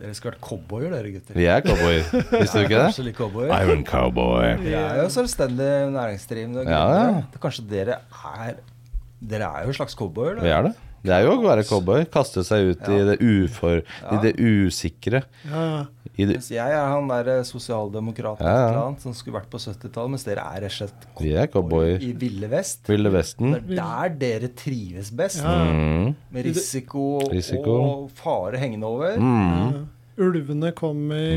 Speaker 4: Dere skulle vært cowboyer, dere gutter.
Speaker 2: Vi er cowboyer, visste du ikke det?
Speaker 4: Kanskje litt cowboyer.
Speaker 2: I'm a cowboy.
Speaker 4: Dere er jo selvstendig næringsdrivende. og
Speaker 2: Ja,
Speaker 4: gründere.
Speaker 2: ja.
Speaker 4: Det- Kanskje dere er Dere er jo slags cowboyer?
Speaker 2: Vi
Speaker 4: da.
Speaker 2: er det. Det er jo å være cowboy. Kaste seg ut i det ufor... I det usikre.
Speaker 3: Ja, ja.
Speaker 2: I det,
Speaker 4: Mens jeg er han der sosialdemokraten
Speaker 2: Ja, ja.
Speaker 4: et eller annet, som skulle vært på 70-tallet, mens dere er rett og slett
Speaker 2: vi er
Speaker 4: cowboyer
Speaker 2: cowboyer.
Speaker 4: i ville vest.
Speaker 2: Ville
Speaker 4: Det
Speaker 2: Vesten.
Speaker 4: er der dere trives best,
Speaker 3: Ja, ja.
Speaker 2: Mm.
Speaker 4: med risiko,
Speaker 2: Risiko. Mm.
Speaker 4: og fare hengende over.
Speaker 3: Ulvene kommer,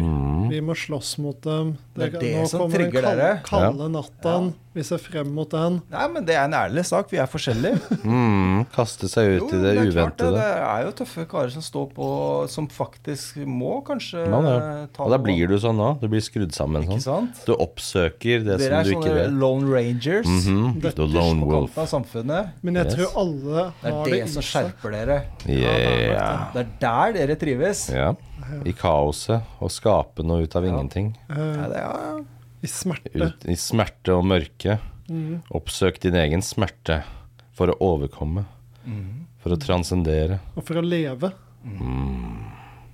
Speaker 3: vi må slåss mot dem.
Speaker 4: Det er det
Speaker 3: nå
Speaker 4: som
Speaker 3: kommer den
Speaker 4: trigger
Speaker 3: kal-
Speaker 4: dere.
Speaker 3: Kalde natten. Vi ser frem mot den.
Speaker 4: Nei, men det er en ærlig sak. Vi er forskjellige.
Speaker 2: Mm. Kaste seg
Speaker 4: Jo,
Speaker 2: ut i det
Speaker 4: er klart det.
Speaker 2: uventede.
Speaker 4: Det er jo tøffe karer som står på, som faktisk må kanskje
Speaker 2: Man, Sånn, ja.
Speaker 4: eh, ta
Speaker 2: Og da
Speaker 4: noe.
Speaker 2: blir du sånn nå. Du blir skrudd sammen
Speaker 4: Ikke
Speaker 2: sånn.
Speaker 4: sant?
Speaker 2: Du oppsøker det
Speaker 4: Dere
Speaker 2: som
Speaker 4: er
Speaker 2: du ikke
Speaker 4: sånne
Speaker 2: vet.
Speaker 4: lone rangers.
Speaker 2: Mhm.
Speaker 3: Dette
Speaker 2: The
Speaker 4: Ytterst
Speaker 2: lone
Speaker 4: på
Speaker 2: wolf.
Speaker 4: kanten av samfunnet.
Speaker 3: Men jeg
Speaker 2: Yes.
Speaker 3: tror alle
Speaker 4: Det
Speaker 3: har
Speaker 4: er
Speaker 3: det,
Speaker 4: det
Speaker 3: i
Speaker 4: som
Speaker 3: seg.
Speaker 4: skjerper dere.
Speaker 2: Yeah.
Speaker 4: Det er der dere trives.
Speaker 2: Ja. I kaoset. Å skape noe ut av ingenting.
Speaker 4: Ja, det er,
Speaker 3: I smerte.
Speaker 2: Ut, I smerte og mørke.
Speaker 4: Mhm.
Speaker 2: Oppsøk din egen smerte for å overkomme.
Speaker 4: Mhm.
Speaker 2: For å transcendere.
Speaker 3: Og for å leve.
Speaker 2: Mm.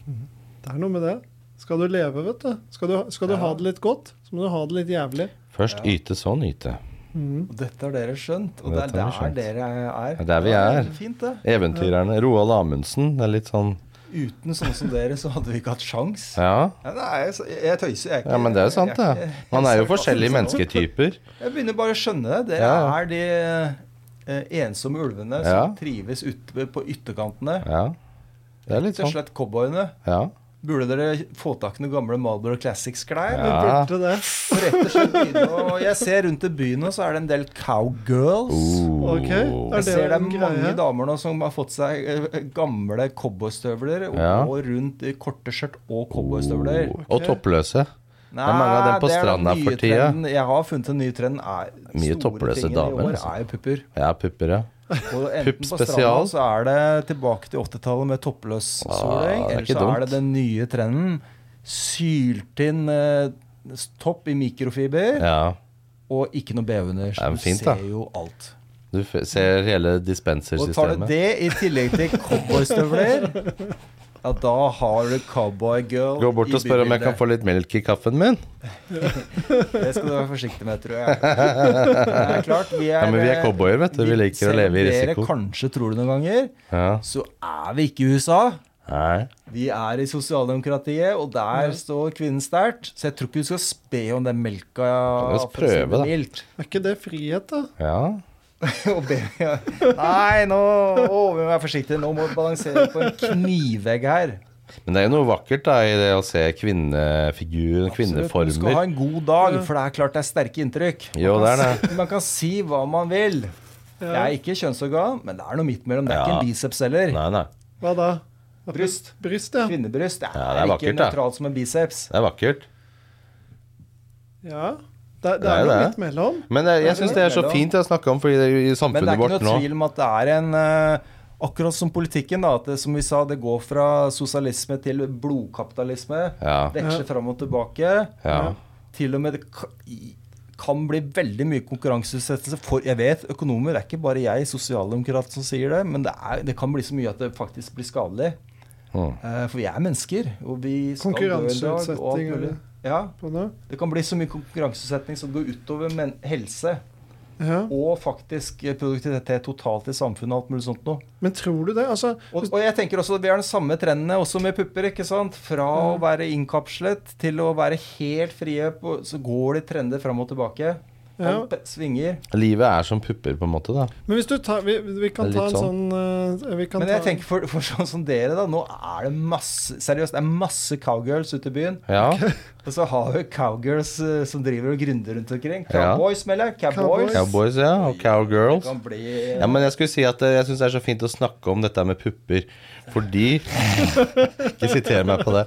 Speaker 3: Mhm. Det er noe med det. Skal du leve, vet du. Skal du, skal du ha det litt godt, så må du ha det litt jævlig.
Speaker 2: Først yte, så nyte.
Speaker 4: og dette har dere skjønt, og det
Speaker 2: Dette
Speaker 4: er
Speaker 2: har
Speaker 4: der
Speaker 2: vi skjønt.
Speaker 4: dere er.
Speaker 2: Det er der vi
Speaker 4: Ja,
Speaker 2: er.
Speaker 4: det Fint, det.
Speaker 2: Eventyrerne. Roald Amundsen. Det er litt sånn
Speaker 4: Uten sånne som dere, så hadde vi ikke hatt sjans.
Speaker 2: Ja.
Speaker 4: Ja, nei, så- jeg, jeg tøyser, jeg er ikke
Speaker 2: Ja, men det er jo sant,
Speaker 4: jeg er
Speaker 2: det.
Speaker 4: ikke-
Speaker 2: Man er jo
Speaker 4: jeg er
Speaker 2: forskjellige
Speaker 4: sarkastisk nå.
Speaker 2: mennesketyper.
Speaker 4: Jeg begynner bare å skjønne det. Dere
Speaker 2: Ja.
Speaker 4: er de eh, ensomme ulvene
Speaker 2: Ja.
Speaker 4: som trives ute på ytterkantene.
Speaker 2: Ja. Det er litt
Speaker 4: Rett og
Speaker 2: sånn.
Speaker 4: slett cowboyene.
Speaker 2: Ja.
Speaker 4: Burde dere få tak i noen gamle Marlboro Classics-klær?
Speaker 2: Ja.
Speaker 3: Burde det.
Speaker 4: Og rett og slett begynne å Jeg ser rundt i byen nå, så er det en del cowgirls.
Speaker 2: Uh.
Speaker 3: Ok,
Speaker 4: Jeg
Speaker 3: er det
Speaker 4: ser det er
Speaker 3: en
Speaker 4: mange
Speaker 3: greie?
Speaker 4: damer nå som har fått seg eh, gamle cowboystøvler og
Speaker 2: Ja.
Speaker 4: går rundt i korte skjørt og cowboystøvler.
Speaker 2: Og toppløse. Det er mange av dem på
Speaker 4: det er den
Speaker 2: stranda
Speaker 4: nye
Speaker 2: for tida.
Speaker 4: trenden. Jeg har funnet en ny trend. Er
Speaker 2: Mye toppløse
Speaker 4: tingen
Speaker 2: damer,
Speaker 4: i år
Speaker 2: altså.
Speaker 4: er jo pupper.
Speaker 2: Ja, pupper, ja.
Speaker 4: Og enten på stranda
Speaker 2: spesial.
Speaker 4: så er det tilbake til 80-tallet med toppløs
Speaker 2: Ah,
Speaker 4: soling.
Speaker 2: det er
Speaker 4: Eller
Speaker 2: ikke
Speaker 4: så
Speaker 2: dumt.
Speaker 4: er det den nye trenden. Syltynn eh, s- topp i mikrofiber
Speaker 2: Ja.
Speaker 4: og ikke noe BH under.
Speaker 2: er
Speaker 4: Så du
Speaker 2: fint, da.
Speaker 4: ser jo alt.
Speaker 2: Du f ser hele
Speaker 4: Og tar du
Speaker 2: dispensersystemet.
Speaker 4: det i tillegg til cowboystøvler, ja, da har du cowboygirl
Speaker 2: Gå bort
Speaker 4: i
Speaker 2: og spør om jeg kan
Speaker 4: bybildet.
Speaker 2: få litt melk i kaffen min.
Speaker 4: Det skal du være forsiktig med, tror jeg. Det er klart, vi er,
Speaker 2: Ja, men vi er cowboyer, vet du. Vi liker
Speaker 4: selv
Speaker 2: å
Speaker 4: om
Speaker 2: leve i
Speaker 4: Dere
Speaker 2: risiko.
Speaker 4: kanskje tror det noen ganger,
Speaker 2: Ja.
Speaker 4: så er vi ikke i USA.
Speaker 2: Nei.
Speaker 4: Vi er i sosialdemokratiet, og der står kvinnen sterkt. Så jeg tror ikke du skal spe om den melka.
Speaker 2: vi
Speaker 4: for å si det
Speaker 2: prøve, da?
Speaker 4: mildt.
Speaker 3: Er ikke det frihet, da?
Speaker 2: Ja.
Speaker 4: Og be, ja. Nei, nå å, vi må være forsiktige. Nå må vi balansere på en knivegg her.
Speaker 2: Men det er jo noe vakkert da, i det å se kvinnefiguren,
Speaker 4: Absolutt, Du skal ha
Speaker 2: kvinneformer.
Speaker 4: en god dag, for det er klart det er sterke inntrykk. Man
Speaker 2: Jo,
Speaker 4: kan
Speaker 2: det er
Speaker 4: si- Man kan si hva man vil. Jeg er ikke kjønnsorgan, men det er noe midt mellom. Det er
Speaker 2: Ja.
Speaker 4: ikke en biceps heller.
Speaker 2: Nei, nei.
Speaker 3: Hva da?
Speaker 4: Bryst.
Speaker 3: Bryst, ja.
Speaker 4: Kvinnebryst. Det er,
Speaker 2: Ja, det er
Speaker 4: ikke
Speaker 2: vakkert, da.
Speaker 4: nøytralt som en biceps.
Speaker 2: Det er vakkert.
Speaker 3: ja. Det, det
Speaker 2: er
Speaker 3: er
Speaker 2: jo
Speaker 3: noe
Speaker 2: det.
Speaker 3: midt mellom.
Speaker 2: Men jeg, jeg syns det er så fint å snakke om, fordi det er jo i
Speaker 4: Men det
Speaker 2: samfunnet
Speaker 4: er ikke
Speaker 2: vårt nå
Speaker 4: noe tvil om at det er en eh, Akkurat som politikken, da, at det, som vi sa, det går fra sosialisme til blodkapitalisme.
Speaker 2: Ja.
Speaker 4: Veksler fram og tilbake.
Speaker 2: ja.
Speaker 4: Til og med det ka- i- kan bli veldig mye konkurranseutsettelse. For jeg vet, økonomer det er ikke bare jeg, sosialdemokrat, som sier det. Men det, er, det kan bli så mye at det faktisk blir skadelig.
Speaker 2: Mm.
Speaker 4: Eh, For vi er mennesker. Og vi skal dø en dag, og alt
Speaker 3: Konkurranseutsetting,
Speaker 4: mulig.
Speaker 3: eller?
Speaker 4: Ja.
Speaker 3: På nå.
Speaker 4: Det kan bli så mye konkurranseutsetting som går utover men helse.
Speaker 3: Ja.
Speaker 4: Og faktisk eh, produktivitet totalt i samfunnet og alt mulig sånt noe.
Speaker 3: Men tror du det? Altså,
Speaker 4: Og, og jeg tenker også at vi har de samme trendene også med pupper. ikke sant? Fra å være innkapslet til å være helt frie, på, så går det trender fram og tilbake.
Speaker 3: Ja.
Speaker 4: Alt pe- svinger.
Speaker 2: Livet er som pupper, på en måte, da.
Speaker 3: men hvis du tar Vi, vi kan
Speaker 2: Det er
Speaker 3: ta
Speaker 2: litt
Speaker 3: en sånn, eh, vi kan
Speaker 4: Men
Speaker 3: ta
Speaker 4: jeg
Speaker 3: en-
Speaker 4: tenker for, for sånn som dere, da. Nå er det masse seriøst, det er masse cowgirls ute i byen.
Speaker 2: Ja.
Speaker 4: Og så har vi cowgirls eh, som driver og gründer rundt omkring.
Speaker 2: Ja.
Speaker 4: Cowboys, melder jeg. Cowboys.
Speaker 3: Cowboys.
Speaker 2: Cowboys, ja. Og cowgirls.
Speaker 4: Kan bli
Speaker 2: Ja, men jeg skulle si at eh, jeg syns det er så fint å snakke om dette med pupper, fordi Ikke siter meg på det,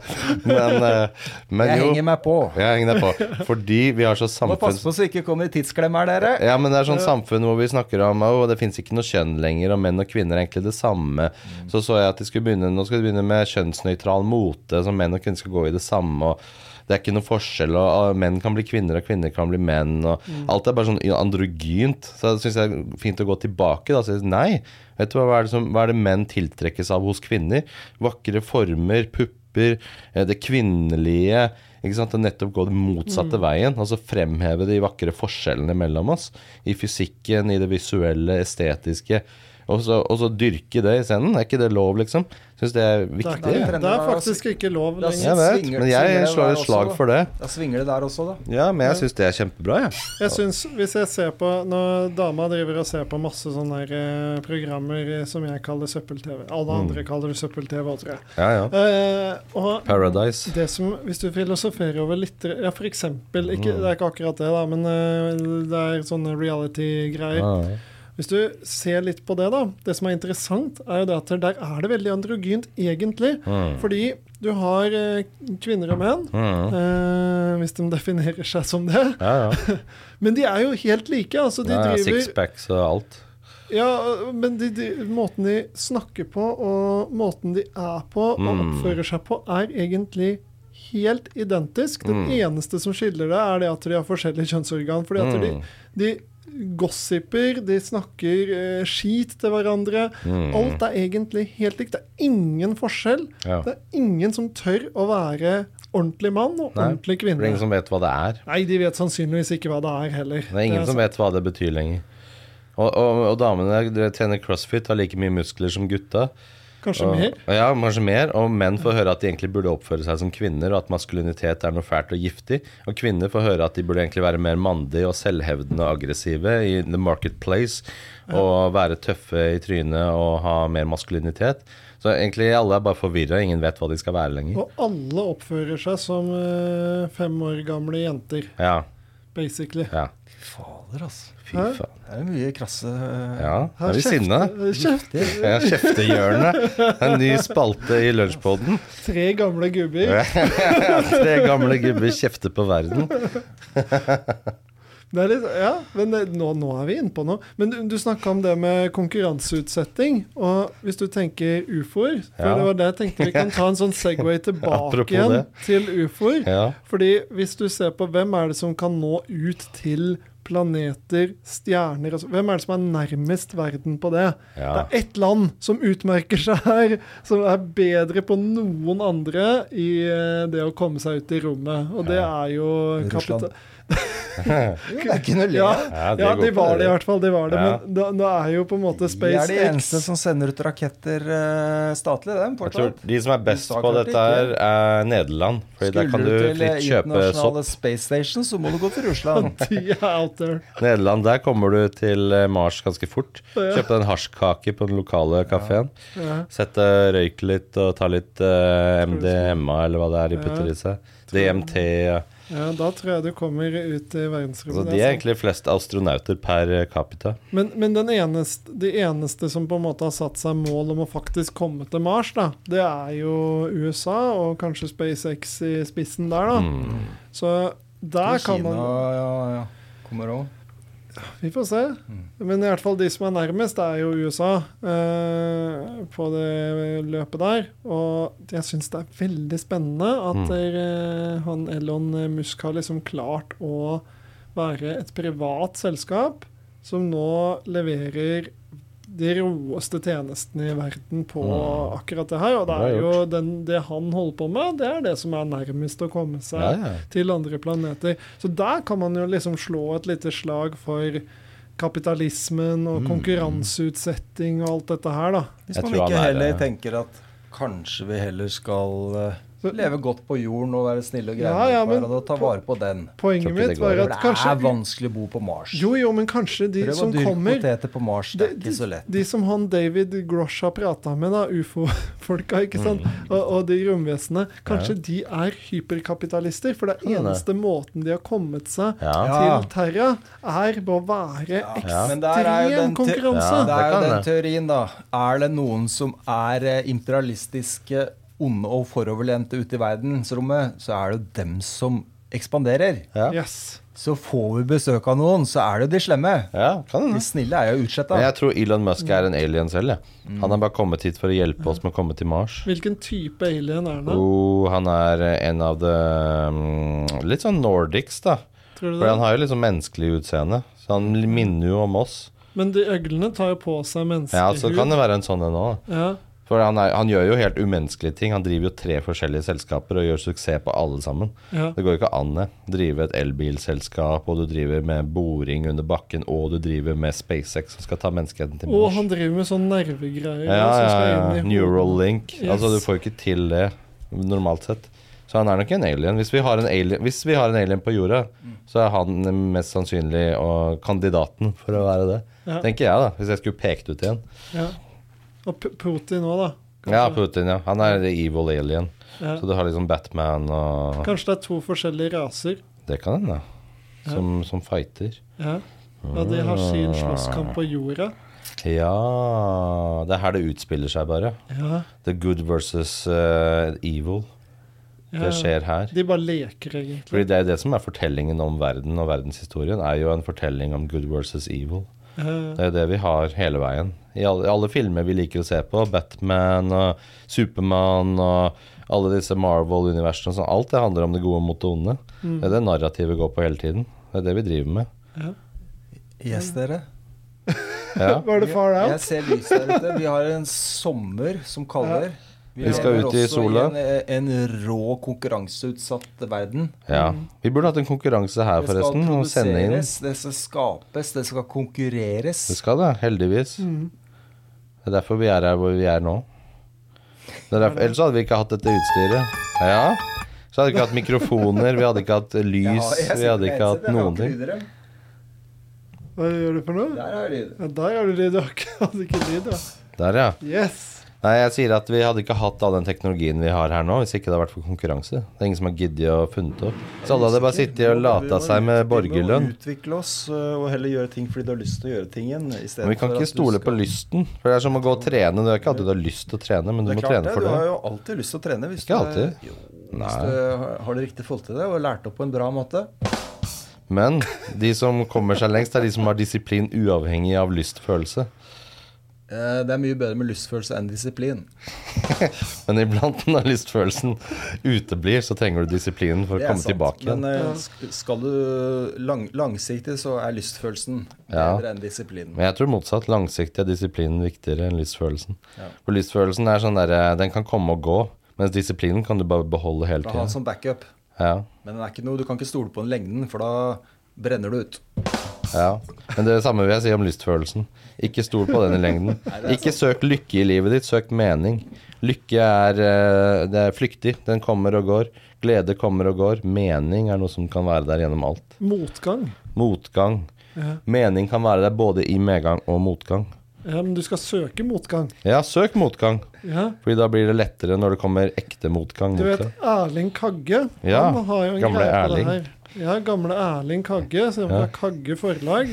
Speaker 2: men, eh, men
Speaker 4: Jeg
Speaker 2: jo.
Speaker 4: henger meg på.
Speaker 2: Jeg henger deg på. Fordi vi har sånn
Speaker 4: Må
Speaker 2: samfunn
Speaker 4: passe på så ikke kommer i tidsklemmer, dere.
Speaker 2: ja, men det er sånn samfunn hvor vi snakker om at det fins ikke noe kjønn lenger, og menn og kvinner er egentlig det samme. Så så jeg at de skulle begynne, nå skal de begynne med kjønnsnøytral mote, så menn og kvinner skal gå i det samme. og det er ikke noe forskjell, og ah, menn kan bli kvinner, og kvinner kan bli menn. og Alt er bare sånn androgynt. Så jeg syns det er fint å gå tilbake da, og si nei. Vet du hva, hva, er det som, hva er det menn tiltrekkes av hos kvinner? Vakre former, pupper, eh, det kvinnelige. Ikke sant? Og nettopp gå den motsatte veien. Altså fremheve de vakre forskjellene mellom oss. I fysikken, i det visuelle, estetiske. Og så, og så dyrke det i scenen. Er ikke det lov, liksom? Syns det er
Speaker 3: Det
Speaker 2: viktig.
Speaker 3: er, ikke- det er
Speaker 4: Trender,
Speaker 3: faktisk ikke lov
Speaker 4: La oss-
Speaker 3: lenger.
Speaker 2: Jeg vet,
Speaker 4: Svinger-
Speaker 2: men
Speaker 4: svinger
Speaker 2: jeg
Speaker 4: det
Speaker 2: slår
Speaker 4: der
Speaker 2: et slag
Speaker 4: også,
Speaker 2: for det.
Speaker 4: Da svinger det der også, da.
Speaker 2: Ja, men jeg syns det er kjempebra, jeg.
Speaker 3: Jeg synes, Hvis jeg ser på Når dama driver og ser på masse sånne her, eh, programmer eh, som jeg kaller søppel-TV Alle andre kaller det søppel-TV, tror jeg.
Speaker 2: Ja, ja.
Speaker 3: Eh, og
Speaker 2: Paradise.
Speaker 3: det som, hvis du filosoferer over litt Ja, for eksempel ikke, Det er ikke akkurat det, da, men eh, det er sånne reality-greier.
Speaker 2: Ja, ja.
Speaker 3: Hvis du ser litt på det, da. Det som er interessant, er jo det at der er det veldig androgynt, egentlig. Fordi du har eh, kvinner og menn,
Speaker 2: Mm.
Speaker 3: eh, hvis de definerer seg som det.
Speaker 2: Ja, ja.
Speaker 3: Men de er jo helt like. altså De
Speaker 2: ja, ja
Speaker 3: driver
Speaker 2: Sixpacks og alt.
Speaker 3: Ja, men de, de, måten de snakker på, og måten de er på og
Speaker 2: Mm.
Speaker 3: oppfører seg på, er egentlig helt identisk. Den
Speaker 2: Mm.
Speaker 3: eneste som skiller det, er det at de har forskjellige kjønnsorgan. Fordi at
Speaker 2: Mm.
Speaker 3: de, de gossiper, de snakker eh, skit til hverandre.
Speaker 2: Mm.
Speaker 3: Alt er egentlig helt likt. Det er ingen forskjell.
Speaker 2: Ja.
Speaker 3: Det er ingen som tør å være ordentlig mann og
Speaker 2: Nei,
Speaker 3: ordentlig
Speaker 2: Det er
Speaker 3: kvinne.
Speaker 2: ingen som vet hva det er.
Speaker 3: Nei, de vet sannsynligvis ikke hva det er heller.
Speaker 2: Det er ingen som vet hva det betyr lenger. Og, og, og damene dere trener crossfit, har like mye muskler som gutta.
Speaker 3: Kanskje
Speaker 2: Og,
Speaker 3: mer.
Speaker 2: og ja, kanskje mer. Og menn får høre at de egentlig burde oppføre seg som kvinner, og at maskulinitet er noe fælt og giftig. Og kvinner får høre at de burde egentlig være mer mandige og selvhevdende og aggressive i the marketplace. Og være tøffe i trynet og ha mer maskulinitet. Så egentlig alle er bare forvirra, ingen vet hva de skal være lenger.
Speaker 3: Og alle oppfører seg som eh, fem år gamle jenter,
Speaker 2: Ja,
Speaker 3: basically.
Speaker 2: ja.
Speaker 4: Fy Fader, altså.
Speaker 2: Fy
Speaker 3: Hæ?
Speaker 2: faen.
Speaker 4: Det er mye krasse
Speaker 2: Ja,
Speaker 3: Her
Speaker 2: er vi sinna?
Speaker 3: eh, Kjeft.
Speaker 2: Ja, Kjeftehjørnet. En ny spalte i lunsjpoden.
Speaker 3: Tre gamle gubber.
Speaker 2: Tre gamle gubber kjefter på verden.
Speaker 3: Det er litt, ja, men det, nå, nå er vi inne på noe. Men du, du snakka om det med konkurranseutsetting. Og hvis du tenker ufoer For
Speaker 2: Ja.
Speaker 3: det var det jeg tenkte vi kan ta en sånn Segway tilbake
Speaker 2: Apropos
Speaker 3: igjen
Speaker 2: det.
Speaker 3: til ufoer.
Speaker 2: Ja.
Speaker 3: Fordi hvis du ser på hvem er det som kan nå ut til planeter, stjerner altså, Hvem er det som er nærmest verden på det?
Speaker 2: Ja.
Speaker 3: Det er ett land som utmerker seg her, som er bedre på noen andre i eh, det å komme seg ut i rommet. Og det er jo
Speaker 4: Russland.
Speaker 3: kapita-
Speaker 4: Jo, det er ikke noe å le
Speaker 3: Ja,
Speaker 4: av.
Speaker 2: Ja, det
Speaker 3: ja,
Speaker 2: går
Speaker 3: de
Speaker 2: på
Speaker 3: var
Speaker 2: det.
Speaker 3: det i hvert fall. De var det,
Speaker 2: Ja.
Speaker 3: Men da, da er jo på en
Speaker 4: Vi
Speaker 3: måte
Speaker 4: er de
Speaker 3: SpaceX
Speaker 4: eneste som sender ut raketter eh, statlig, dem,
Speaker 2: Jeg tror
Speaker 4: fortsatt.
Speaker 2: De som er best
Speaker 4: USA
Speaker 2: på
Speaker 4: klarte
Speaker 2: dette, her, er Nederland. Fordi der kan du
Speaker 4: Skulle til eh,
Speaker 2: fritt kjøpe sopp.
Speaker 4: internasjonale Space Station, så må du gå til Russland.
Speaker 3: De er out there.
Speaker 2: Nederland, der kommer du til eh, Mars ganske fort.
Speaker 3: Ja.
Speaker 2: Kjøpe deg en hasjkake på den lokale kafeen.
Speaker 3: Ja.
Speaker 2: Sette røyk litt og ta litt eh, MDMA, eller hva det er de putter i seg. DMT. Ja.
Speaker 3: Ja, da tror jeg du kommer ut i
Speaker 2: Altså,
Speaker 3: verdensrommet.
Speaker 2: de er
Speaker 3: det er sant.
Speaker 2: egentlig flest astronauter per eh, capita.
Speaker 3: Men, men den eneste, de eneste som på en måte har satt seg mål om å faktisk komme til Mars, da, det er jo USA, og kanskje SpaceX i spissen der, da.
Speaker 2: Mm.
Speaker 3: Så der kan
Speaker 4: Kina
Speaker 3: man
Speaker 4: ja, ja. kommer òg.
Speaker 3: Vi får se.
Speaker 2: Mm.
Speaker 3: Men i hvert fall de som er nærmest, er jo USA eh, på det løpet der. Og jeg syns det er veldig spennende at
Speaker 2: Mm.
Speaker 3: der, eh, han Elon Musk har liksom klart å være et privat selskap som nå leverer de råeste tjenestene i verden på
Speaker 2: Mm.
Speaker 3: akkurat det her. Og det
Speaker 2: Det er
Speaker 3: er jo den, det han holder på med, det er det som er nærmest å komme seg
Speaker 2: Ja, ja.
Speaker 3: til andre planeter. Så der kan man jo liksom slå et lite slag for kapitalismen
Speaker 4: Mm.
Speaker 3: og konkurranseutsetting og alt dette her, da.
Speaker 4: Hvis
Speaker 2: Jeg
Speaker 4: man
Speaker 2: tror
Speaker 4: ikke
Speaker 2: han er,
Speaker 4: heller
Speaker 2: eh,
Speaker 4: tenker at kanskje vi heller skal eh,
Speaker 3: Så-
Speaker 4: leve godt på jorden og være snille og greie
Speaker 3: Ja, ja,
Speaker 4: mot
Speaker 3: men-
Speaker 4: hverandre og ta vare på den.
Speaker 3: Poenget
Speaker 2: Tror ikke det
Speaker 3: mitt
Speaker 2: går,
Speaker 3: var
Speaker 4: For
Speaker 3: at
Speaker 4: det er
Speaker 3: kanskje
Speaker 4: vanskelig å bo på Mars.
Speaker 3: Jo, jo, men kanskje de
Speaker 4: Prøv å
Speaker 3: som
Speaker 4: dyrke
Speaker 3: kommer
Speaker 4: poteter på Mars, det
Speaker 3: de,
Speaker 4: er
Speaker 3: de,
Speaker 4: ikke så lett.
Speaker 3: de som han David Grosh har prata med, da, ufo-folka, ikke sant,
Speaker 4: Mm.
Speaker 3: og, og de romvesenene, kanskje de er hyperkapitalister? For det er
Speaker 2: Kan det.
Speaker 3: eneste måten de har kommet seg
Speaker 2: Ja.
Speaker 4: Ja.
Speaker 3: til Terra, er ved å være
Speaker 4: Men der er jo den te-
Speaker 3: ekstrem
Speaker 2: Ja,
Speaker 3: konkurranse.
Speaker 4: det
Speaker 2: det
Speaker 4: er jo
Speaker 2: kan
Speaker 4: den
Speaker 2: det.
Speaker 4: teorien, da. Er det noen som er eh, imperialistiske, onde og foroverlente ute i verdensrommet, så er det jo dem som ekspanderer.
Speaker 2: Ja.
Speaker 3: Yes.
Speaker 4: Så får vi besøk av noen, så er det jo de slemme.
Speaker 2: ja, kan
Speaker 4: De
Speaker 2: hende.
Speaker 4: snille er jo utsletta.
Speaker 2: Men jeg tror Elon Musk er en alien selv. Ja. Han har bare kommet hit for å hjelpe oss med å komme til Mars.
Speaker 3: Hvilken type alien er det?
Speaker 2: Jo, han er eh, en av de mm, Litt sånn Nordics, da.
Speaker 3: Tror du
Speaker 2: For han
Speaker 3: det?
Speaker 2: har jo liksom menneskelig utseende. Så han minner jo om oss.
Speaker 3: Men de øglene tar jo på seg
Speaker 2: Ja, så
Speaker 3: menneskehud.
Speaker 2: kan det være en sånn en òg.
Speaker 3: Ja.
Speaker 2: For han, er, han gjør jo helt umenneskelige ting. Han driver jo tre forskjellige selskaper og gjør suksess på alle sammen.
Speaker 3: Ja.
Speaker 2: Det går jo ikke an det. Drive et elbilselskap, og du driver med boring under bakken, og du driver med SpaceX som skal ta menneskeheten til
Speaker 3: Og
Speaker 2: Mars.
Speaker 3: han driver med sånne nervegreier.
Speaker 2: Ja,
Speaker 3: som
Speaker 2: ja,
Speaker 3: skal
Speaker 2: ja.
Speaker 3: inn i hodet.
Speaker 2: Neuralink.
Speaker 3: Yes.
Speaker 2: Altså, du får jo ikke til det normalt sett. Så han er nok en alien. Hvis vi har en alien, hvis vi har en alien på jorda, så er han mest sannsynlig og kandidaten for å være det.
Speaker 3: Ja.
Speaker 2: Tenker jeg, da. Hvis jeg skulle pekt ut igjen.
Speaker 3: Ja. Og P- Putin òg, da.
Speaker 2: Ja, Putin, ja. Han er the evil alien.
Speaker 3: Ja.
Speaker 2: Så du har liksom Batman og
Speaker 3: Kanskje det er to forskjellige raser.
Speaker 2: Det kan hende.
Speaker 3: Ja.
Speaker 2: Som, som fighter.
Speaker 3: Ja. Og de har
Speaker 2: Ah.
Speaker 3: sin slåsskamp på jorda.
Speaker 2: Ja Det er her det utspiller seg, bare.
Speaker 3: Ja.
Speaker 2: The good versus eh, evil.
Speaker 3: ja.
Speaker 2: Det skjer her.
Speaker 3: De bare leker, egentlig.
Speaker 2: Fordi Det er jo det som er fortellingen om verden og verdenshistorien. er jo en fortelling om good versus evil.
Speaker 3: Ja.
Speaker 2: Det er jo det vi har hele veien. I alle, i alle filmer vi liker å se på, Batman og Supermann og alle disse Marvel-universene og sånn, alt det handler om det gode mot det onde. Det er det narrativet går på hele tiden. Det er det vi driver med.
Speaker 4: Yes, dere.
Speaker 2: Ja.
Speaker 3: Var det far
Speaker 4: Jeg
Speaker 3: out?
Speaker 4: ser lys der ute. Vi har en sommer som kaller.
Speaker 2: Vi skal
Speaker 4: lever
Speaker 2: ut i
Speaker 4: også
Speaker 2: sola.
Speaker 4: En, eh, en rå, konkurranseutsatt verden.
Speaker 2: ja. Vi burde hatt en konkurranse her,
Speaker 4: Det skal
Speaker 2: forresten. Og sende inn.
Speaker 4: produseres, det skal skapes, det skal konkurreres.
Speaker 2: Det skal det, heldigvis. Det er derfor vi er her hvor vi er nå. Det er derfor, ellers hadde vi ikke hatt dette utstyret. Ja. Så hadde vi ikke hatt mikrofoner, vi hadde ikke hatt lys, vi hadde ikke hatt noen ting.
Speaker 3: Hva gjør du for noe?
Speaker 4: Der har jeg lyder.
Speaker 3: Ja, der har du lyd. Du har ikke- hadde ikke lyd, ja.
Speaker 2: Der, ja.
Speaker 3: Yes.
Speaker 2: Nei, jeg sier at vi hadde ikke hatt all den teknologien vi har her nå, hvis ikke det hadde vært for konkurranse. Det er ingen som har giddet å funnet opp. Så alle hadde bare sittet og lata seg med borgerlønn.
Speaker 1: Utvikle oss øh, og heller gjøre ting fordi du har lyst til å gjøre tingen. i stedet
Speaker 2: Men vi kan
Speaker 1: for at
Speaker 2: ikke
Speaker 1: du
Speaker 2: stole på
Speaker 1: skal-
Speaker 2: lysten. For det er som å gå og trene. Du er ikke alltid du har lyst til å trene, men du
Speaker 1: Det er
Speaker 2: må
Speaker 1: klart
Speaker 2: trene
Speaker 1: det. Du
Speaker 2: for
Speaker 1: har
Speaker 2: det.
Speaker 1: jo alltid lyst til å trene. Hvis
Speaker 2: Ikke
Speaker 1: du er-
Speaker 2: alltid.
Speaker 1: Jo,
Speaker 2: Nei.
Speaker 1: Hvis du har det riktig forhold til det og lært opp på en bra måte.
Speaker 2: Men de som kommer seg lengst, er de som har disiplin uavhengig av lystfølelse.
Speaker 1: Eh, Det er mye bedre med lystfølelse enn disiplin.
Speaker 2: Men iblant når lystfølelsen uteblir, så trenger du disiplinen for å
Speaker 1: Det er
Speaker 2: komme
Speaker 1: sant,
Speaker 2: tilbake igjen.
Speaker 1: Men eh, sk- skal du lang, langsiktig, så er lystfølelsen
Speaker 2: Ja.
Speaker 1: bedre enn disiplinen.
Speaker 2: Men jeg tror motsatt. Langsiktig er disiplinen viktigere enn lystfølelsen.
Speaker 1: Ja.
Speaker 2: For lystfølelsen er sånn derre Den kan komme og gå, mens disiplinen kan du bare beholde hele
Speaker 1: Du kan ha den
Speaker 2: tiden.
Speaker 1: som backup,
Speaker 2: Ja,
Speaker 1: men den er ikke noe, du kan ikke stole på den lengden, for da brenner du ut.
Speaker 2: ja. Men det er det samme vil jeg si om lystfølelsen. Ikke stol på den i lengden. Ikke søk lykke i livet ditt, søk mening. Lykke er, eh, det er flyktig. Den kommer og går. Glede kommer og går. Mening er noe som kan være der gjennom alt.
Speaker 3: Motgang.
Speaker 2: Motgang. Mening kan være der både i medgang og motgang.
Speaker 3: Ja, men du skal søke motgang.
Speaker 2: Ja, søk motgang,
Speaker 3: Ja.
Speaker 2: Fordi da blir det lettere når det kommer ekte motgang.
Speaker 3: Du
Speaker 2: mot
Speaker 3: vet
Speaker 2: deg.
Speaker 3: Erling Kagge?
Speaker 2: Ja,
Speaker 3: han har jo en
Speaker 2: gamle
Speaker 3: greie på
Speaker 2: Erling.
Speaker 3: det her. Ja, gamle Erling Kagge, som er fra Kagge forlag.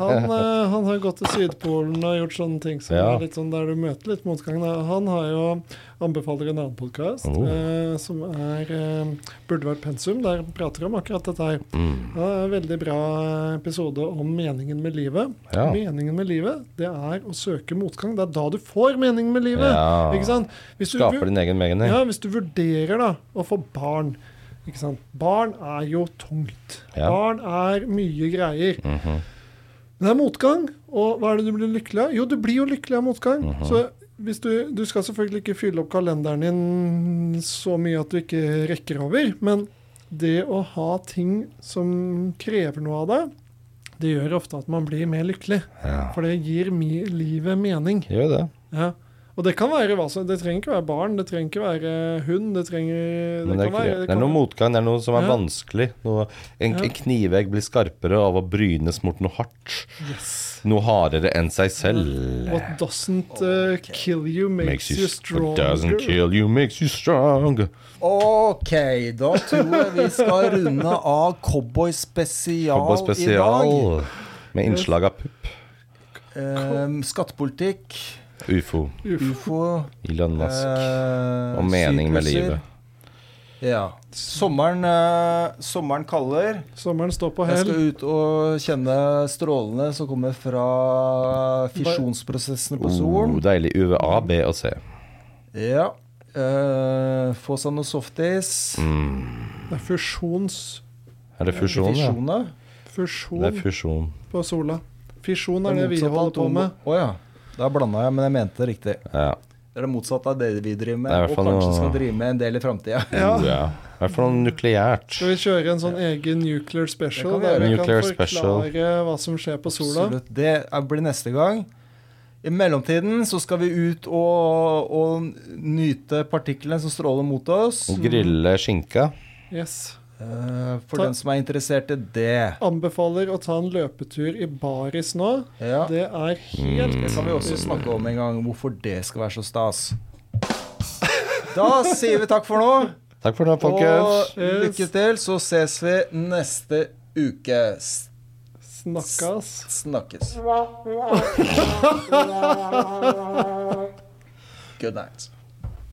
Speaker 3: Han, eh, han har gått til Sydpolen og gjort sånne ting som
Speaker 2: Ja.
Speaker 3: er litt sånn der du møter litt motgang. da. Han har jo anbefaler en annen podkast
Speaker 2: Oh.
Speaker 3: eh, som er eh, Burde vært pensum, der han prater om akkurat dette her.
Speaker 2: Mm.
Speaker 3: Det er en veldig bra episode om meningen med livet.
Speaker 2: Ja.
Speaker 3: Meningen med livet, det er å søke motgang. Det er da du får mening med livet.
Speaker 2: Ja.
Speaker 3: Ikke sant? Hvis du
Speaker 2: Skaper din egen mening.
Speaker 3: ja, hvis du vurderer da å få barn ikke sant? Barn er jo tungt.
Speaker 2: Ja.
Speaker 3: Barn er mye greier.
Speaker 2: Mhm.
Speaker 3: Men det er motgang, og hva er det du blir lykkelig av? Jo, du blir jo lykkelig av motgang.
Speaker 2: Mhm.
Speaker 3: Så hvis du, du skal selvfølgelig ikke fylle opp kalenderen din så mye at du ikke rekker over, men det å ha ting som krever noe av deg, det gjør ofte at man blir mer lykkelig.
Speaker 2: Ja.
Speaker 3: For det gir mi livet mening.
Speaker 2: Gjør jo det.
Speaker 3: Ja. Og det kan være hva som Det trenger ikke være barn, det trenger ikke være hund, det trenger det,
Speaker 2: Men det, er,
Speaker 3: kan være,
Speaker 2: ikke, det
Speaker 3: det
Speaker 2: er
Speaker 3: kan-
Speaker 2: noe motgang, det er noe som er
Speaker 3: Ja.
Speaker 2: vanskelig. Noe, en,
Speaker 3: Ja.
Speaker 2: en knivegg blir skarpere av å brynes mot noe hardt.
Speaker 3: Yes.
Speaker 2: Noe hardere enn seg selv.
Speaker 3: What doesn't uh, kill you makes, you
Speaker 2: what
Speaker 3: stronger.
Speaker 2: doesn't kill you, makes you strong.
Speaker 4: Ok, da tror jeg vi skal runde av Cowboy Spesial,
Speaker 2: Cowboy
Speaker 4: i dag.
Speaker 2: spesial med innslag av pupp.
Speaker 1: Eh,
Speaker 4: Ehm, skattepolitikk,
Speaker 2: Ufo.
Speaker 3: Uff.
Speaker 4: ufo
Speaker 2: Elon Musk.
Speaker 4: eh,
Speaker 2: Og mening med
Speaker 4: sykluser.
Speaker 2: livet.
Speaker 4: Ja. Sommeren, eh, sommeren kaller.
Speaker 3: Sommeren står på
Speaker 4: Jeg
Speaker 3: hell.
Speaker 4: skal ut og kjenne strålene som kommer fra fisjonsprosessene på
Speaker 2: Oh,
Speaker 4: solen.
Speaker 2: deilig. UV, A, B og C.
Speaker 4: Ja. Eh, få seg noe softis.
Speaker 2: Mm.
Speaker 3: Det er fusjons...
Speaker 2: Er det fusjon, ja?
Speaker 4: Fisjoner.
Speaker 3: Eh, Fusjon
Speaker 2: Det er fusjon.
Speaker 3: på sola. Fisjon er det vi
Speaker 4: motsatte av
Speaker 3: holder på
Speaker 4: atom-
Speaker 3: med.
Speaker 4: Å ja. Da blanda jeg, men jeg mente det riktig.
Speaker 2: Ja.
Speaker 4: Det er det motsatte av det vi driver med,
Speaker 2: Det er i
Speaker 4: og
Speaker 2: hvert fall
Speaker 4: kanskje
Speaker 2: noe-
Speaker 4: skal drive med en del i framtida.
Speaker 3: Ja.
Speaker 2: Oh, ja. I hvert fall noe nukleært.
Speaker 3: Skal vi kjøre en sånn egen nuclear special
Speaker 4: Det kan
Speaker 3: der
Speaker 2: være.
Speaker 3: vi
Speaker 2: Nuclear
Speaker 3: kan
Speaker 2: special.
Speaker 3: forklare hva som skjer på sola?
Speaker 4: Absolutt. Det er- blir neste gang. I mellomtiden så skal vi ut og, og nyte partiklene som stråler mot oss.
Speaker 2: Og grille skinka.
Speaker 3: Yes.
Speaker 4: Eh, for
Speaker 3: Ta-
Speaker 4: den som er interessert i det.
Speaker 3: Anbefaler å ta en løpetur i baris nå.
Speaker 4: Ja.
Speaker 3: Det er helt
Speaker 4: Det
Speaker 2: Mm.
Speaker 4: kan vi også snakke om en gang, hvorfor det skal være så stas. Da sier vi takk for nå,
Speaker 2: Takk for nå, folkens.
Speaker 4: og lykke til. Så ses vi neste uke. S-
Speaker 3: snakkas.
Speaker 4: Snakkes. Good night.